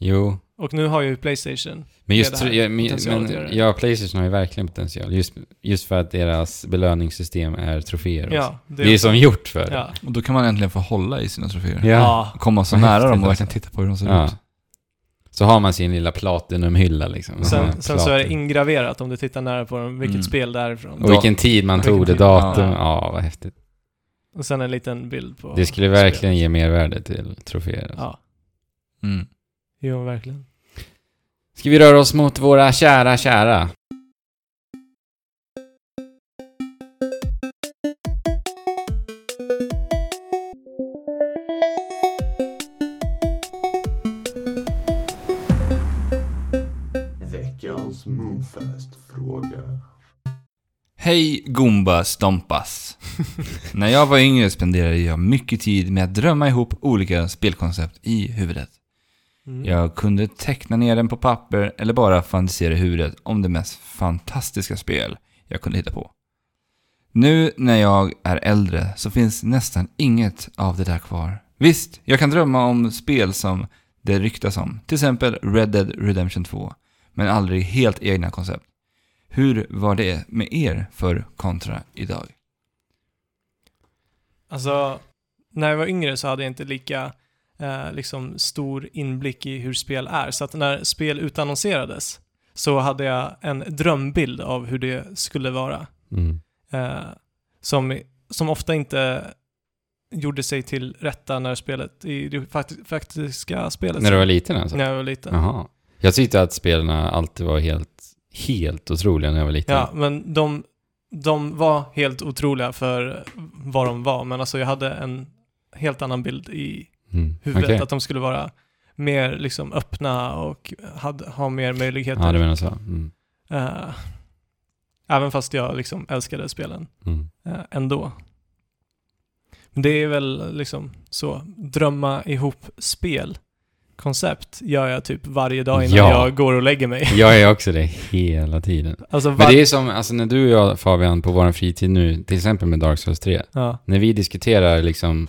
Speaker 3: Jo,
Speaker 2: Och nu har ju Playstation.
Speaker 3: Men just,
Speaker 2: Det är det här
Speaker 3: ja, men,
Speaker 2: potentialet att göra det.
Speaker 3: men, ja, Playstation har ju verkligen potential. Just, just för att deras belöningssystem är troféer. också.
Speaker 2: Ja, det,
Speaker 3: det, är som gjort för det.
Speaker 2: ja.
Speaker 1: Och då kan man äntligen få hålla i sina troféer.
Speaker 2: Ja.
Speaker 1: Komma så
Speaker 3: Vad
Speaker 1: nära
Speaker 3: häftigt
Speaker 1: dem och
Speaker 3: alltså.
Speaker 1: verkligen titta på hur de ser
Speaker 3: Ja.
Speaker 1: ut.
Speaker 3: Så har man sin lilla platinumhylla liksom. Ja,
Speaker 2: Sen, sen så är det
Speaker 3: platin.
Speaker 2: ingraverat om du tittar nära på dem, vilket
Speaker 1: Mm.
Speaker 2: spel det är ifrån.
Speaker 3: Och vilken tid man
Speaker 1: Vilken
Speaker 3: tog det,
Speaker 1: tid, ja.
Speaker 3: datum. Ja. vad häftigt.
Speaker 2: Och sen en liten bild på
Speaker 3: Det skulle
Speaker 2: spelet.
Speaker 3: verkligen ge mervärde till troféer. alltså.
Speaker 2: Ja,
Speaker 1: Mm.
Speaker 2: jo verkligen.
Speaker 3: Ska vi röra oss mot våra kära, kära?
Speaker 4: Veckans Moonfest-fråga.
Speaker 1: Hej Gumba
Speaker 3: [laughs]
Speaker 1: Stompas. När jag var yngre spenderade jag mycket tid med att drömma ihop olika spelkoncept i huvudet.
Speaker 2: Mm.
Speaker 1: Jag kunde teckna ner den på papper eller bara fantisera i huvudet om det mest fantastiska spel jag kunde hitta på. Nu när jag är äldre så finns nästan inget av det där kvar. Visst, jag kan drömma om spel som det ryktas om, till exempel Red Dead Redemption 2, men aldrig helt egna koncept. Hur var det med er för kontra idag?
Speaker 2: Alltså, när jag var yngre så hade jag inte lika eh, liksom stor inblick i hur spel är. Så att när spel utannonserades så hade jag en drömbild av hur det skulle vara.
Speaker 3: Mm.
Speaker 2: Eh, som, som ofta inte gjorde sig till rätta när spelet, i det fakti- faktiska spelet.
Speaker 3: När du var liten alltså?
Speaker 2: när jag var liten.
Speaker 3: Jaha. Jag tyckte att spelen alltid var helt, helt otroliga när jag var liten.
Speaker 2: Ja, men de, de var helt otroliga för vad de var, men alltså jag hade en helt annan bild i
Speaker 3: Mm.
Speaker 2: huvudet,
Speaker 3: Okej.
Speaker 2: att de skulle vara mer liksom öppna och hade, ha mer möjligheter.
Speaker 3: Ja, du menar så. Mm.
Speaker 2: Eh, även fast jag liksom älskade spelen
Speaker 3: Mm.
Speaker 2: eh, ändå. Men det är väl liksom så, drömma ihop spel, koncept, gör jag typ varje dag innan
Speaker 3: Ja.
Speaker 2: jag går och lägger mig. [laughs]
Speaker 3: Jag är också det hela tiden.
Speaker 2: Alltså,
Speaker 3: Men
Speaker 2: var-
Speaker 3: det är som, alltså när du och jag Fabian på vår fritid nu, till exempel med Dark Souls 3,
Speaker 2: ja,
Speaker 3: när vi diskuterar liksom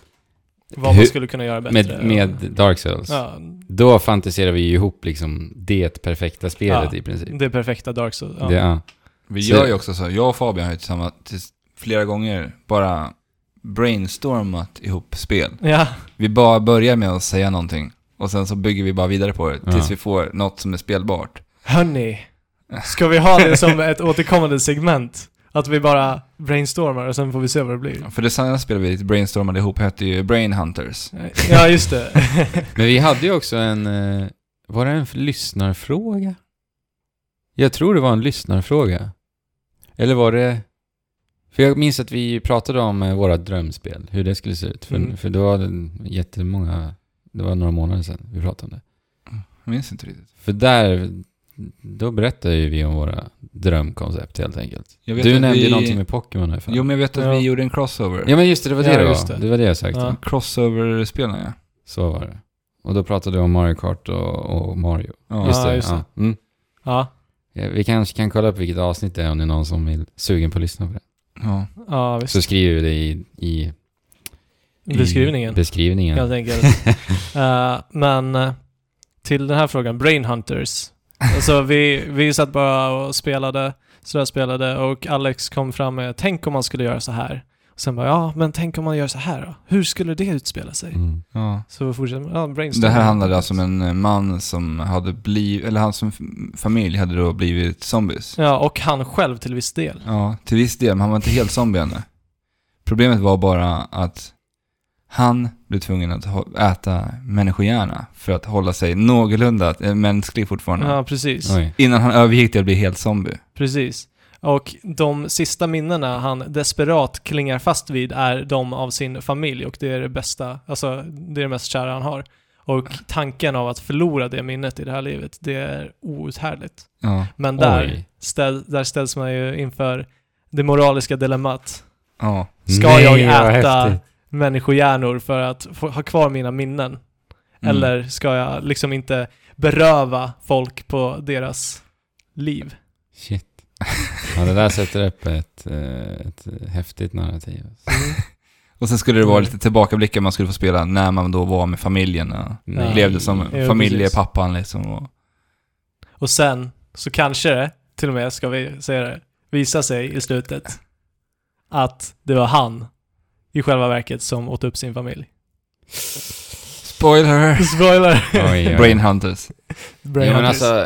Speaker 2: vad
Speaker 3: Hur-
Speaker 2: man skulle kunna göra bättre.
Speaker 3: med, med Dark Souls,
Speaker 2: Ja,
Speaker 3: då fantiserar vi ju ihop liksom det perfekta spelet
Speaker 2: Ja.
Speaker 3: i princip.
Speaker 2: det perfekta Dark Souls. Ja.
Speaker 3: Det, ja.
Speaker 1: Vi
Speaker 3: Så-
Speaker 1: gör ju också så, jag och Fabian har ju tillsammans till- flera gånger bara brainstormat ihop spel.
Speaker 2: ja,
Speaker 1: Vi bara börjar med att säga någonting och sen så bygger vi bara vidare på det tills
Speaker 3: Ja.
Speaker 1: vi får något som är spelbart.
Speaker 2: hörni. Ska vi ha det som ett återkommande segment? Att vi bara brainstormar och sen får vi se vad det
Speaker 1: [laughs]
Speaker 2: blir.
Speaker 1: För det senaste spelet vi brainstormade ihop hette ju Brain Hunters.
Speaker 2: Ja,
Speaker 1: [laughs]
Speaker 2: just det.
Speaker 3: Men vi hade ju också en, eh, var det en f- lyssnarfråga? Jag tror det var en lyssnarfråga. Eller var det, för jag minns att vi pratade om eh, våra drömspel, hur det skulle se ut. För,
Speaker 2: Mm.
Speaker 3: för då var det jättemånga, det var några månader sedan vi pratade om det.
Speaker 1: Jag minns inte riktigt.
Speaker 3: För där, då berättar ju vi om våra drömkoncept helt enkelt.
Speaker 1: Jag vet
Speaker 3: Du
Speaker 1: att
Speaker 3: nämnde ju
Speaker 1: vi...
Speaker 3: någonting med Pokémon här för
Speaker 1: Jo, men jag vet att
Speaker 2: Ja.
Speaker 1: vi gjorde en crossover.
Speaker 3: Ja men just det, det var det
Speaker 2: Ja,
Speaker 3: det
Speaker 2: just
Speaker 3: var.
Speaker 2: det.
Speaker 3: Det var det jag sökte.
Speaker 2: Ja.
Speaker 1: Crossover-spelarna, ja.
Speaker 3: Så var det. Och då pratade du om Mario Kart och, och Mario.
Speaker 1: Ja.
Speaker 3: Just
Speaker 2: Ja,
Speaker 3: det.
Speaker 2: just det.
Speaker 3: Ja. Mm.
Speaker 2: Ja,
Speaker 3: Ja, Vi kanske kan kolla upp vilket avsnitt det är om det är någon som vill sugen på att lyssna på det.
Speaker 1: ja.
Speaker 2: ja visst.
Speaker 3: Så skriver vi det i, i, i
Speaker 2: Beskrivningen,
Speaker 3: beskrivningen.
Speaker 2: helt enkelt.
Speaker 3: [laughs]
Speaker 2: Eh, men eh, till den här frågan, Brain Hunters. Alltså vi, vi satt bara och spelade, sådär spelade och Alex kom fram med “Tänk om man skulle göra så här”. Sen bara, ja men tänk om man gör så här då? Hur skulle det utspela sig?
Speaker 3: Mm.
Speaker 1: Ja.
Speaker 2: Så fortsätter man, ja, brainstorm.
Speaker 1: Det här handlade alltså om en man som hade blivit, eller hans fam- familj hade då blivit zombies.
Speaker 2: Ja, och han själv till viss del.
Speaker 1: Ja, till viss del, men han var inte helt zombie ännu. Problemet var bara att han blev tvungen att ho- äta människohjärna för att hålla sig någorlunda eh, mänsklig fortfarande.
Speaker 2: Ja, precis.
Speaker 3: Oj.
Speaker 1: Innan han övergick till att bli helt zombie.
Speaker 2: Precis. Och de sista minnena han desperat klingar fast vid är de av sin familj och det är det bästa, alltså det är det mest kära han har. Och tanken av att förlora det minnet i det här livet, det är outhärdligt.
Speaker 1: Ja,
Speaker 2: Men
Speaker 3: Oj.
Speaker 2: där, ställ, där ställs man ju inför det moraliska dilemmat.
Speaker 1: ja.
Speaker 2: Ska
Speaker 3: Nej,
Speaker 2: jag
Speaker 3: vad
Speaker 2: äta
Speaker 3: häftigt.
Speaker 2: människohjärnor för att få, ha kvar mina minnen?
Speaker 1: Mm.
Speaker 2: Eller ska jag liksom inte beröva folk på deras liv?
Speaker 3: Shit. [laughs] Ja, det där sätter upp ett, eh, ett häftigt narrativ.
Speaker 1: Och sen skulle det
Speaker 2: Mm.
Speaker 1: vara lite tillbakablickar man skulle få spela när man då var med familjen. Och
Speaker 3: Nej.
Speaker 1: levde som
Speaker 2: Jo,
Speaker 1: familjepappan liksom. Och,
Speaker 2: Och sen så kanske det, till och med ska vi säga det, visar sig i slutet att det var han i själva verket som åt upp sin familj.
Speaker 1: spoiler!
Speaker 2: Spoiler!
Speaker 3: Oj, oj.
Speaker 1: Brain Hunters.
Speaker 2: [laughs]
Speaker 3: Ja, men
Speaker 2: Hunters.
Speaker 3: alltså,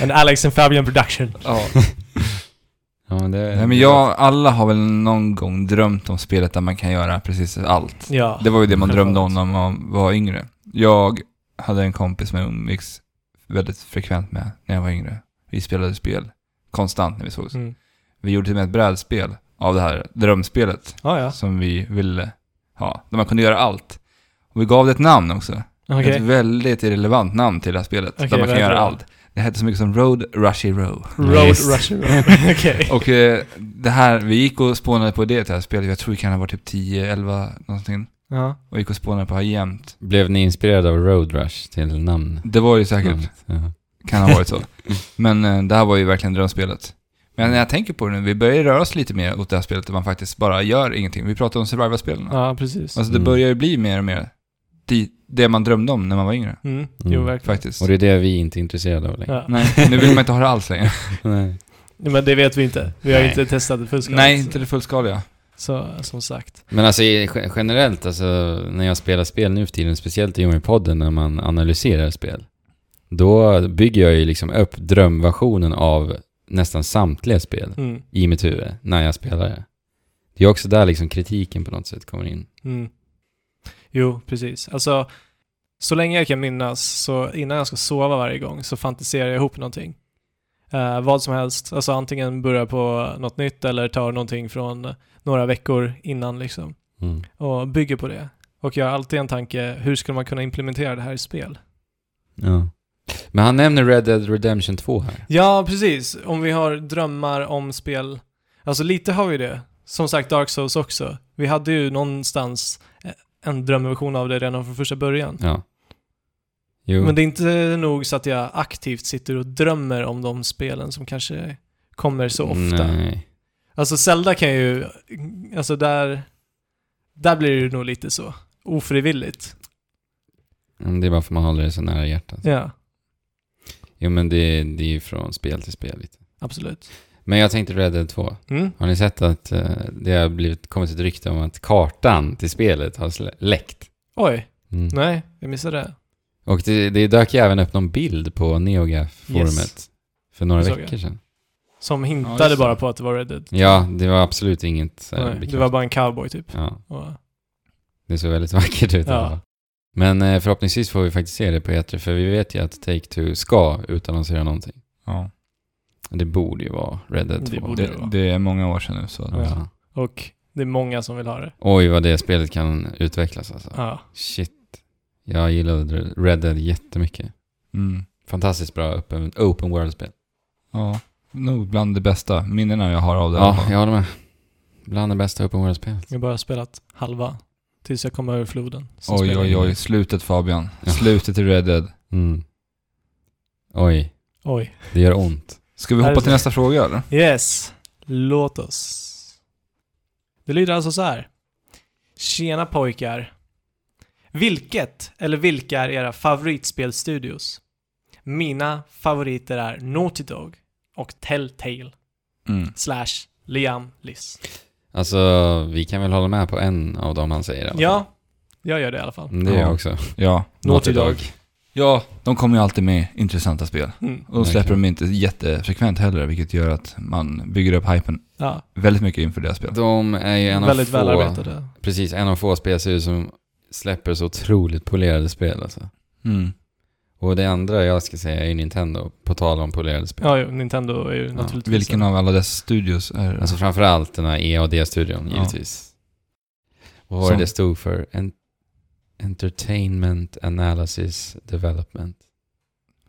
Speaker 2: En Alex and Fabian production.
Speaker 1: Ja.
Speaker 2: [laughs]
Speaker 3: ja, men det,
Speaker 1: Nej, men jag, alla har väl någon gång drömt om spelet där man kan göra precis allt.
Speaker 2: Ja.
Speaker 1: [laughs] Det var ju det man drömde om
Speaker 2: Självklart.
Speaker 1: när man var yngre. Jag hade en kompis som jag umgicks väldigt frekvent med när jag var yngre. Vi spelade spel konstant när vi sågs.
Speaker 2: Mm.
Speaker 1: Vi gjorde till och med ett brädspel av det här drömspelet
Speaker 2: Ah, ja,
Speaker 1: som vi ville ha. Där man kunde göra allt. Och vi gav det ett namn också.
Speaker 2: okej.
Speaker 1: Ett väldigt irrelevant namn till det här spelet.
Speaker 2: Okej,
Speaker 1: där man kan
Speaker 2: vad heter
Speaker 1: göra
Speaker 2: det?
Speaker 1: allt. Det hette så mycket som Road Rushy Row.
Speaker 2: Road
Speaker 3: Nice.
Speaker 2: Rusher. Okej.
Speaker 1: Och eh, det här, vi gick och spånade på det till det här spelet. Jag tror vi kan ha varit typ 10, 11 någonting.
Speaker 2: Ja.
Speaker 1: Och gick och spånade på det här jämt.
Speaker 3: Blev ni inspirerade av Road Rush till namn?
Speaker 1: Det var ju säkert,
Speaker 3: namnet? Ja.
Speaker 1: kan ha varit så. Men eh, det här var ju verkligen drömspelet. Men när jag tänker på det nu, vi börjar ju röra oss lite mer åt det här spelet där man faktiskt bara gör ingenting. Vi pratar om survival-spelen.
Speaker 2: ja, precis.
Speaker 1: Alltså det
Speaker 3: Mm.
Speaker 1: börjar ju bli mer och mer dit, det man drömde om när man var yngre.
Speaker 2: Mm. Jo,
Speaker 3: Mm.
Speaker 2: verkligen.
Speaker 1: Faktiskt.
Speaker 3: Och det är det vi inte är intresserade av längre.
Speaker 2: Ja.
Speaker 1: Nej, nu vill man inte ha det alls längre.
Speaker 3: [laughs] Nej.
Speaker 2: Nej, Men det vet vi inte. Vi har
Speaker 3: Nej.
Speaker 2: inte testat det fullskaligt.
Speaker 1: Nej, inte det fullskaliga.
Speaker 2: Så, som sagt.
Speaker 3: Men alltså i- ge- generellt, alltså, när jag spelar spel nu för tiden, speciellt i Jomi-podden när man analyserar spel, då bygger jag ju liksom upp drömversionen av nästan samtliga spel
Speaker 2: Mm.
Speaker 3: i mitt huvud när jag spelar det. Det är också där liksom kritiken på något sätt kommer in.
Speaker 2: Mm. Jo, precis. Alltså, så länge jag kan minnas, så innan jag ska sova varje gång, så fantiserar jag ihop någonting. Eh, vad som helst. Alltså antingen börja på något nytt eller tar någonting från några veckor innan liksom.
Speaker 3: Mm.
Speaker 2: Och bygger på det. Och jag har alltid en tanke, hur skulle man kunna implementera det här i spel?
Speaker 3: Ja. Men han nämner Red Dead Redemption 2 här.
Speaker 2: Ja, precis. Om vi har drömmar om spel. Alltså lite har vi det. Som sagt Dark Souls också. Vi hade ju någonstans eh, en drömversion av det redan från första början.
Speaker 3: Ja. Jo.
Speaker 2: Men det är inte nog så att jag aktivt sitter och drömmer om de spelen som kanske kommer så ofta.
Speaker 3: Nej.
Speaker 2: Alltså Zelda kan ju, alltså där, där blir det ju nog lite så. Ofrivilligt.
Speaker 3: Men Det är bara för att man håller det så nära hjärtat.
Speaker 2: Ja,
Speaker 3: Jo men det, det är ju från spel till spel lite.
Speaker 2: absolut.
Speaker 3: Men jag tänkte Red Dead 2.
Speaker 2: Mm.
Speaker 3: Har ni sett att eh, det har blivit, kommit ett rykte om att kartan till spelet har slä- läckt?
Speaker 2: Oj,
Speaker 3: Mm.
Speaker 2: nej, jag missade det.
Speaker 3: Och det, det dök ju även upp någon bild på NeoGaf-forumet
Speaker 2: Yes.
Speaker 3: för några
Speaker 2: Det såg
Speaker 3: veckor sedan.
Speaker 2: Som
Speaker 1: Ja,
Speaker 2: hintade
Speaker 1: just det.
Speaker 2: bara på att det var Red Dead.
Speaker 3: Ja, det var absolut inget så här
Speaker 2: Nej, det
Speaker 3: bekräftat.
Speaker 2: var bara en cowboy typ.
Speaker 3: Ja,
Speaker 2: Och,
Speaker 3: det såg väldigt [laughs] vackert ut. i
Speaker 2: Ja.
Speaker 3: alla fall. Men eh, förhoppningsvis får vi faktiskt se det på E3, för vi vet ju att Take-Two ska utannonsera någonting.
Speaker 1: Ja.
Speaker 3: Det borde ju vara Red Dead 2.
Speaker 2: Det borde-
Speaker 1: Det, det är många år sedan nu så.
Speaker 3: Ja.
Speaker 2: Ja. och det är många som vill ha det.
Speaker 3: Oj, vad det spelet kan utvecklas alltså.
Speaker 2: Ja.
Speaker 3: Shit. Jag gillade Red Dead jättemycket.
Speaker 1: Mm.
Speaker 3: Fantastiskt bra open, open world-spel.
Speaker 1: Ja, nog bland det bästa minnena jag har av det.
Speaker 3: Ja, jag håller med. Bland det bästa open world-spelet.
Speaker 2: Jag har bara spelat halva tills jag kom över floden. Så
Speaker 1: Oj,
Speaker 2: spelade
Speaker 1: oj,
Speaker 2: jag-
Speaker 1: oj. Slutet Fabian.
Speaker 3: Ja.
Speaker 1: Slutet i Red Dead.
Speaker 3: Mm. Oj,
Speaker 2: Oj.
Speaker 3: det gör ont.
Speaker 1: Ska vi
Speaker 2: Här är
Speaker 1: hoppa
Speaker 2: det.
Speaker 1: till nästa fråga eller?
Speaker 2: Yes, låt oss. Det lyder alltså så här. Tjena pojkar. Vilket eller vilka är era favoritspelstudios? Mina favoriter är Naughty Dog och Telltale
Speaker 1: Mm.
Speaker 2: slash Liam Liss.
Speaker 3: Alltså, vi kan väl hålla med på en av dem han säger? i alla fall.
Speaker 2: Ja, jag gör det i alla fall.
Speaker 3: Mm, Det är jag också.
Speaker 1: Ja.
Speaker 2: Naughty Dog.
Speaker 1: Ja, de kommer ju alltid med intressanta spel.
Speaker 2: Mm.
Speaker 1: Och de släpper
Speaker 3: Verkligen.
Speaker 1: dem inte jättefrekvent heller, vilket gör att man bygger upp hypen
Speaker 2: Ja,
Speaker 1: väldigt mycket inför deras spel.
Speaker 3: De är ju en av
Speaker 2: väldigt
Speaker 3: få...
Speaker 2: välarbetade.
Speaker 3: Precis, en av få spelstudior som släpper så otroligt polerade spel alltså.
Speaker 1: Mm.
Speaker 3: Och det andra jag ska säga är ju Nintendo, på tal om polerade spel.
Speaker 2: Ja, jo, Nintendo är ju naturligtvis...
Speaker 1: Vilken av alla dess studios är
Speaker 3: Alltså framförallt den här E och D-studion
Speaker 1: Ja.
Speaker 3: givetvis. Vad var
Speaker 1: Som-
Speaker 3: det det stod för? En- Entertainment Analysis Development.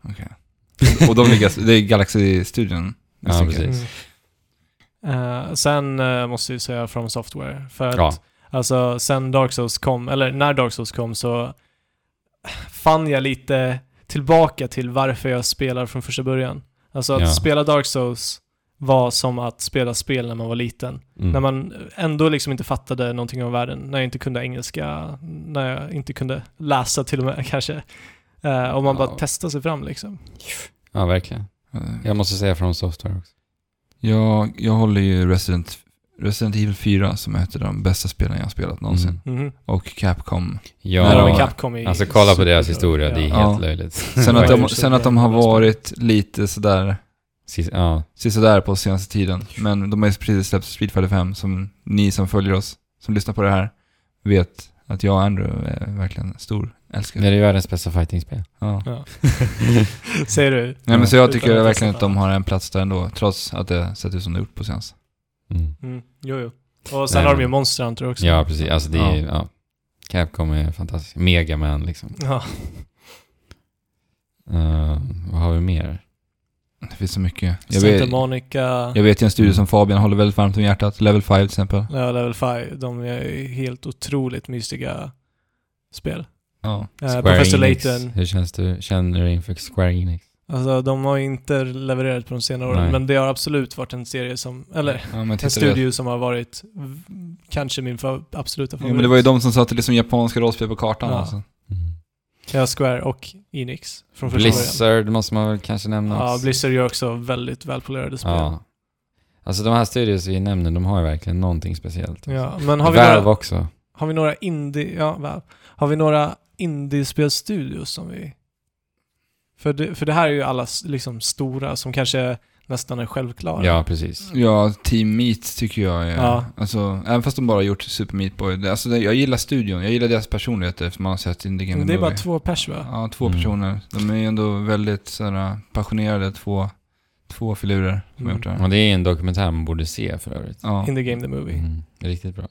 Speaker 1: [laughs] Och de
Speaker 3: [laughs]
Speaker 1: ligger, det är Galaxy-studion.
Speaker 3: Ja, precis.
Speaker 2: Mm. Eh, sen eh, måste jag ju säga From Software. För att,
Speaker 3: Ja.
Speaker 2: alltså, sen Dark Souls kom, eller när Dark Souls kom så fann jag lite tillbaka till varför jag spelar från första början. Alltså att
Speaker 3: Ja.
Speaker 2: spela Dark Souls var som att spela spel när man var liten.
Speaker 3: Mm.
Speaker 2: När man ändå liksom inte fattade någonting om världen, när jag inte kunde engelska, när jag inte kunde läsa till och med [laughs] kanske. Eh, och man
Speaker 3: Ja.
Speaker 2: bara testade sig fram liksom.
Speaker 3: Ja, verkligen.
Speaker 1: Eh,
Speaker 3: Jag måste säga från Software också.
Speaker 1: Mm. Jag, jag håller ju Resident, Resident Evil 4 som är ett av de bästa spelen jag har spelat någonsin.
Speaker 3: Mm.
Speaker 2: Mhm.
Speaker 1: Och Capcom.
Speaker 2: När de
Speaker 1: Ja.
Speaker 2: är
Speaker 3: Ja,
Speaker 2: Capcom i
Speaker 3: alltså kolla på deras
Speaker 2: superbra.
Speaker 3: historia, det är
Speaker 1: Ja.
Speaker 3: helt löjligt.
Speaker 1: [laughs] Sen att, de,
Speaker 2: Faktiskt.
Speaker 1: sen att de har varit lite sådär,
Speaker 3: [laughs] Sist- ja.
Speaker 1: sådär på senaste tiden. Men de har ju precis släppt Street Fighter 5 som ni som följer oss, som lyssnar på det här, vet att jag och Andrew är verkligen stor älskare.
Speaker 3: Det är ju världens
Speaker 1: [laughs]
Speaker 3: bästa fightingspel.
Speaker 1: Ja.
Speaker 2: Ja. Säger du?
Speaker 1: Nej men så jag
Speaker 2: Utan
Speaker 1: tycker
Speaker 2: att
Speaker 1: verkligen
Speaker 2: testa.
Speaker 1: att de har en plats där ändå, trots att det sett ut som det gjort på senaste.
Speaker 3: Mm.
Speaker 2: Mm. Jo, jo. Och sen
Speaker 3: Nej,
Speaker 2: har de
Speaker 3: men-
Speaker 2: ju Monster Hunter också.
Speaker 3: Ja, precis. Alltså det är ja. Capcom är fantastiskt. Mega Man liksom.
Speaker 2: Ja.
Speaker 3: Eh, vad har vi mer?
Speaker 1: Det finns så mycket. Jag
Speaker 2: Santa
Speaker 1: vet,
Speaker 2: Monica,
Speaker 1: jag vet ju en studio
Speaker 3: Mm.
Speaker 1: som Fabian håller väldigt varmt om hjärtat, Level 5 till exempel.
Speaker 2: ja, Level 5, de är ju helt otroligt mystiga spel.
Speaker 1: Ja.
Speaker 2: Eh, Professor
Speaker 3: Enix.
Speaker 2: Layton,
Speaker 3: Hur känns du, känner du inför Square Enix?
Speaker 2: alltså de har ju inte levererat på de senare åren,
Speaker 3: Nej.
Speaker 2: men det har absolut varit en serie som, eller
Speaker 1: Ja, men titta
Speaker 2: en
Speaker 1: det-
Speaker 2: studio som har varit v- kanske min fa- absoluta
Speaker 1: Ja,
Speaker 2: favorit.
Speaker 1: men det var ju de som satte liksom japanska rollspel på kartan
Speaker 2: Ja.
Speaker 1: alltså.
Speaker 2: Ja, Square och Enix från första början.
Speaker 3: Blizzard måste man väl kanske nämna
Speaker 2: Ja,
Speaker 3: också.
Speaker 2: Blizzard gör också väldigt välpolerade spel. Ja,
Speaker 3: Ja. Alltså de här studios vi nämner, de har ju verkligen någonting speciellt.
Speaker 2: men har vi några-
Speaker 3: Valve också.
Speaker 2: Har vi några indie, ja, väl. Har vi några indiespelstudios som vi... För det, för det här är ju alla s- liksom stora som kanske nästan är självklara.
Speaker 3: Ja, precis.
Speaker 1: Ja, Team Meat tycker jag är...
Speaker 2: Ja.
Speaker 1: Alltså, även fast de bara har gjort Super Meat Boy. det- Alltså, det- jag gillar studion, jag gillar deras personligheter eftersom man har sett Indie Game
Speaker 2: Men det är bara
Speaker 1: Movie.
Speaker 2: två pers va?
Speaker 1: Ja, två
Speaker 3: Mm.
Speaker 1: personer. De är ju ändå väldigt sådär, passionerade, två, två filurer som har
Speaker 2: Mm.
Speaker 1: gjort det här.
Speaker 3: Och det är en dokumentär man borde se för övrigt.
Speaker 1: Ja,
Speaker 2: In the game, the movie.
Speaker 3: Mm. Riktigt bra.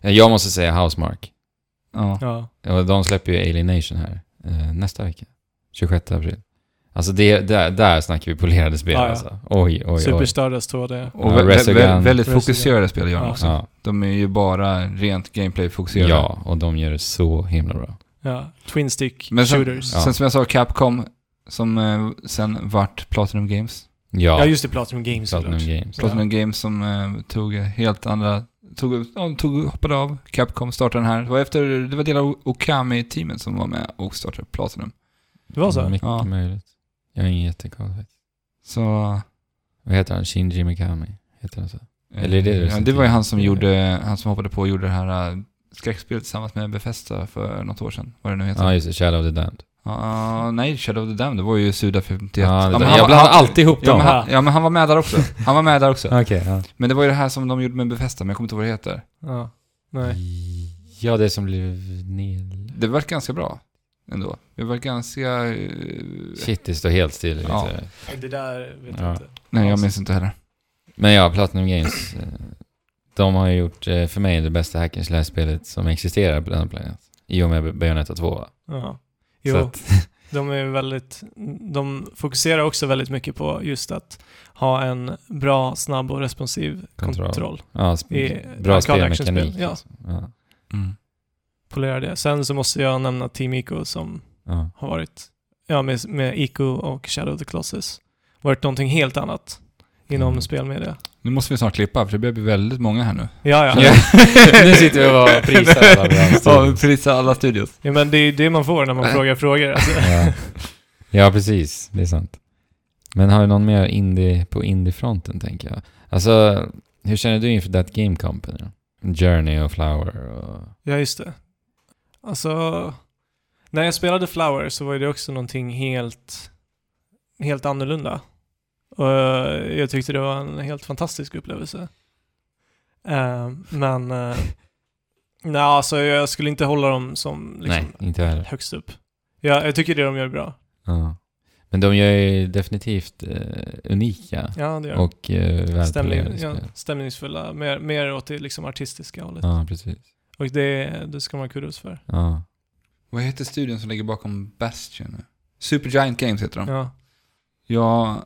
Speaker 3: Eh, Jag måste säga Housemark.
Speaker 1: ja.
Speaker 2: Ja.
Speaker 3: Och de släpper ju Alienation här eh, nästa vecka. 26 april. Alltså det, där, där snackar vi polerade spel
Speaker 2: Ja, ja.
Speaker 3: alltså. Oj, oj,
Speaker 2: Super
Speaker 3: oj.
Speaker 2: Stardust 2D.
Speaker 1: Och
Speaker 3: Ja,
Speaker 1: vä- vä-
Speaker 3: Resogun.
Speaker 1: vä- väldigt
Speaker 2: Resogun.
Speaker 1: fokuserade spel gör de
Speaker 2: Ja.
Speaker 1: också.
Speaker 3: Ja,
Speaker 1: De är ju bara rent gameplay-fokuserade.
Speaker 3: ja, och de gör det så himla bra.
Speaker 2: Ja. Twin Stick
Speaker 1: Men sen,
Speaker 2: Shooters.
Speaker 1: sen som jag sa, Capcom, som eh, sen vart Platinum Games.
Speaker 3: Ja,
Speaker 2: Ja. just det, Platinum Games
Speaker 3: Platinum
Speaker 2: såklart.
Speaker 3: Games.
Speaker 1: Platinum Games som eh, tog helt andra, tog, ja, de tog, hoppade av, Capcom startade den här. Det var efter, det var delar av Okami-teamet som var med och startade Platinum.
Speaker 2: Det var så?
Speaker 3: Mycket
Speaker 1: Ja.
Speaker 3: möjligt. Jag har ingen jättekoll faktiskt.
Speaker 1: Så...
Speaker 3: Vad heter han? Shinji Mikami? Heter han så?
Speaker 1: eh,
Speaker 3: Eller är det det
Speaker 1: ja,
Speaker 3: som
Speaker 1: det var ju
Speaker 3: team?
Speaker 1: han som gjorde, han som hoppade på och gjorde det här eh, skräckspelet tillsammans med Bethesda för något år sedan, vad det nu heter.
Speaker 3: Ja, just det. Shadow of the Damned.
Speaker 1: Ja, nej, Shadow of the Dam, det var ju Suda 51.
Speaker 3: Ja, det-
Speaker 1: men
Speaker 3: jag
Speaker 1: han var-
Speaker 3: blandar
Speaker 1: han-
Speaker 3: alltid ihop
Speaker 1: Ja
Speaker 3: dem.
Speaker 1: men, han, ja, men han var med där också. Han var med där också.
Speaker 3: Okej, ja.
Speaker 1: Men det var ju det här som de gjorde med Bethesda, men jag kommer inte ihåg vad det heter.
Speaker 2: Ja. Nej.
Speaker 3: Ja, det som blev ned...
Speaker 1: Det var ganska bra ändå. Det var ganska... eh,
Speaker 3: Shit, det står helt still.
Speaker 1: Ja.
Speaker 3: vet du.
Speaker 2: Det där vet
Speaker 3: Ja.
Speaker 2: jag inte.
Speaker 1: Nej, jag
Speaker 2: Alltså.
Speaker 1: minns inte heller.
Speaker 3: Men ja, Platinum Games. eh, De har ju gjort, eh, för mig, det bästa hack and slash-spelet som existerar på denna planet. I och med Bayonetta 2.
Speaker 2: Ja.
Speaker 3: Så
Speaker 2: Jo.
Speaker 3: att,
Speaker 2: De är väldigt, de fokuserar också väldigt mycket på just att ha en bra, snabb och responsiv
Speaker 3: Kontroll.
Speaker 2: kontroll.
Speaker 3: ja, sp-
Speaker 2: I
Speaker 3: bra
Speaker 2: arcade
Speaker 3: spelmekanik.
Speaker 2: actionspel, ja.
Speaker 3: alltså. Ja. Mm.
Speaker 2: Polera det. Sen så måste jag nämna Team Ico som
Speaker 3: ja.
Speaker 2: har varit, ja med, med Ico och Shadow of the Colossus, varit någonting helt annat inom
Speaker 3: Mm.
Speaker 2: spelmedia.
Speaker 1: Nu måste vi snart klippa, för det börjar bli väldigt många här nu.
Speaker 2: Ja, ja.
Speaker 3: Ja. [laughs] nu sitter vi och bara
Speaker 1: [laughs]
Speaker 3: prisar alla varandra.
Speaker 1: prisa alla studios.
Speaker 2: ja men det är ju det man får när man frågar frågor. Alltså.
Speaker 3: [laughs] ja. ja, precis. Det är sant. Men har du någon mer indie på indiefronten, tänker jag? Alltså, Hur känner du inför That Game Company? då? Journey och Flower och...
Speaker 2: Ja, just det. Alltså, när jag spelade Flower så var det också någonting helt, helt annorlunda. Och eh, jag tyckte det var en helt fantastisk upplevelse. Eh, men, uh, nej alltså jag skulle inte hålla dem som liksom,
Speaker 3: Nej, inte jag heller.
Speaker 2: högst upp. Ja, jag tycker det de gör är bra.
Speaker 3: Ja. Men de gör ju definitivt eh, unika
Speaker 2: Ja, det gör de.
Speaker 3: och eh, välpolerade
Speaker 2: Stämning, ja,
Speaker 3: spel.
Speaker 2: stämningsfulla, mer, mer åt det liksom artistiska hållet.
Speaker 3: Ja, precis.
Speaker 2: Och det, det ska man ha kudos för.
Speaker 3: Ja.
Speaker 1: Vad heter studion som ligger bakom Bastion nu? Supergiant Games heter de.
Speaker 2: Ja,
Speaker 1: Jag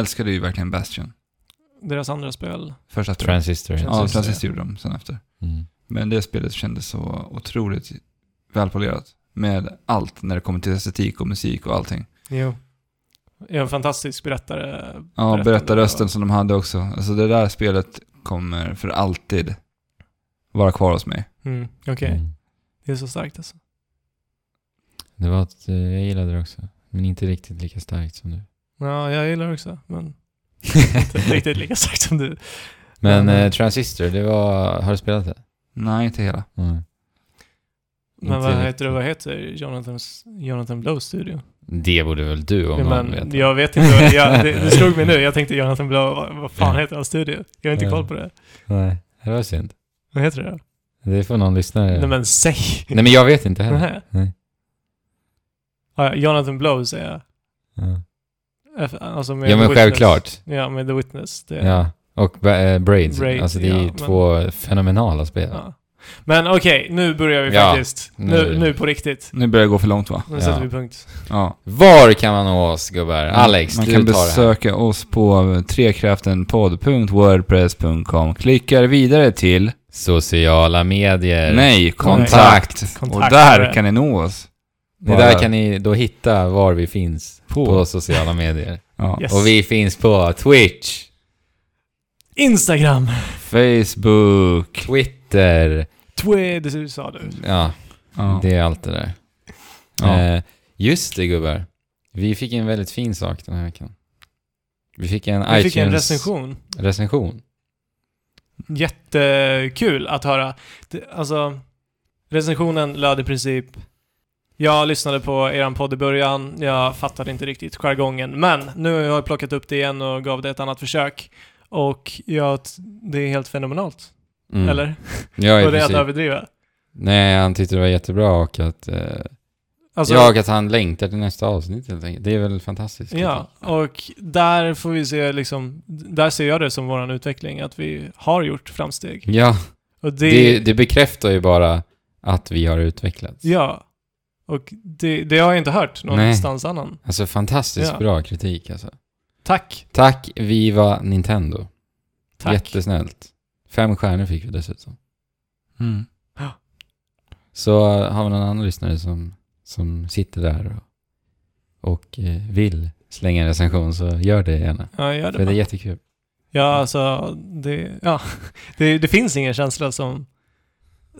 Speaker 1: älskade ju verkligen Bastion.
Speaker 2: deras andra spel.
Speaker 1: Först efter.
Speaker 3: Transistor. heter
Speaker 1: Ja,
Speaker 2: Transistor.
Speaker 1: Transist gjorde de sen efter.
Speaker 3: det. Mm.
Speaker 1: Men det spelet kändes så otroligt välpolerat. Med allt när det kommer till estetik och musik och allting.
Speaker 2: Jo. Jag är en fantastisk berättare.
Speaker 1: Ja,
Speaker 2: Berättande.
Speaker 1: berättarrösten som de hade också. Alltså det där spelet kommer för alltid vara kvar hos mig.
Speaker 2: Mm, Okej,
Speaker 3: Mm.
Speaker 2: det är så starkt alltså.
Speaker 3: Det var att eh, jag gillade det också. Men inte riktigt lika starkt som du.
Speaker 2: Ja, jag gillar det också, men [laughs] inte riktigt lika starkt som du.
Speaker 3: [laughs] Men
Speaker 2: Mm.
Speaker 3: eh, Transistor, det var... Har du spelat det?
Speaker 1: Nej, inte hela.
Speaker 3: Mm.
Speaker 2: Men
Speaker 3: Inte
Speaker 2: vad heter
Speaker 3: riktigt.
Speaker 2: det, vad heter Jonathans, Jonathan Blows studio?
Speaker 3: Det borde väl du om någon
Speaker 2: men
Speaker 3: vet.
Speaker 2: jag vet inte, vad-
Speaker 3: [laughs]
Speaker 2: jag, det, det slog mig nu. Jag tänkte Jonathan Blow, vad, vad fan
Speaker 3: Ja.
Speaker 2: heter hans studio? Jag har inte
Speaker 3: Ja.
Speaker 2: koll på det.
Speaker 3: Nej, det var synd.
Speaker 2: Vad heter det då?
Speaker 3: Det får någon lyssnare...
Speaker 2: Nej men säg!
Speaker 3: Nej, men jag vet inte heller.
Speaker 2: Nej.
Speaker 3: Nej.
Speaker 2: Ja, ja, Jonathan Blow säger jag.
Speaker 3: Ja.
Speaker 2: F- Alltså med
Speaker 3: Ja,
Speaker 2: The
Speaker 3: men
Speaker 2: Witness.
Speaker 3: självklart.
Speaker 2: Ja, med The Witness. Det,
Speaker 3: Ja. Och ba- eh, Braids.
Speaker 2: Braids,
Speaker 3: Alltså det är ju
Speaker 2: ja, men-
Speaker 3: två fenomenala spel.
Speaker 2: Ja. Men okej, nu börjar vi
Speaker 3: Ja,
Speaker 2: faktiskt. Nu,
Speaker 3: nu-
Speaker 2: nu på riktigt.
Speaker 1: Nu börjar det gå för långt va?
Speaker 2: Nu
Speaker 3: Ja.
Speaker 2: sätter vi punkt.
Speaker 1: Ja.
Speaker 3: Var kan man nå oss gubbar? Mm. Alex,
Speaker 1: Man
Speaker 3: du
Speaker 1: kan
Speaker 3: tar det här.
Speaker 1: besöka oss på trekraftenpodd.wordpress.com. Klickar vidare till
Speaker 3: Sociala medier.
Speaker 1: Nej, kontakt.
Speaker 3: Kontakt.
Speaker 1: Och
Speaker 2: Kontakt
Speaker 1: där
Speaker 2: med-
Speaker 1: kan ni nå oss.
Speaker 3: Det där kan ni då hitta var vi finns
Speaker 1: På.
Speaker 3: på, sociala medier.
Speaker 1: Ja.
Speaker 2: Yes.
Speaker 3: Och vi finns på Twitch,
Speaker 2: Instagram!
Speaker 1: Facebook.
Speaker 3: Twitter,
Speaker 2: Twi- det sa du.
Speaker 3: ja,
Speaker 1: Ja.
Speaker 3: det är allt det där.
Speaker 1: Ja.
Speaker 3: Eh, just det gubbar, vi fick en väldigt fin sak den här veckan. Vi fick en
Speaker 2: Vi
Speaker 3: iTunes
Speaker 2: fick en recension.
Speaker 3: recension.
Speaker 2: Jättekul att höra. Det, alltså, recensionen löd i princip jag lyssnade på eran podd i början, jag fattade inte riktigt jargongen, men nu har jag plockat upp det igen och gav det ett annat försök. Och ja, t- det är helt fenomenalt.
Speaker 3: Mm.
Speaker 2: Eller?
Speaker 3: Ja, i
Speaker 2: Var det att
Speaker 3: princip.
Speaker 2: överdriva?
Speaker 3: Nej, han tyckte det var jättebra och att, eh,
Speaker 2: Alltså,
Speaker 3: ja, och att han längtar till nästa avsnitt helt enkelt. Det är väl fantastiskt.
Speaker 2: Ja, och där får vi se liksom, där ser jag det som våran utveckling, att vi har gjort framsteg.
Speaker 3: Ja,
Speaker 2: Och det,
Speaker 3: det, det bekräftar ju bara att vi har utvecklats.
Speaker 2: ja. Och det, det har jag inte hört någonstans annan.
Speaker 3: Alltså fantastiskt
Speaker 2: Ja.
Speaker 3: bra kritik alltså.
Speaker 2: Tack,
Speaker 3: Tack Viva Nintendo.
Speaker 2: tack.
Speaker 3: Jättesnällt. Fem stjärnor fick vi dessutom.
Speaker 1: Mm.
Speaker 3: Så eh, har vi någon annan lyssnare som, som sitter där och, och eh, vill slänga en recension så gör det gärna.
Speaker 2: Ja, gör
Speaker 3: För det är
Speaker 2: det.
Speaker 3: jättekul.
Speaker 2: Ja, alltså, det, ja. [laughs] Det, det finns ingen känsla som,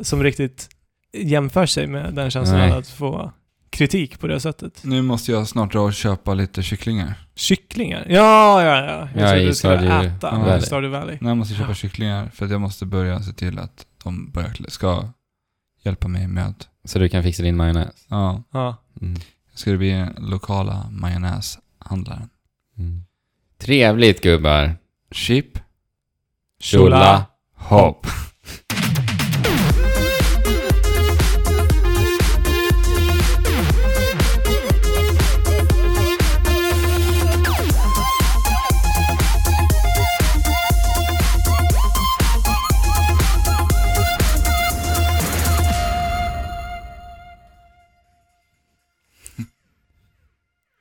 Speaker 2: som riktigt jämför sig med den känslan
Speaker 3: Nej.
Speaker 2: att få kritik på det sättet.
Speaker 1: Nu måste jag snart dra och köpa lite kycklingar.
Speaker 2: Kycklingar? Ja, ja, ja. Jag
Speaker 3: Ja,
Speaker 2: trodde
Speaker 3: i
Speaker 2: du skulle
Speaker 3: Stardew
Speaker 2: äta.
Speaker 1: Valley.
Speaker 2: Ja, Stardew Valley.
Speaker 1: Nej, jag måste köpa kycklingar för att jag måste börja se till att de börjar, ska hjälpa mig med att...
Speaker 3: Så du kan fixa din majonnäs.
Speaker 1: Ja,
Speaker 2: Ja.
Speaker 3: Mm.
Speaker 1: ska det bli den lokala majonnäshandlaren.
Speaker 3: Mm. Trevligt gubbar.
Speaker 1: Chip.
Speaker 2: [laughs]
Speaker 3: Tjola.
Speaker 1: Hopp.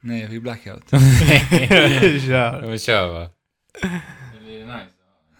Speaker 1: Nej, jag fick blackout.
Speaker 2: Kör.
Speaker 3: Vi kör va?